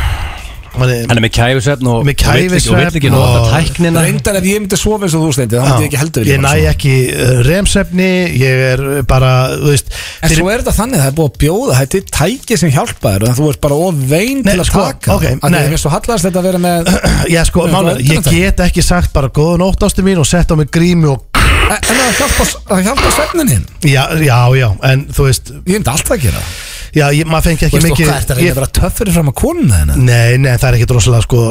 S3: manni,
S2: Hann er með kæfisvefn og
S3: Með
S2: og vill ekki- og vill ekki
S3: kæfisvefn
S2: nota
S3: og-
S2: tæknina
S1: Reyndar ef ég myndi sofa eins og þú steindi þá myndi ég ekki heldur
S3: Ég næ ekki uh, remsefni Ég er uh, bara, þú veist
S1: En svo er þetta þannig að það er búið að bjóða Þetta er tækið sem hjálpa þér En þú ert bara of vein
S3: Nei,
S1: til að
S3: sko,
S1: taka
S3: ok,
S1: Að
S3: nei.
S1: Ég finnst svo hallast þetta að vera með
S3: Já, sko,
S1: Nei, það
S3: málega,
S1: er
S3: ég
S1: þetta.
S3: get ekki sagt bara góða nótt ástu mín og sett á mig grími og
S1: En en það hjálpa, það hjálpa svefnin hinn
S3: Já, já, já, en þú veist
S1: Ég myndi alltaf að gera það
S3: Já, ég, maður fengi
S1: Þú
S3: ekki
S1: veist og
S3: mikið
S1: hvað er þetta að reyna
S3: ég,
S1: að vera töffur fram að konuna þennan
S3: Nei, nei, það er ekki droslega, sko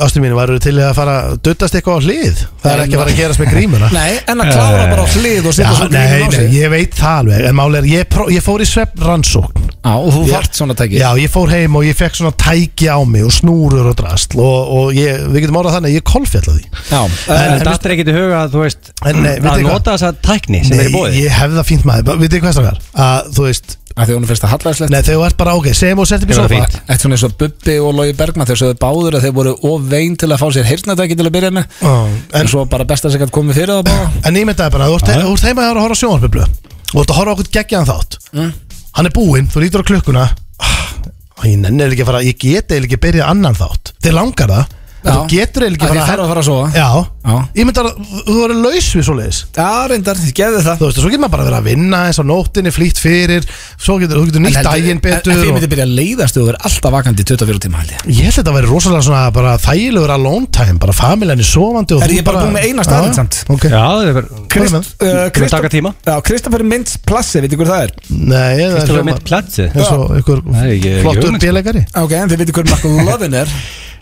S3: Ástu mín, varum til í að fara að duttast eitthvað á hlið Það er
S1: Nei,
S3: ekki að fara
S1: nei.
S3: að gerast með grímuna
S1: Nei, en að klára bara á hlið og
S3: Já,
S1: setja svo
S3: nei,
S1: grímin Eh. á
S3: nei,
S1: sig
S3: ég veit það alveg En málega, ég, pró- ég fór í svepp rannsókn
S1: Já, og þú
S3: Ég-
S1: vart svona tæki
S3: Já, ég fór heim og ég fekk svona tæki á mig og snúrur og drastl og, og ég, við getum orðað þannig að ég kolfjalla því
S1: Já,
S2: En
S3: Eh, en-
S2: Þetta er ekki til huga að þú veist
S3: En, nei, veitu
S2: að
S3: hvað?
S2: nota þessa tækni sem er í bóði
S3: ég hef það fínt maður Bara, Vitið þið hvað strákar? Að þú veist,
S1: að því að hún finnst það hallarslegt
S3: nei þegar þú ert bara ok Segjum og setjum í
S2: Hefur það
S3: sofa
S2: fínt.
S1: Þetta svona eins og Bubbi og Lógi Bergman þegar sögðu báður að þeir voru of vein til að fá sér heyrnatæki til að byrja með
S3: Ó,
S1: En
S3: en,
S1: svo bara best að segja að komið fyrir það bara
S3: en ég myndaði bara, þú ert, þú ert heima hjá þér að horfa á sjónvarpiblu Þú ert að horfa á okkur geggjaðan þátt
S1: Mm.
S3: Hann er búinn, þú lítur á klukkuna ah, Ég nenni eiginlega ekki að fara, ég get eiginlega ekki að byrja annan þátt Þið langar það
S1: Já.
S3: Þú getur eiginlega
S1: Að
S3: ekki
S1: því þarf að fara að sofa.
S3: Já,
S1: Já.
S3: ég myndi að þú verður laus við svoleiðis
S1: Já, reyndar, þið gefðu það
S3: Þú veist, svo getur maður bara verið að vinna eins og nóttinni flýtt fyrir Svo getur þú getur nýtt daginn betur
S1: Þið
S3: og...
S1: myndi byrja að leiðast og verður alltaf vakandi í 24 tíma held ég
S3: Ég held að þetta að vera rosalega svona bara þægilegur alone time Bara familjan er sovandi og
S1: Er
S3: þú
S1: ég bara búinn með eina staðreynd
S3: Já,
S1: samt?
S3: ok.
S2: Já, það er bara
S3: Hvað er með?
S2: Ég vil taka tíma.
S1: Uh,
S3: Eh,
S1: Já, Kristoffer Mintz Plassi, veitir hver það er
S3: Nei, það er
S2: Kristoffer
S3: hljóma-
S2: mitt platsið
S3: eins og ykkur
S2: Það er ekki- ekki
S3: flottur
S2: hugmynd, sko.
S3: bíleikari
S1: Ok, en þið veitir hver McLovin er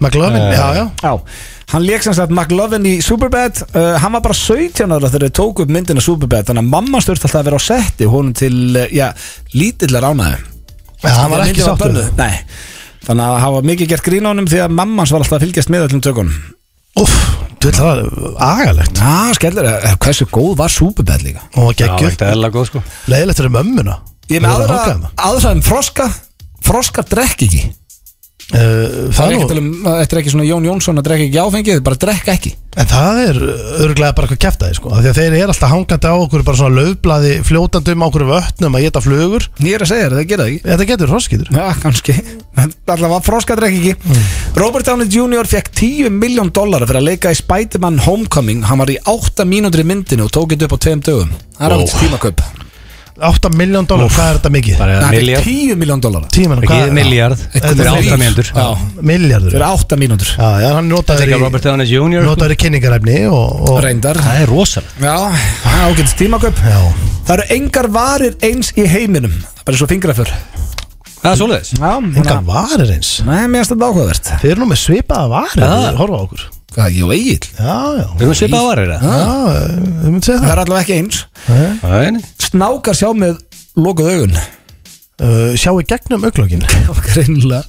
S3: McLovin, já, já
S1: Já, hann leik sem sagt McLovin í Superbad uh, Hann var bara 17 ára þegar þau tók upp myndina Superbad Þannig að mamma stört alltaf að vera á setti Honum til, uh, já, lítillar ánæðu
S3: Já, hann var ekki sáttur
S1: bönnuð. Nei, þannig að hafa mikið gert grín á honum Því að mammans var alltaf að fylgjast með öllum tökunum
S3: Úff, þú veist það var agalegt
S1: Já, skellur, eh, hversu góð var Superbad líka?
S3: Og hann var
S2: Já,
S3: geggjur,
S2: þetta er alveg góð sko
S3: leiðilegt fyrir mömmuna
S1: Ég er með
S3: Hún er að hanga
S1: aðra,
S3: hérna.
S1: aðra en froska Froskar drekk ekki
S3: Uh,
S1: Það
S3: Það
S1: er
S3: er
S1: ekki
S3: nú,
S1: til um, þetta er ekki svona Jón Jónsson að drekka ekki áfengið, bara drekka ekki
S3: en það er örglega bara eitthvað kæftæði sko af Því að þeir eru alltaf hangandi á okkur bara svona löfblaði fljótandi um á okkur vötnum að geta flugur
S1: Ég er að segja þér, það gera það ekki
S3: Þetta getur hroskitur
S1: Já, kannski Alltaf var froskar drekk ekki Robert Downey Jr. fekk 10 miljón dollara fyrir að leika í Spider-Man Homecoming Hann var í 8 mínútur í myndinu og tók þetta upp á 2 dögum Það er alveg tímaköp
S3: 8 miljón dólar, hvað er þetta mikið?
S2: Bara
S1: Hann fekk
S2: miljard
S1: 10 miljón dollara
S3: Tímanum,
S2: Ekki miljard
S3: Þetta
S2: Þetta er
S3: er
S2: átta
S3: þrír.
S2: mjöndur
S1: Já,
S3: Miljardur
S1: fyrir
S3: Já,
S1: 8 mínútur
S3: já, hann
S2: Það
S3: notaður
S2: er
S3: í
S2: ekki Robert Downey Jr. sko.
S3: notaður í kynningarefni og, og
S1: Reyndar
S2: Það er rosalega
S1: Já, það er ágætt tímaköp
S3: Já,
S1: Það eru engar varir eins í heiminum Bara svo fingraför
S2: Það er svoleiðis
S1: Já,
S3: engan varir eins
S1: Nei, mér finnst þetta áhugavert
S3: Þeir eru nú með svipaða varir,
S2: Já.
S3: horfa á okkur
S1: Hvað, jú, eigil
S3: Já, já,
S2: Við erum svipað á varir
S3: já, eh, við myndum segja
S1: Það
S3: það
S1: er allavega ekki eins
S2: það
S1: Snákar sjá með lokuð augun
S3: uh, Sjáu gegnum auglokkin
S1: Greinilega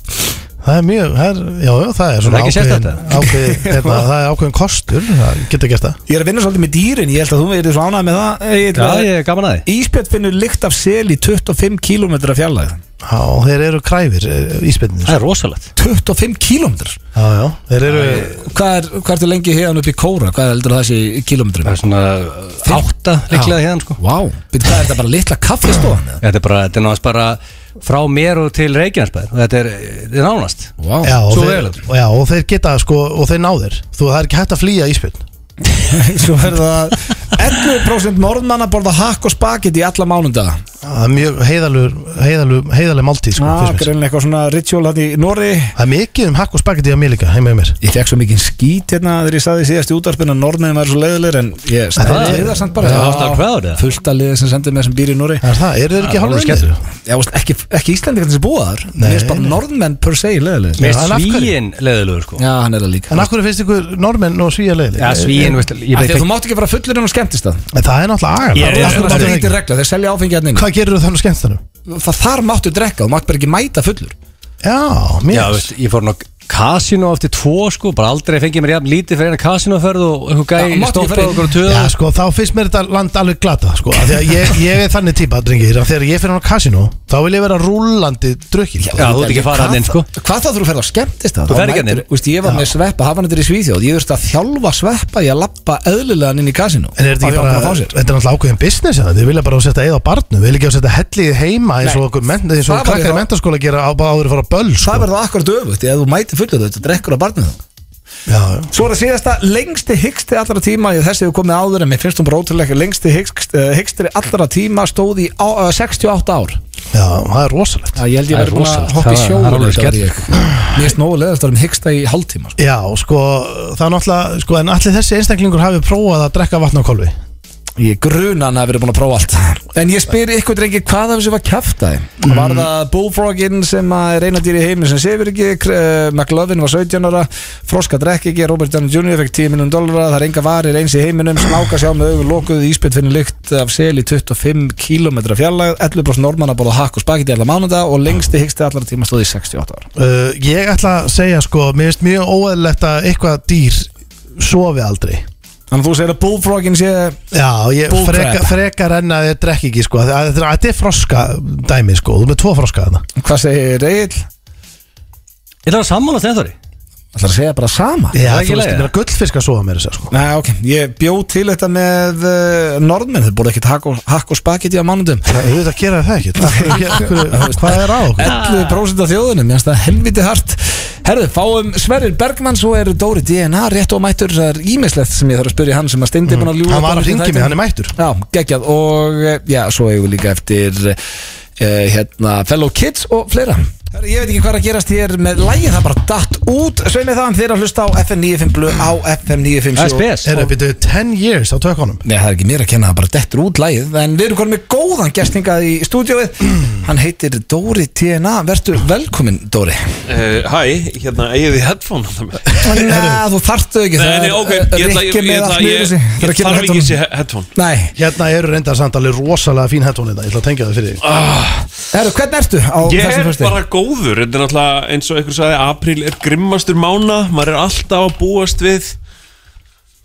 S3: Það er mjög, það er, já, já, það er svona
S2: Það er ekki
S3: ákveðin,
S2: sérstakt,
S3: ákveðin hérna, Það er ákveðin kostur, það geta gert það
S1: Ég er að vinna svolítið með dýrin Ég held að þú verið svo ánægð með það Egill.
S2: Já, ég er gaman að því
S1: Ísbjörn finnur lykt af sel í 25 km fjarlæð
S3: Já, þeir eru kræfir í spenninu
S2: Það er rosalegt
S1: 25 km?
S3: Já, já, þeir eru
S1: Hvað er, hvað ertu lengi hefðan upp í Kóra? Hvað heldur það sé í kilometrum?
S2: Það er svona uh, átta líklega hérna sko
S1: Vá, wow. hvað er þetta bara litla kaffistofan?
S2: Þetta er bara, þetta er náttúrulega bara frá mér og til Reykjanesbæður og þetta er, þetta er nánast
S1: Vá,
S3: Já, og
S2: svo
S3: þeir,
S2: vel.
S3: og já, og þeir geta sko, og þeir náðir Þú, það er ekki hægt að flýja íspinn
S1: Svo er það 11% norðmanna borða hakk og spaget í alla mánundaga
S3: Það er mjög heiðalur, heiðalur, heiðaleg máltíð sko,
S1: ah,
S3: finnst mér.
S1: Greinlega eitthvað svona ritual hann í Norri
S3: Það er mikið um hakk og spagetti á mér líka, heima hjá mér
S1: Ég fekk svo mikið skít hérna þegar ég saði síðast í útvarpinu að norðmenn var svo leiðilegir en ég
S3: Það
S1: staði
S3: er-
S1: leiðar samt bara
S2: Það er alltaf crowd, eða?
S1: Fullt að leiðir sem sendið mér sem býr í Norri
S3: Það er það, eru þeir
S2: Það
S3: ekki
S2: er
S3: hálfur
S2: alveg skellur.
S1: Já, veist, ekki, ekki Íslandi hvernig sem búa þar Mér finnst bara
S3: nei.
S1: norðmenn per se leiðilegir
S2: Mér
S3: Já, en af hverju?
S2: svíin leðilegur sko
S1: Já, hann er það líka
S3: En af hverju finnst ykkur normenn og svíja leiðileg?
S2: Já, svíin, veist,
S1: Af Því
S2: ég veit
S1: að
S2: ekki
S1: þú mátt ekki fara fullur en á skemmtist það
S3: En það er náttúrulega agal
S2: Ég er-
S1: Það
S3: Af hverju mátti
S1: er
S3: það
S1: eitthvað
S3: ekki?
S1: regla, þeir selja áfengi hérna inni.
S3: Hvað gerir þú þannig skemmstanum?
S1: Það þar máttu drekka, þú mátt bara ekki mæta fullur
S3: Já,
S2: Já,
S3: mér
S2: veist, ég fór nú kasino eftir tvo sko bara aldrei fengið mér jafn lítið fyrir eina kasinoferð og eitthvað
S1: Já,
S2: gæi
S1: mátti ekki
S2: stoppa
S1: fara inn.
S2: okkur og töða
S3: Já, sko, þá finnst mér þetta land alveg glata sko. af Því að ég, ég er þannig típa, drengir að Þegar ég fyrir á kasino, þá vil ég vera rúllandi drukkin sko.
S2: Já, þú ert ekki að fara hann inn sko
S1: Hvað þá þú ferð á skemmtist það?
S2: Þú ferð ekki þarna inn.
S1: Ég var með sveppa, hafa hann þetta í Svíþjóð Ég þurfti að þjálfa sveppa í að lappa eðlilegan inn í kasinu
S3: En er þetta ekki bara, þetta er náttúrulega ákveðin business hérna. Þið vilja bara setja eða á barnu, vil ekki að setja hellið heima eins og okkur menn, eins og
S1: Það var
S3: krakkar
S1: ég
S3: í
S1: þá-
S3: mentaskóla gera á, bara áður að fara á böll sko.
S1: Það verður akkurat öfugt Ef þú mætir fullur þetta, drekkur á barnið þá
S3: Já, já.
S1: Svo er það síðasta, lengsti hyggsti allra tíma Ég þessi hefur komið áður en mér finnst hún bara ótrúlega Lengsti eh, hyggstri allra tíma stóð í á, uh, 68 ár
S3: já, það er rosalegt
S1: Ég held
S2: ég
S1: ég
S2: væri
S1: verið
S2: búinn
S1: búin
S2: að
S1: að
S2: hoppa í
S1: hoppa í
S2: sjóinn
S1: sjóður
S2: þetta árið
S1: Mér finnst nógu leðast að vera um hyggsta í hálftíma sko.
S3: Já, sko, það er náttúrulega sko, en allir þessi einstaklingur hafi prófað að drekka vatn á kolvi
S1: Ég gruna hann að vera búin að prófa allt En ég spyr ykkur drengir hvað af þessu var kjaftaði Var það Bullfrogin sem að er eina dýr í heiminn sem sefur ekki Kr- eh, McLovin var 17 ára Froska drekk ekki, Robert Downey Jr. fekk 10 miljón dollara Það er enga varir eins í heiminum Snáka sjá með augur lokuð íspytt finnir lykt af sel í 25 km fjarlæg 11% normanna bóla hakk og spagetti allar mánuða og lengsti hyggsti allar tíma stóði í 68 ára
S3: Uh, ég ætla að segja sko, mér finnst mjög óæðilegt að eitthvað dýr sofi aldrei
S1: Þannig að þú segir að Bullfrogin sé
S3: Já, ég
S1: Bull
S3: freka,
S1: crap.
S3: frekar en að ég drekki ekki sko, það, það, það er froska dæmi sko, þú ert með tvo froska þarna
S1: Hvað segir Egil?
S2: Ég ætla að sammála Steinþóri
S1: Það er að segja bara sama
S3: Já,
S2: það ekki
S3: þú veist,
S2: leið,
S3: ég meina gullfiska sofa mér þess að sko
S1: Nei, ok, ég bjó til þetta með uh, norðmenn, þau borðu ekkert hakk og, hakk og spagetti á mánundum
S3: Það er auðvitað að gera það ekki Af hverju- af hverju- Hvað er á okkur?
S1: 11% af þjóðunum, mér finnst það helviti hart Herðu, fáum Sverrir Bergmann Svo eru Dóri DNA rétt og mættur Það er ímislegt sem ég þarf að spyrja hann sem að steindi mm. að ljúga
S3: Hann var
S1: bara
S3: að
S1: fyrir
S3: hringja í mig,
S1: þættinum.
S3: hann er mættur.
S1: Já, geggjað og eh, já, svo eigum við líka eftir uh, hérna, Fellow Kids og fleira Herru, Ég veit ekki hvað er að gerast hér með lægið Það bara datt út Sveið með það en þeir að hlusta á FM 95 Blu á FM 95
S2: Það er spes
S3: Er það byrjuð 10 years á tökunum
S1: Nei, það er ekki mér að kenna, það bara dettur út lægið En við erum konum með góðan gestingað í stúdíóið Hann heitir Dóri TNA Vertu velkomin, Dóri
S9: Eh, Hæ, hérna, eigið þið headphone á það með?
S1: Nei, þú þarftu ekki
S9: Nei, nei, ok, ég ætla, ég,
S1: Rikki
S9: ég,
S1: með
S9: ætla,
S1: allt
S9: ég,
S1: niður þessi
S9: ég,
S1: Þegar kemur
S9: þarf ekki þessi
S1: headphone.
S9: headphone
S1: Nei,
S3: Hérna eru reynda samt alveg rosalega fín hættónina Ég ætla að tengja það fyrir þig
S1: herru, hvernig ertu á
S9: Ah, Ég
S1: þessum
S9: er
S1: fyrstu?
S9: bara góður, þetta er náttúrulega eins og einhver sagði Apríl er grimmastur mána, maður er alltaf að búast við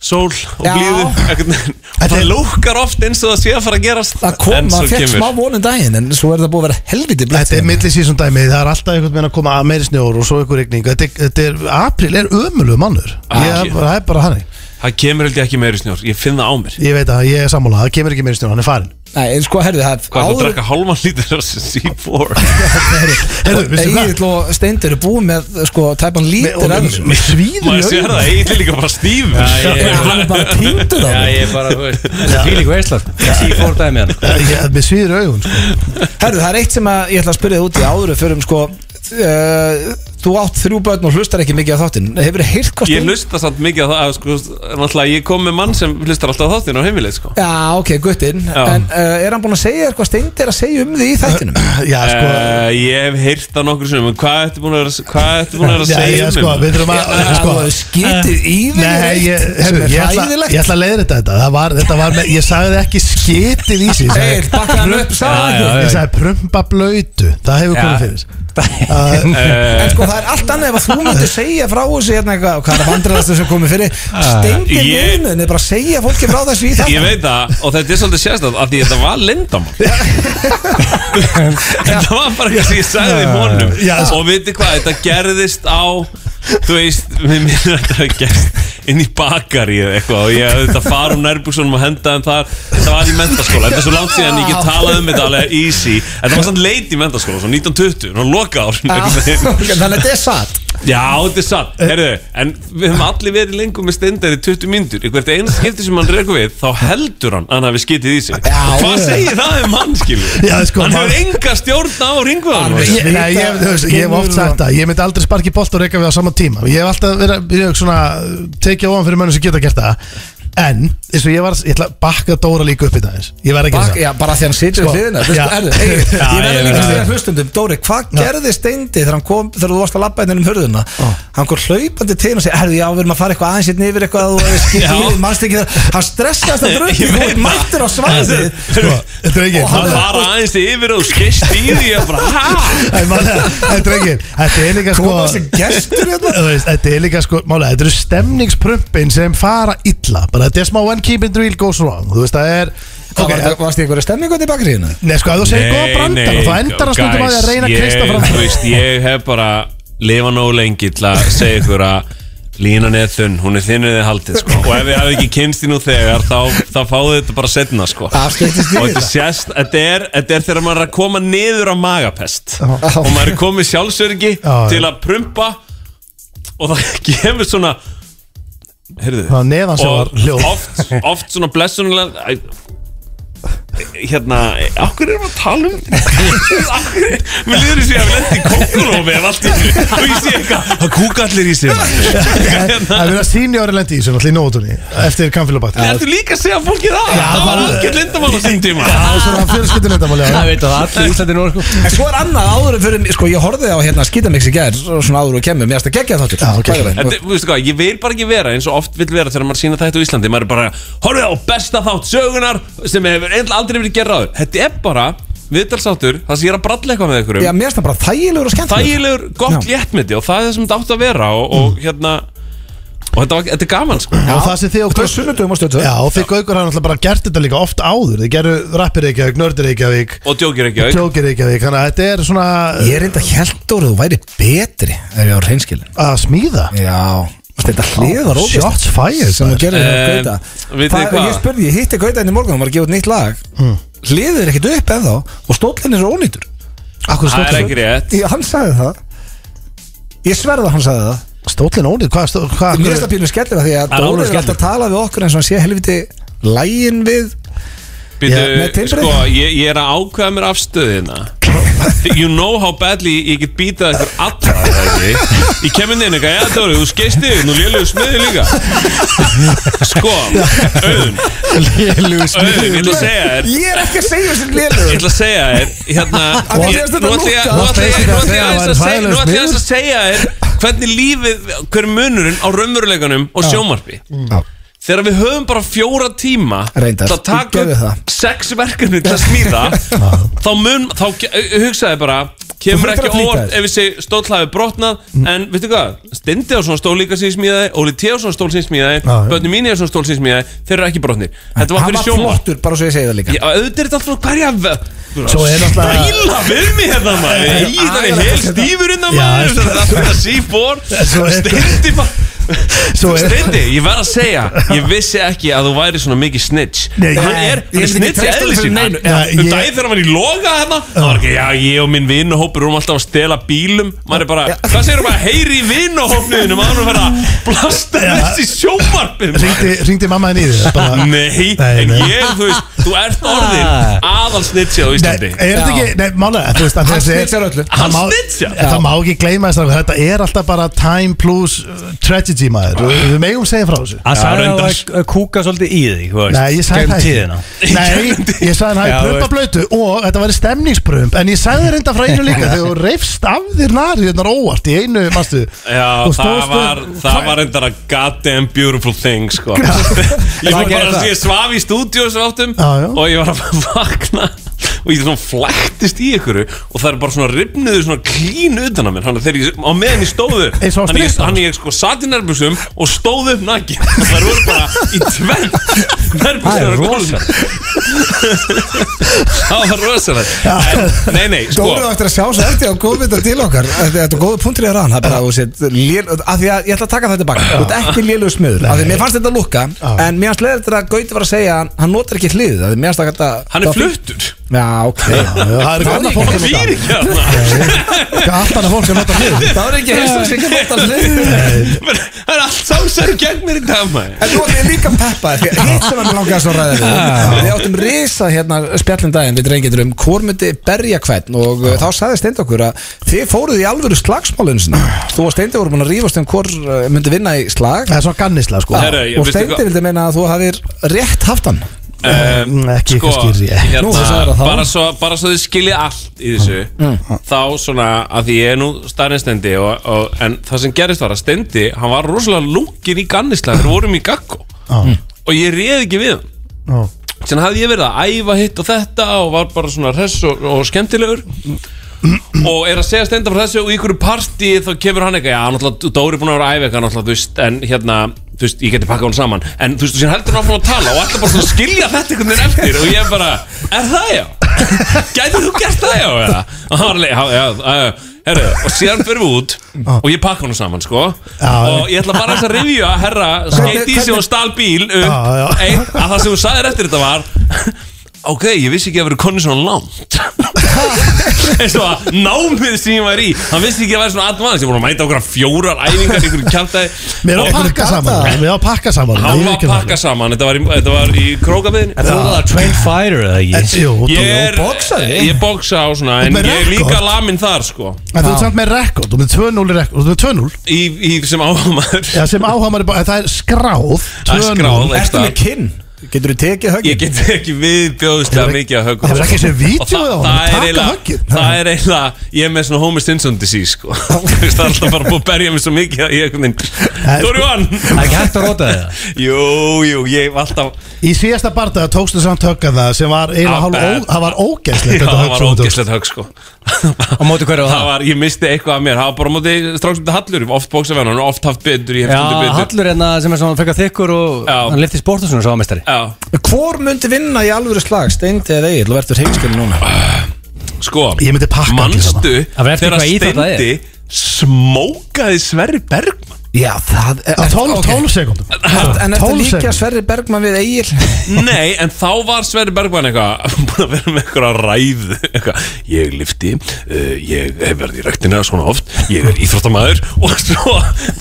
S9: Sól og
S1: Já.
S9: blíðu einhvern veginn. Og
S3: Þetta
S9: Það
S3: er-
S9: lúkar oft eins og það sé að fara að gerast
S1: Það kom,
S9: en svo
S1: maður fekk
S9: kemur.
S1: smá vonum daginn En svo er það búið að vera helviti blött
S3: Þetta er millisísum dæmi, það er alltaf einhvern veginn að koma að meiri snjór og svo einhver regning Þetta er, þetta er, april er ömulegu mannur
S9: Ah,
S3: Ég er
S9: ég-
S3: bara- Það er bara hann
S9: Það kemur held ég ekki meiri snjór, ég finn það á mér
S3: Ég veit að ég er sammála, það kemur ekki meiri snjór, hann er farin
S1: Nei, en sko, herru, það
S9: Hvað er það að drakka hálfan lítur af C4?
S3: Heyrðu, veistu hvað?
S1: Egil og Steindur eru búið með, sko, tæpan lítir af þessu.
S3: Mér svíður í
S9: Maður sér
S3: augunum.
S9: það, eigið er líka bara stíf
S1: Já, Hann er bara týndur á
S2: Já, ég er bara, þú veist, þetta er fílík veisla sko. Ég fór dæmi hann
S3: Ég- Mér Eh, svíður í augun sko.
S1: Herru, það er eitt sem að ég ætla að spyrja þið út í áður fyrir um sko uh, Þú átt þrjú börn og hlustar ekki mikið á þáttinn Hefur þið heyrt hvað
S9: Ég
S1: stund-
S9: hlusta samt mikið á það, sko, náttúrulega ég kom með mann sem hlustar alltaf á þáttinn á heimilið, sko.
S1: Já, ok, guttinn
S9: Já.
S1: En uh, er hann búinn að segja þér hvað steind er að segja um því í þættinum?
S3: Já,
S1: Eh,
S3: sko
S9: Uh, ég hef heyrt það nokkur sinnum, en hvað ertu búin að vera, hvað ertu búin að vera að
S3: Já,
S9: segja
S3: já,
S9: um
S3: sko,
S9: mig?
S3: við þurfum að sko,
S1: Það er skítið í því
S3: Nei, ég,
S1: sem
S3: heyrðu,
S1: er
S3: ég, ætla, ég
S1: hræðilegt
S3: ætla að leiðrita þetta Það var, þetta var með, Ég sagði ekki skitið í sig
S1: Egil,
S3: Ég sagði-
S1: bakka hann upp, sagði hann
S2: Já, já,
S1: ekki
S3: Ég sagði prumpa blöytu Það hefur komið fyrir Uh,
S9: Eh,
S1: En sko það er allt annað ef að þú myndir segja frá þessu hérna eitthvað, hvað er vandraðastu sem komið fyrir Steindir
S9: Ah, Ég-
S1: viðmið, en bara að segja fólki frá þessu í
S9: Ég
S1: þáttunum
S9: veit það, og þetta er svolítið sérstætt, af því þetta var lindamál. þetta var bara eitthvað sem ég sagði í honum.
S3: Já, sko.
S9: Og veitir hvað, þetta gerðist á, þú veist, við mér er þetta hafi gerst inn í bakari eða eitthvað og ég hafði þetta fara um nærbúksunum og henda þeim þar þetta var í mentaskóla, þetta er svo langt síðan ég get talað um þetta alveg easy þetta var samt leit í mentaskóla, svo 1920, og loka ár
S1: Já, ok, Þannig að þetta er satt
S9: Já, þetta er satt, herðu, en við höfum allir verið lengur með steindar í 20 myndur Hvert einu skipti sem hann reykur við, þá heldur hann að hann hafi skitið í sig Já, Hvað segir það um hann, skilur?
S3: Já, sko,
S9: hann hefur
S3: maður-
S9: enga stjórn á ringvaðan
S3: Ég, nei, ég, þú veist, ég hef oft sagt það Ég myndi aldrei sparki bolt og reyka við á sama tíma Ég hef alltaf verið að byrja svona Tekja ofan fyrir mönnum sem geta gert það En, eins og ég var, ég ætla að bakka Dóra líka upp í dagins Ég verð ekki
S1: Bak,
S3: það
S1: já, bara því hann situr
S3: Sko,
S1: við hliðina
S3: já.
S1: ja. er, ey,
S9: Já,
S1: Ég verði
S9: ég
S1: líka
S9: veit
S1: að segja
S9: það.
S1: hlustundum Dóri, hvað gerði Steindi þegar hann kom þegar þú varst að labba hérna um hurðuna hann kom hlaupandi til og segi, herðu já, við erum að fara eitthvað aðeins hérna yfir eitthvað og
S9: Já.
S1: skilur, mannst ekki það hann stressast að dröggi,
S9: Ég
S1: þú
S9: veit
S1: er
S9: það.
S1: mættur á svæðið
S3: Sko, drengir,
S9: Hann fara aðeins yfir og skist í því og bara,
S1: Ah,
S9: hæ?
S3: Æ, málega, Þetta er ekki Þetta er líka sko
S1: Koma þessi gestur hérna?
S3: Þú veist, Þetta er líka sko Málega, þetta eru stemningsprumpin sem fara illa Bara þetta er smá when keeping the real goes wrong Þú veist, það er
S1: Hvað
S3: okay,
S1: var- varst þið einhverja stemmingu til bakri hérna?
S3: Nei, sko, ef þú segir góða brandar Þá endar það stundum að því að reyna að kreista fram
S9: Þú veist, ég hef bara lifað nógu lengi til að segja ykkur að línan er þunn, hún er þinnið þið haldið sko. og ef ég hafi ekki kynst í nú þegar þá, þá fáðu þetta bara setna sko. og
S1: Afskiptist í
S9: þetta
S1: þetta.
S9: sést, þetta er, þetta er þegar maður er að koma niður á magapest og maður er komið sjálfsörgi
S3: Já, já.
S9: til að prumpa og það kemur svona heyrðu
S3: Það var neðan sem var hljóð.
S9: og oft, oft svona blessunulega æ, hérna, okkur erum við að tala um þetta Akkur, mér liður þess að ég hef lendið í kongulófi ef allt í einu og ég sé eitthvað, Hérna. það kúka allir í sig
S3: Það er verið að síni ári lendi í þessu Þannig í nótunni Eftir kamfélabakti
S9: Ertu líka að segja fólki það? það var algjör lindamál á sín tíma
S3: Það er svona fjölskyldin þetta málega
S2: Það veit að það allir í Íslandi nú, sko
S1: En svo er annað áður en fyrir, sko ég horfði á hérna skítamix í gær, svona áður og kemur, mér erst að gegja þáttur
S3: Já, ok.
S1: Bæði
S9: Þetta,
S1: þeim.
S9: þú veistu hvað, ég vil bara ekki vera eins og oft vil vera þegar maður sína þætt á Íslandi maður er bara, horfið á besta þátt sögunar sem hefur eiginlega aldrei verið gerð áður þetta er bara viðtalsáttur það sem ég er að bralla eitthvað með ykkur
S1: Já, mér erst það bara þægilegur og skemmtilegur
S9: þægilegur, gott léttmyndi og það er það sem þetta átt að vera og, og hérna og þetta, var, þetta er gaman sko
S3: Já, það sem þið og
S1: Hvað er sunnudugum á stöðu?
S3: Já, og þið gaukur hann alltaf bara gert þetta líka oft áður Þið gerðu rappir Reykjavík, nördir Reykjavík
S9: og djókir ekki auk
S3: Tjókir Reykjavík, þannig að þetta er svona
S1: Ég er enda heldur að þú væri betri ef ég var reynskilin
S3: að smíða
S1: Já Þetta hlið var ógæst
S3: Shots fired,
S1: sem þú
S3: maður.
S1: gerir
S9: Eh,
S1: hjá Gauta
S9: vitið
S1: Það-
S9: hvað?
S1: Ég spurði, ég hitti Gauta henni morgun og var að gefa út nýtt lag Hliðið er ekkert upp ennþá og stóllin er svo ónýtur
S3: Akkur
S9: það er
S3: stóttur
S9: ekki rétt
S1: Ég, Hann sagði það Ég sverða hann sagði það
S3: Stólinn ónýtt, hvað, stó, hvað
S10: Mér finnst það pínu skellir að því að
S9: Það er
S10: Dóri
S9: alveg
S10: er alltaf að tala við okkur eins og hann sé helviti lægin við Já, með
S9: Býtu,
S10: timbrið.
S9: sko, ég, ég er að ákveða mér afstöðina You know how badly ég get býtað ykkur allra þegar Ég kem inn inn eitthvað, já Dóri, þú skeist yfir, nú léluðu smiði líka Sko, auðun,
S1: Lélug
S9: auðun, ég ætla að segja þér
S10: Ég er ekki að segja þessi
S9: Ég
S10: lélugur
S9: ætla að segja þér, hérna
S10: Að
S9: ég-
S10: þér finnst þetta
S9: Nú ætla ég
S10: lúta.
S9: nú ætla ég- nú ætla ég aðeins að segja- nú ætla ég aðeins
S1: smiður.
S9: að segja þér Hvernig lífið, hver er munurinn á raunveruleikanum og sjómarpi Þegar við höfum bara fjóra tíma
S10: Reyndar,
S9: til að taka
S10: gerðu það.
S9: upp sex verkefni til að smíða þá mun, þá ge- hugsaði bara kemur
S10: Þú þurftir
S9: ekki
S10: að flýta
S9: óvart
S10: þér. Mm.
S9: ef þessi stóll hafi brotnað en veitu hvað, Stindi á svona stól líka sem ég smíðaði, Óli T á svona stól sem ég smíðaði börnum mín er svona stól sem ég smíðaði, þeir eru ekki brotnir þetta var
S10: Hann
S9: fyrir
S10: var
S9: sjóma
S10: flottur, bara svo ég segi það líka
S9: Já, auðvitað er þetta alltaf hverja v-
S3: Svo er náttúrulega-
S9: Stæla við mig hérna maður Ég er þannig hel stífur innan maður Það er alltaf
S3: Svo
S9: C4
S3: er-
S9: Steindi maður
S3: Svo er-
S9: Steindi, ég verð að segja Ég vissi ekki að þú væri svona mikið snitch
S3: Nei, ég-
S9: Hann er,
S3: ég
S9: hann er
S3: get ekki
S9: snitch í
S3: treyst honum
S9: eðli
S3: fyrir
S9: sín
S3: neinu.
S9: Hann-
S3: Já,
S9: Um
S3: ég-
S9: daginn þegar hann var í loga hérna Það var ekki, já, ég og minn vinnuhópur erum alltaf að stela bílum Maður er bara, hvað segir bara Heyri í vinnuhópnuðinu Maður er að vera að blasta þessi sjómarpin
S3: Ringdi, ringdi mamma henni í þig bara-
S9: Nei,
S3: Nei,
S9: en
S3: nei.
S9: ég, þú veist, þú ert orðin aðal snitsja á
S3: Nei,
S9: Íslandi
S3: er þetta ekki, nei, málega, þú veist að
S10: Hann
S3: þessi-
S10: snitchar öllu.
S3: það
S9: Hann
S3: má-
S9: snitchar?
S3: en Það má ekki gleyma þess að þetta er alltaf bara time plus uh, tragedy maður Við- Við megum segja frá þessu
S2: Hann sagði að
S9: reyndar.
S2: það var að kúka svolítið í því þú veist,
S3: Nei, ég sagði
S2: gegnum
S3: það
S2: tíðina.
S3: ekki Nei, ég sagði hann
S2: Já, þú
S3: hafi prumpa blötu og þetta væri stemningsprump En ég sagði þér enda frá einu líka þegar þú reyfst af þér nari þetta óvart í einu, mástu
S9: Já, það var, það var endara goddamn beautiful thing, sko Ég var bara að sé svaf í stúdíu sem áttum
S3: Já, já.
S9: og ég var að vakna og ég svona flæktist í ykkur og það er bara svona ripnuðu svona klín utan að mér þannig að þegar ég, á meðan ég stóðu
S3: Eins og á
S9: þannig ég,
S3: strippa.
S9: þannig ég sko satt í nærbúsum og stóðu upp nakki það voru bara í tvend
S2: Það
S9: nærbúsum
S2: er
S9: á gólfinu. það var rosalega En- Nei, nei, sko
S10: Dóri á eftir að sjá svo eftir á góðmynda til okkar Þetta þetta er góða punktur í rann Það er bara að þú sétt lél Af því að ég ætla að taka þetta baka Þú ert ekki lélugur smiður Af því að mér fannst þetta lukka En mér fannst leðið þetta að Gauti var að segja að Hann notar ekki hliðið Af því mér fannst þetta
S9: Hann er fluttur
S10: Já, ok
S3: Það er gana fólk
S9: Hann hérna.
S3: sem þetta
S9: býr ekki að það
S3: Allt annað fólk sem nota hlið
S10: Það var ekki helst að segja notar hliðið
S9: Men Það er allt samsæri gegn mér í dag maður
S10: En nú ætlum ég líka að peppa þér því að Hitt sem að mér langaði svo að ræða við Við áttum risa hérna spjallin daginn Við drengir um hvort myndi berja hvern Og uh, þá sagði Steind okkur að Þið fóruð í alvöru slagsmálun sinna Þú og Steindi voru búin að rífast um hvort uh, myndi vinna í slag
S3: Það er svona gannisla sko
S9: Herra, ég
S10: Og
S9: veistu
S10: Steindi
S9: hvað-
S10: vildi meina að þú hafðir rétt haft hann
S9: um,
S3: Ekki kannski rétt.
S9: hérna,
S10: Nú, þú sagðir það þá. Mm.
S9: bara, svo, bara svo þið skilja allt í þessu Þá svona að því ég er nú starri en stendi og, og, En það sem gerist var að stendi Hann var rosalega lungin í gannisla Þegar við vorum í gaggo
S3: Já.
S10: Mm.
S9: Og ég réð ekki við hann
S3: Já.
S9: Sen hafði ég verið að æfa hitt og þetta Og var bara svona hress og, og skemmtilegur Og er að segja stenda frá þessu Og í ykkur partí þá kemur hann eitthvað Já, náttúrulega, Dóri er búin að vera að æfa eitthvað Náttúrulega, þú veist, en hérna Þú veist, ég geti pakkað hann saman En þú veist, þú sér heldur hann áfram að tala Og allir bara svona skilja þetta einhvern veginn eftir Og ég er bara, er það já? Gæti þú gert það já? eða?" Og hann var alveg, já, já, já, já Herru, og síðan fyrir við út og ég pakka hann saman sko og ég ætla bara aðeins að revja herra skeiti í sig og stál bíl uh, upp
S3: Já, já.
S9: Ein, að það sem þú sagðir eftir þetta var ok, ég vissi ekki að vera konni svona langt eins og að námið sem ég var í hann vissi ekki að vera svona allmann ég voru að mæta okkur fjórar æfingar ykkur kjartaði
S3: Mér á að pakka saman Mér á að pakka saman ég
S9: hann var að
S3: viðurkenni
S9: pakka saman þetta var í, þetta var í krókabiðin
S2: En þú var trained fighter eða
S3: það.
S2: ekki
S3: Jú, þú-
S9: ég er
S10: boxaði.
S9: ég boksa á svona en
S3: með
S9: ég er líka
S3: rekord.
S9: lamin þar sko
S3: En þú ert samt með rekord, þú ert með 2-0 í rekord Þú ert með 2-0,
S9: í, í sem áhamar
S3: já, sem áhamari Það er skráð
S9: Það
S3: 2-0.
S9: er skráð, ekki.
S10: Ertu með kinn? Getur þú tekið höggin?
S9: ég get ekki viðbjóðslega
S3: Hefur-
S9: mikið að höggum
S3: hefur ekki séð vídeóið á honum? Taka höggið.
S9: höggið það er eiginlega, ég er með svona Homer Simpson disease sko Þú veist, það er alltaf bara búið að berja mig svo mikið að ég er
S3: Það er- sko-
S9: einhvern veginn
S2: Það er
S9: Dóri
S2: ekki hægt að róta þig það
S9: Van jú, jú, ég hef alltaf
S3: Í síðasta bardaða tókstu samt höggan það sem var eiginlega
S9: Ah,
S3: hálf ó,
S9: bad.
S3: það var ógeðslegt
S9: Já,
S3: þetta
S9: það
S3: högg
S9: var
S3: sem þú tókst.
S9: ógeðslegt högg sko
S2: Á móti hverju var
S9: það
S2: það?
S9: var, ég misti eitthvað af mér það var bara á móti stráksmynda Hallur oft bóksa við hann, hann oft haft betur ég hef
S2: Já,
S9: stundum betur
S2: Hallur hérna sem er svona frekar þykkur og
S9: Já.
S2: hann lifti sportasunum svo ámestari
S9: já,
S10: Hvor myndi vinna í alvöru slag? Steindi eða Egil? Þú verður heimskilin núna
S9: Ah. sko
S3: Ég myndi pakka allir
S9: manstu
S2: Það var eftir
S9: þegar
S2: hvað íþrótt það er.
S9: Steindi smókaði Sverri Bergman
S10: Já, það
S3: Á 12, 12 sekundum
S10: En eftir
S3: 12
S10: líka
S3: sekúndum.
S10: Sverri Bergman við Egil
S9: Nei, en þá var Sverri Bergman eitthvað búin að eh, vera með eitthvað ræð eitthvað. ég lifti, uh, ég hef verið í ræktina svona oft ég er íþróttamæður og svo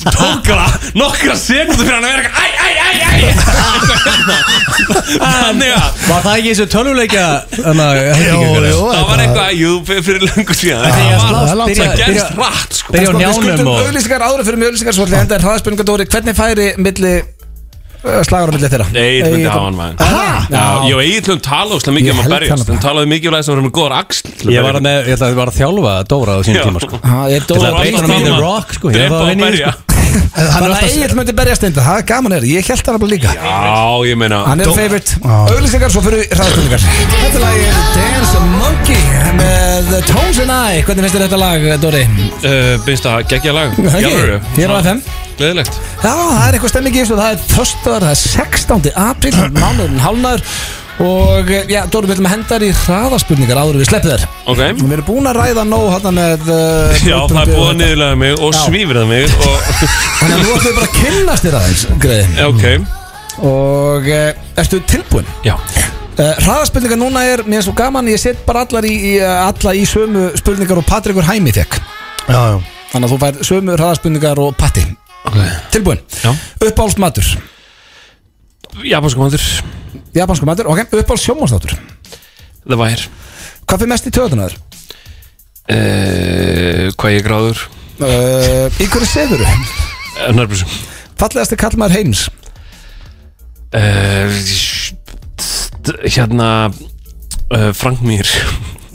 S9: tók það nokkra sekundu fyrir hann að vera eitthvað, æ, æ, æ, æ Eitthvað hérna. þannig að
S2: Var það ekki eins og tölvuleikja hérna, Hendingur
S3: Jó,
S9: það var
S3: þetta-
S9: eitthvað, jú, fyrir löngu síðan
S2: Þegar ég
S9: það var,
S2: slást, byrja-
S9: það
S2: byrja-
S9: gerst rætt sko
S2: Byrja á
S1: Við
S2: njánum
S1: skuldum
S2: og
S1: auðlýsingar áður fyrir með auðlýsingar Svo ætla ég að enda hraðspenningadóri Hvernig færi milli uh, slagur á milli þeirra?
S9: Egil myndi hafa hann maður Já, já Egil hljóðum tala úslega mikið
S1: Ég
S9: um að
S1: held
S9: berjast
S1: það
S9: Hún talaði mikið um að það var með góðar axl til að
S2: Ég var
S9: berjast.
S2: með, ég ætla að ég var að þjálfa Dóra á sínum tíma sko
S1: Ha, ég
S2: Ég
S1: dói
S2: ætla
S9: Dóra
S2: að beita hann í The
S9: var þarna.
S2: Rock sko Ég
S9: Drepa
S2: var að
S9: og
S2: vinna í því,
S9: berja
S2: sko
S3: Hann er
S1: Þannig að
S3: alltaf
S1: Egil myndi berjast enda, það er gaman er Ég held það bara líka
S9: Já, ég meina
S1: Hann er
S9: Dó-
S1: favorite Auðlýsingar, svo fyrir hraðspenningar Þetta lag er Dance the Monkey með Tones and I Hvernig finnst þér þetta lag, Dóri?
S9: Uh, Býnst að gegja lag
S1: Það ekki?
S9: Jálfur
S1: Hér á FM
S9: Gleðilegt
S1: Já, það er eitthvað stemming í þessu, það er þörstöðar, það er 16. apríl, mánuðurinn hálnaður og eh, já, Dóri, við ætlum að henda þér í hraðaspurningar áður en við sleppum þér.
S9: Ok
S1: Og Við erum búin að ræða nóg hérna með... Uh,
S9: Já, það er búið að niðurlega mig og
S1: Já.
S9: svífrað mig og,
S1: Þannig að nú ætlum við bara að kynnast þér aðeins, greiði.
S9: Já, Ok
S1: Og uh, ertu tilbúin?
S9: Já
S1: Uh, hraðaspurningar núna er, mér er svo gaman, ég set bara allar í, í, eh, alla í sömu spurningar og Patrikur Hæmi fekk.
S3: Já, já
S1: Þannig að þú fær sömu hraðaspurningar og Patti. Okay. Tilbúin.
S9: Já.
S1: Uppáhalds matur.
S9: Japansku maður
S1: Japansku matur, ok. Uppáhalds sjómasnátur.
S9: Það væri
S1: Hvað fyrir mest í töðunar?
S9: uh, Hvað ég er gráður Eh,
S1: Uh, í hverju sefuru?
S9: Nærbjörnsum
S1: Fallegasti kallmaður heims
S9: uh, Hérna uh, Frank Mýr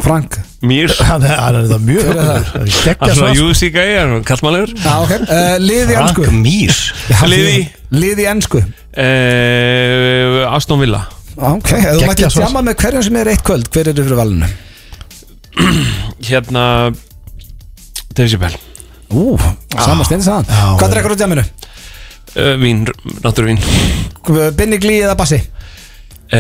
S1: Frank
S9: Mýr
S3: Hann er hann er það mjög
S9: Það
S3: Gekkja
S9: er
S3: svo
S9: svona júsi gæði Kallmannlegur
S1: Já, ok uh, Lið í ennsku
S2: Frank Mýr
S9: Lið í?
S1: Lið í ennsku
S9: uh, Aston Villa
S1: Ok, ef þú
S3: Geggjað
S1: mættir
S3: svar.
S1: djama með hverjum sem er eitt kvöld Hver eru fyrir valinu?
S9: Hérna Dave Chappelle
S1: Ú, saman stein saman
S3: Já,
S1: Hvað
S3: já.
S1: drekar úr djaminu?
S9: uh, Vín, náttúruvín
S1: Binni glí eða bassi?
S9: uh,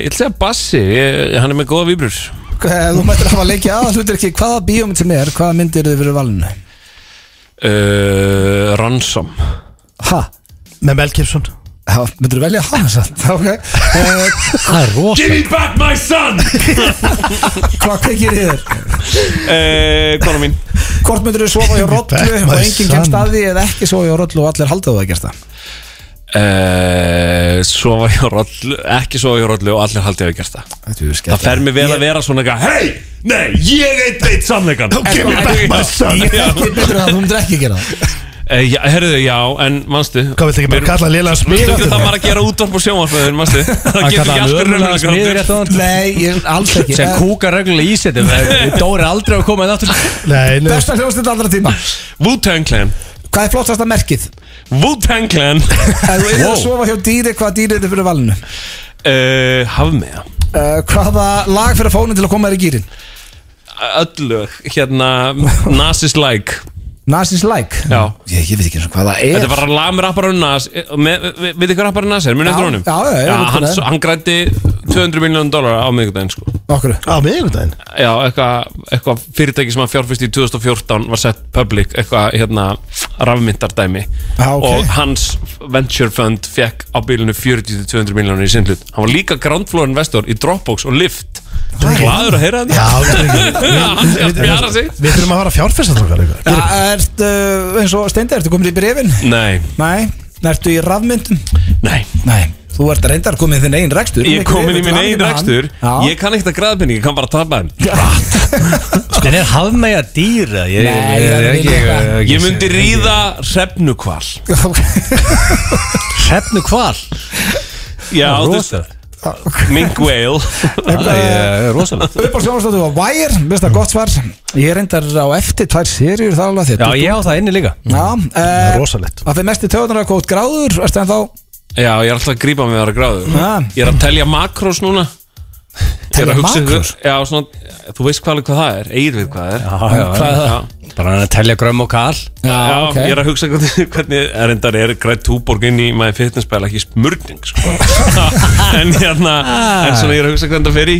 S9: Ég ætla að segja Bassi ég, Hann er með góða víbrur
S1: Hvað- Ef þú mættir hafa leikið aða hlutur ekki Hvaða bíómynd sem er, hvaða mynd eru fyrir valinu?
S9: uh, Ransom
S1: Ha?
S3: Með Mel Gibson
S1: Já, myndir velja hann satt Ok uh,
S2: Það er rosa
S9: me back my son
S1: Hvað kveikir í þér?
S9: uh, Kona mín
S1: Hvort myndir þú sofa hjá rollu
S3: Back
S1: og
S3: my
S1: enginn
S3: son.
S1: kemst að því eða ekki sofa hjá rollu og allir haldaðu að gerst það?
S9: uh, Sofa hjá rollu Ekki sofa hjá rollu og allir haldið að gert það
S1: Þetta er
S9: Það fer mér vel að vera svona eitthvað Hei, nei, ég eitt eitt sannleikan Give me back my son
S1: Ég þekki betur að þú myndir ekki gera það
S9: Eh, Já, herruðu, já, en manstu
S3: Hvað viltu ekki bara kalla lélega
S9: Manstu
S3: smíra
S9: ekki það var að gera útvarp og sjónvarpöðin, manstu Það
S2: Hann
S9: getur
S2: kallaði
S9: ekki
S2: hann
S9: allt verið sko.
S2: ömulega
S9: raunveruleikar.
S2: smiður rétt á hann
S1: Nei, ég alls ekki
S2: Sem kúka reglulega í setjum Dóri er aldrei að koma en aftur
S3: Nei, nei
S1: Besta hljóðstill allra tíma
S9: Wu-Tang Clan
S1: Hvað er flottasta merkið?
S9: Wu-Tang Clan
S1: Ef þú er að sofa hjá dýri, hvaða dýri er þetta fyrir valinu?
S9: uh, Hafmeða
S1: Uh, hvaða lag fyrir að fónin til að koma þér í gýrin?
S9: Öllu, hérna Nasis like
S1: Nazis like
S9: Já.
S1: ég, ég veit ekki eins og hvað það er
S9: Þetta var að lami rapparinn Nas Við þið hvað rapparinn Nas er,
S1: Já,
S9: munið eftir honum
S1: já, já, ég veit
S9: hann,
S1: hver það er.
S9: hann grætti 200 miljónum dólar á miðvikudaginn sko.
S1: Okkur
S3: Á miðvikudaginn
S9: Já, eitthvað eitthva fyrirtæki sem hann fjárfyrst í 2014 var sett public, eitthvað hérna rafmyndardæmi
S1: Já, ok.
S9: og hans venture fund fekk á bílunni 40-200 miljónir í sinn hlut Hann var líka ground floor investor í Dropbox og Lyft Glæður að heyra þetta
S3: Já, þetta er ekki- við-
S9: Já,
S3: við-
S9: bjara sig.
S3: við- Við þurfum að fara að fjárfesta þókar ykkur
S1: ja, Ertu uh, eins og steindi, ertu komin í brefin?
S9: Nei,
S1: Nei Ertu í rafmyndum?
S9: nei
S1: Nei Þú ert reyndar komin í þinn eigin rekstur
S9: Ég er komin í
S1: Þú
S9: minn
S1: ert
S9: eigin
S1: hamingjan með
S9: rekstur
S1: um hann. Já.
S9: Ég kann ekkert að græða penning, ég kann bara að tapa þeim
S2: En er hafmæja dýra? Ég,
S1: Nei,
S2: ég,
S1: það er
S2: ég, ég,
S1: ekki-
S2: ég,
S9: Ég myndi ríða hrefnukval
S2: Hrefnu hval
S9: Já, þú veist
S2: Rosalegt
S9: Mink whale
S2: Það er rosalegt
S1: Upp á sjónastöðu var Wire, minnst það gott svar Ég reyndar á eftir tvær serjur þar alveg þitt
S2: Já, ég á það inni líka
S1: Já, uh,
S3: Rosalett
S1: að þið mest í töðunar að kótt gráður Erstu en þá
S9: Já, ég er alltaf að grípa mig þar að gráðu
S1: Ja.
S9: Ég er að telja makrós núna Ég er
S1: Telja
S9: að hugsa ykkur-
S1: makrós?
S9: Já, svona, þú veist hvað, hvað það er Egil við hvað það er
S2: Já, já,
S1: Hvað er það?
S9: Já,
S2: Bara hann að telja grömm og kal
S9: já,
S1: Já, ok.
S9: ég er að hugsa hvernig, hvernig er reyndar er grætt túborg inn í maður fitnesspæl ekki smurning sko. en hérna en svona ég er að hugsa hvernig það fer í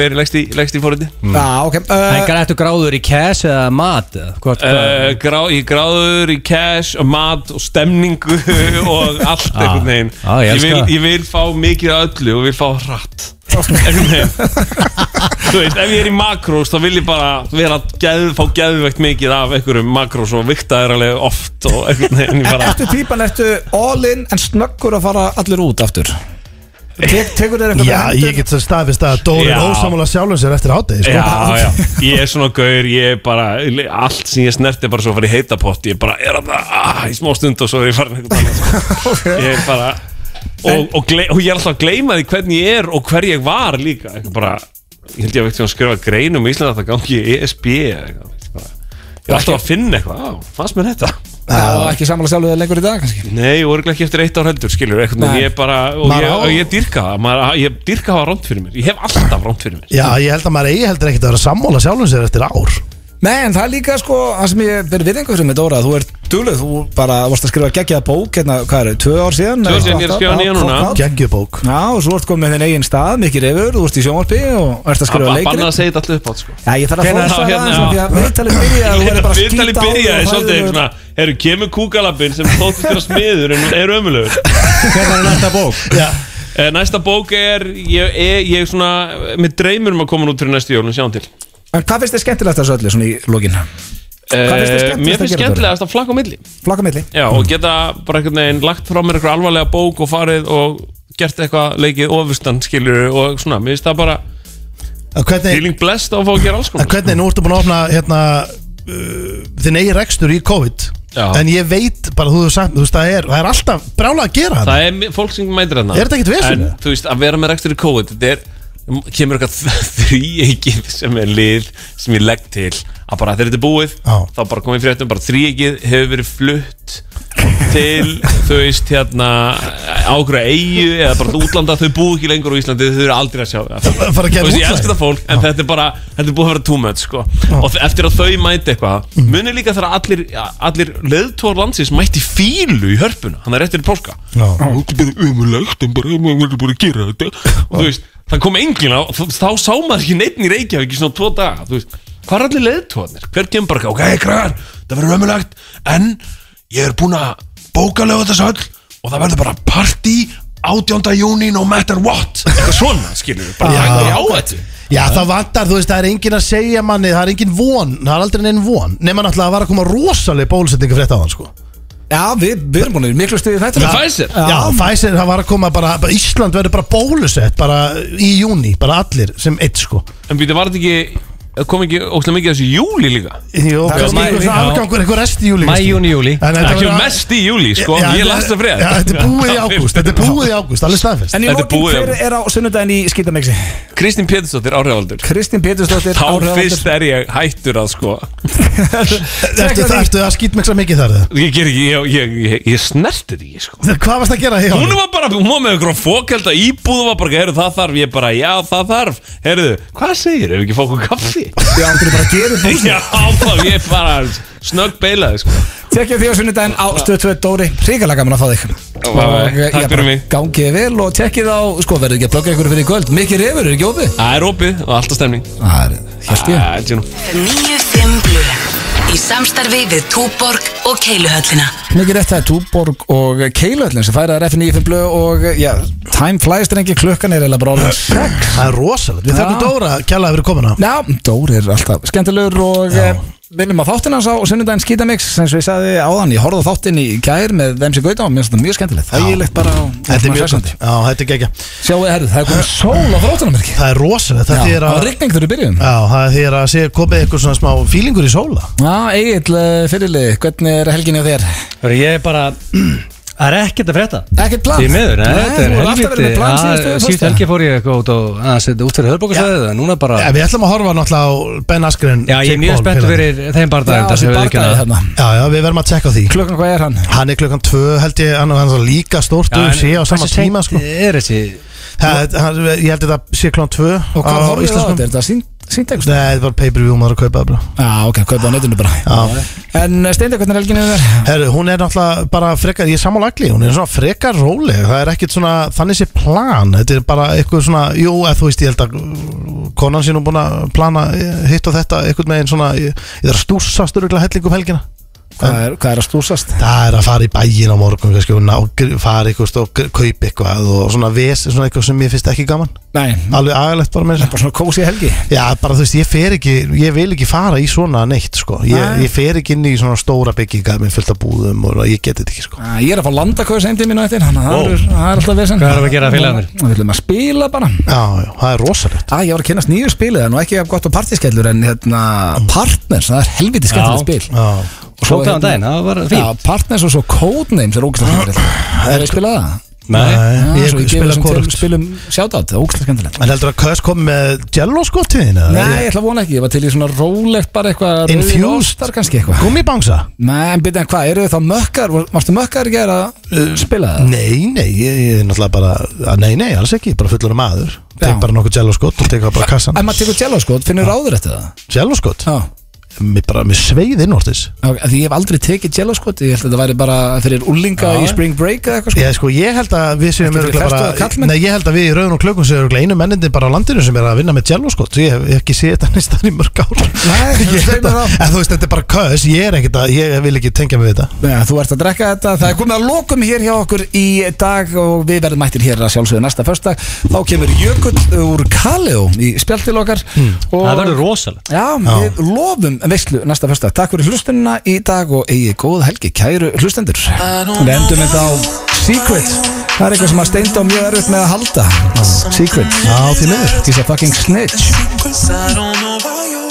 S9: fer í legst í, leggst í fórhundi
S1: Já, ok
S2: En
S1: uh,
S2: grættu gráður í kæs eða mat eða Hvort hvað
S9: Uh, grá, ég gráður í cash og mat og stemningu og allt einhvern veginn
S2: Já, Ah. ég elska
S9: vil,
S2: það.
S9: ég vil fá mikið af öllu og vil fá hratt einhvern veginn Þú veist, ef ég er í makrós þá vil ég bara vera að geð, fá geðvegt mikið af einhverjum makrós og vikta er alveg oft og einhvern veginn ég bara
S1: Ertu típan, ertu all in en snöggur að fara allir út aftur Tek, Tekur þér eitthvað
S3: Já, ég get það staðfist að Dóri er
S9: Já.
S3: ósamála sjálfum sér eftir hátegi sko.
S9: Já, já, ég er svona gaur, ég er bara, allt sem ég snerti er bara svo að fara í heita pott, ég bara er að það, ah, í smá stund og svo er ég farin eitthvað annað, sko. ég er bara, og, og, gle, og ég er alltaf að gleyma því hvernig ég er og hver ég var líka, eitthvað bara, ég held ég að veit sem að skrifa grein um Íslanda að það gangi í ESB eða eitthvað, veist, bara, ég er alltaf að finna eitthvað, á, fannst mér þetta?
S1: Það var ekki sammála sjálfur þegar lengur í dag kannski
S9: Nei, og örgulega ekki eftir eitt ár heldur, skilur, eitthvað,
S1: Nei.
S9: ég er bara, og
S1: Maður
S9: ég,
S1: á-
S9: og ég dýrka það, maður- ég dýrka að hafa rámt fyrir mér, ég hef alltaf rámt fyrir mér.
S3: Já, ég held að maður eigi heldur ekkert að vera sammála sjálfum sér eftir ár
S1: Nei, en það er líka sko, það sem ég verið virðingu fyrir með Dóra, þú ert dugleg, þú bara varst að skrifa geggjaða bók, hérna, hvað er, tvö ár síðan?
S9: Tvö ár síðan, ég er að skrifa nýja núna.
S3: Gengjubók
S1: Já, og svo ert komið með þinn eigin stað, mikið reyfur, þú ert í sjónvarpi og ert að
S9: Að
S1: skrifa
S9: ba- bannað
S1: leikri.
S9: að segja þetta allir upp átt, sko.
S1: Já, ég þarf að
S9: Hvenær-
S1: fóra
S9: já,
S1: það
S9: hérna,
S1: aðeins,
S9: já.
S1: því að viðtalið byrjaði að þú verður bara skýta
S9: Viðtali byrjaði svolítið eitthvað svona Herru, kemur kúkalabinn sem þóttist vera smiður en er ömulegur
S1: Hérna
S11: Hvernig er næsta bók?
S9: Eh, Næsta bók er Ég er ég er svona Mér dreymur um að koma út fyrir næstu jólun, sjáum til
S1: En hvað finnst þið skemmtilegt að þessu öllu, svona í lokin? Hvað finnst þér
S9: Eh,
S1: skemmtilegast
S9: Mér finnst
S1: að gera,
S9: skemmtilegast að flakka á milli
S1: Flakka milli.
S9: Já, og geta bara einhvern veginn lagt frá mér eitthvað alvarlega bók og farið og gert eitthvað leikið ofustan skilur og svona, mér finnst það bara
S3: En Hvernig,
S9: feeling sko. blessed á að fá að gera alls
S3: en
S9: konar
S3: hvernig nú ertu búin að opna hérna, uh, þinn eigi rekstur í COVID
S9: Já.
S3: En ég veit bara, þú hefur sagt, þú veist, það er, það er alltaf brála að gera
S9: Það er mi- fólk sem mætir þarna
S3: Er þetta ekkert vesen?
S9: En þú veist, að vera með rekstur í COVID Þetta er, kemur eitthvað þrýegið sem er lið sem ég legg til að bara þegar þetta er búið
S3: Já.
S9: þá bara komið fréttum, bara þrýegið hefur verið flutt til, þú veist, hérna ákveða eigu eða bara til útlanda þau búið ekki lengur á Íslandi, þau eru aldrei að sjá það
S3: Fara að gera
S9: Þú veist, ég
S3: útlæg.
S9: elska þetta fólk, en þetta er bara þetta er búið að vera too much, sko og eftir að þau mæti eitthvað, mm. munir líka þegar allir, allir leðtór landsins mætti fílu í hörpuna, hann er réttir í páska
S3: Já.
S9: Það er bara ömulegt en bara maður verður bara að gera þetta og þú veist, það kom enginn á þá, þá sá maður ekki neitt í Reykjavík í svona tvo daga þú veist, hvað er allir leðtóðanir? hver kemur bara, ok, kragar, það verður ömulegt en ég er búinn að bóka lögu þess öll og það verður bara partí 18. júni no matter what eitthvað svona, skilur við, bara ég hætti á þetta
S3: Já, það vantar, þú veist, það er engin að segja manni Það er engin von, það er aldrei neinn von Nefna náttúrulega að var að koma rosaleg bólusetningu frétt á hann, sko
S1: Já, við, við erum búin að miklu stuði þetta.
S9: Með Pfizer?
S3: Já, Pfizer, það var að koma bara, bara Ísland verður bara bólusett, bara í júni Bara allir, sem eitt, sko
S9: en býti, var þetta ekki kom ekki óslega mikið af þessu í júli líka
S3: Jó,
S1: Það er
S3: kannski
S1: maí,
S3: einhver
S1: já.
S3: svona afgangur, einhver rest í júli
S2: Mæ,
S3: kannski.
S2: júni, júli
S3: En þetta
S9: það
S3: verður-
S9: kemur mest í júli, sko,
S3: Já,
S9: ég
S3: þetta-
S9: las það frétt
S3: Já, þetta er búið í ágúst, þetta er búið í ágúst, alveg staðfest
S1: En í
S9: Þetta er
S1: lokin,
S9: búið,
S1: hver
S9: já.
S1: er á sunnudaginn í skýtamixi?
S9: Kristín Pétursdóttir, áhrifaldur
S1: Kristín Pétursdóttir,
S9: þá
S1: áhrifavaldur.
S9: fyrst er ég hættur að sko
S3: Ertu það ertu að skýt mikla mikið þar eða?
S9: Ég ger ekki, ég, ég, ég, ég snerti því sko.
S3: Hvað varst að gera hjá
S9: Hún var bara, hún var með einhverjum fókelda íbúð og var bara, heyrðu það þarf, ég bara, já það þarf Heyrðu, hvað segir, ef ekki fá okkur kaffi?
S1: Já, hann fyrir bara að gera upp
S9: já, þá ég bara snögg beilaði sko.
S1: Tekjum því á sunnudaginn á stöð 2 Dóri Ríkalega gaman að fá þig Og ég
S9: takk
S1: bara
S9: fyrir mig.
S1: Gangi þér vel og tekkið á Sko verður ekki að plugga ykkur fyrir í kvöld Mikið reyfur, er ekki opið?
S9: Það er opið og alltaf stemning
S1: Það er, hérst ég
S9: Æ, tjúnum.
S12: 9-5 Blu Í samstarfi við Túborg og Keiluhöllina
S1: Mikið rétt það er Túborg og Keilöllin sem færaðar F95 blöð og eh, já, time flies drengi klukkan er eða bara orðin 6
S3: Það er rosalegt, við
S1: Já.
S3: þakkum Dóra kjærlega fyrir komuna
S1: Já, Dóri er alltaf skemmtilegur og eh, minnum á þáttinn hans á sunnudaginn skítamix sem svo ég sagði áðan, ég horfði á þáttinn í gær með þeim sem gauta og mér finnst þetta mjög skemmtilegt Það er bara á
S3: Þetta er mjög gott, já, þetta er geggja
S1: Sjáu, herru, það er komið sól á þróttunum ekki
S3: Það er rosalegt, það
S1: Já,
S3: þýðir
S1: það var
S3: að
S1: rigning þegar við byrjum
S3: Já, það þýðir að sé komið eitthvað svona smá fílingur í sóla
S1: Já, Egil, fyrirlið, hvernig er helginni á þér?
S2: Hörru, Ég er bara Það er ekkert að frétta
S1: Ekkert plan?
S2: Því miður, nei,
S1: Nei,
S2: þetta er
S1: þú hefur alltaf verið
S2: helviti
S1: með plan
S2: Það-
S1: síðustu
S2: Síðustu
S1: föstudag.
S2: helgi fór ég eitthvað út og að setja út fyrir hörbókarsæðið en núna bara
S3: ja, Við ætlum að horfa náttúrulega á Ben Askren
S2: Já, ég er
S3: Jake
S2: mjög
S3: Paul,
S2: spenntur
S3: félaginn.
S2: fyrir þeim
S1: Já,
S2: barndagum
S1: þessi
S2: sem við ekki
S1: bardaði
S2: að
S1: þarna
S3: Já, já, við verðum að tjekka á því
S1: Klukkan hvað er hann?
S3: Hann er klukkan tvö held ég, hann hann er líka stórt og sé á sama tíma sko.
S2: Er þessi
S3: Það- hann- Ég held þetta sé klukkan tvö
S1: Og hvað
S3: á
S1: horfið það á
S3: Íslandsmóti.
S1: þetta? Er þetta sínt- sínt
S3: Nei,
S1: eitthvað?
S3: þetta var pay-per-view maður að kaupa það bara
S1: Já, ok, kaupa á netinu bara
S3: Já.
S1: En eh, Steindi, hvernig er helginni á þér?
S3: Herru, hún er náttúrulega bara frekar, ég er sammála agli, hún er svona frekar róleg, það er ekkert svona, þannig sé plan, þetta er bara eitthvað svona, jú, eða þú veist, ég held að uh, konan sín er búin að plana eh, hitt og þetta, eitthvað meginn svona, ég, ég þarf að stússast öruglega hellingu um helgina, Hvað
S1: er, hvað er að stúsast?
S3: Það er að fara í bæin á morgun kannski, og ná, gr- fara eitthvað og gr- kaupa eitthvað og svona ves, svona eitthvað sem mér finnst ekki gaman
S1: Nei
S3: Alveg agalegt bara með
S1: Bara svona kósi helgi
S3: Já, bara þú veist, ég fer ekki, ég vil ekki fara í svona neitt, sko Ég,
S1: Nei.
S3: ég fer ekki inn í svona stóra bygginga með fullt af búðum og ég geti þetta ekki, sko
S1: Æ, Ég er að fá landakóð sem tíminu eftir Þannig að það
S3: Ó.
S1: verður- það er alltaf vesen
S2: Hvað erum við að gera, félagarnir?
S1: Við viljum að spila bara
S3: Já, já, það er rosalegt
S1: Æ, ég var að kynast nýju spilið En nú ekki jafn gott á partískellur En hérna, partners, það er helviti skemmtileg
S2: Já.
S1: spil
S3: Já,
S1: Og svo hérna-
S2: Tók það á daginn, það var fínt. Ah,
S1: Já, partners og svo Codenames er ógæslega skemmtilegt Er það spilað það?
S2: Nei,
S3: Nei,
S1: Já,
S3: ég
S1: svo ég gefa
S3: spila
S1: þessum til-
S3: hvorugt
S1: Spilum shoutout, það er ógæslega
S2: Eh,
S1: skemmtilegt
S3: En heldur að Kös kom með Jello sko til þín? eða?
S1: Nei, ég ætla að vona ekki, ég var til í svona rólegt bara eitthvað
S3: Infused?
S1: Rauðlóstar kannski eitthvað
S3: Gummibangsa?
S1: Nei, en byrja, en hvað, eru þið þá mökkar? Varstu mökkar í gær að
S2: Eh,
S1: uh, spila það?
S3: Nei, nei, ég ég er náttúrulega bara að Nei, nei, alls ekki, bara fullur maður Tek bara nokkuð jello skot og tek það bara kassan
S1: En maður tekur jello sko, finnur ráður eftir það?
S3: Jello skot?
S1: Já
S3: Mér bara, mér sveið innvortis
S1: Ok, Því ég hef aldrei tekið jello sko, ég held að þetta væri bara fyrir úlinga í spring break eða eitthvað sko
S3: Ég, sko, ég held að við séum
S1: Ekki fyrir
S3: örugglega
S1: festu og
S3: bara,
S1: kallmenn?
S3: Nei, ég held að við í raun og klökun séum örugglega einu mennindi bara á landinu sem er að vinna með jello skot Ég hef ég hef ekki séð þetta nýst í mörg ár
S1: Nei,
S3: Ég
S1: þú
S3: held
S1: segir
S3: að-
S1: það.
S3: En þú veist, þetta er bara kös Ég er ekkert að, ég vil ekki tengja mig við þetta
S1: Já, þú ert að drekka þetta, það er komið að lokum hér hjá okkur í dag og við verðum mættir hér að sjálfsögðu næsta förstak þá kemur Jökull úr Kaleo í spjaltil okkar og
S2: það verður rosalegt
S1: Já, við lofum veislu næsta förstak Takk fyrir hlustunina í dag og eigi góð helgi kæru hlustendur Við endum þetta á Secret Það er eitthvað sem að steinda á mjög erfitt með að halda Secret
S3: Já, því miður
S1: He's a fucking snitch
S13: Cause I don't know about you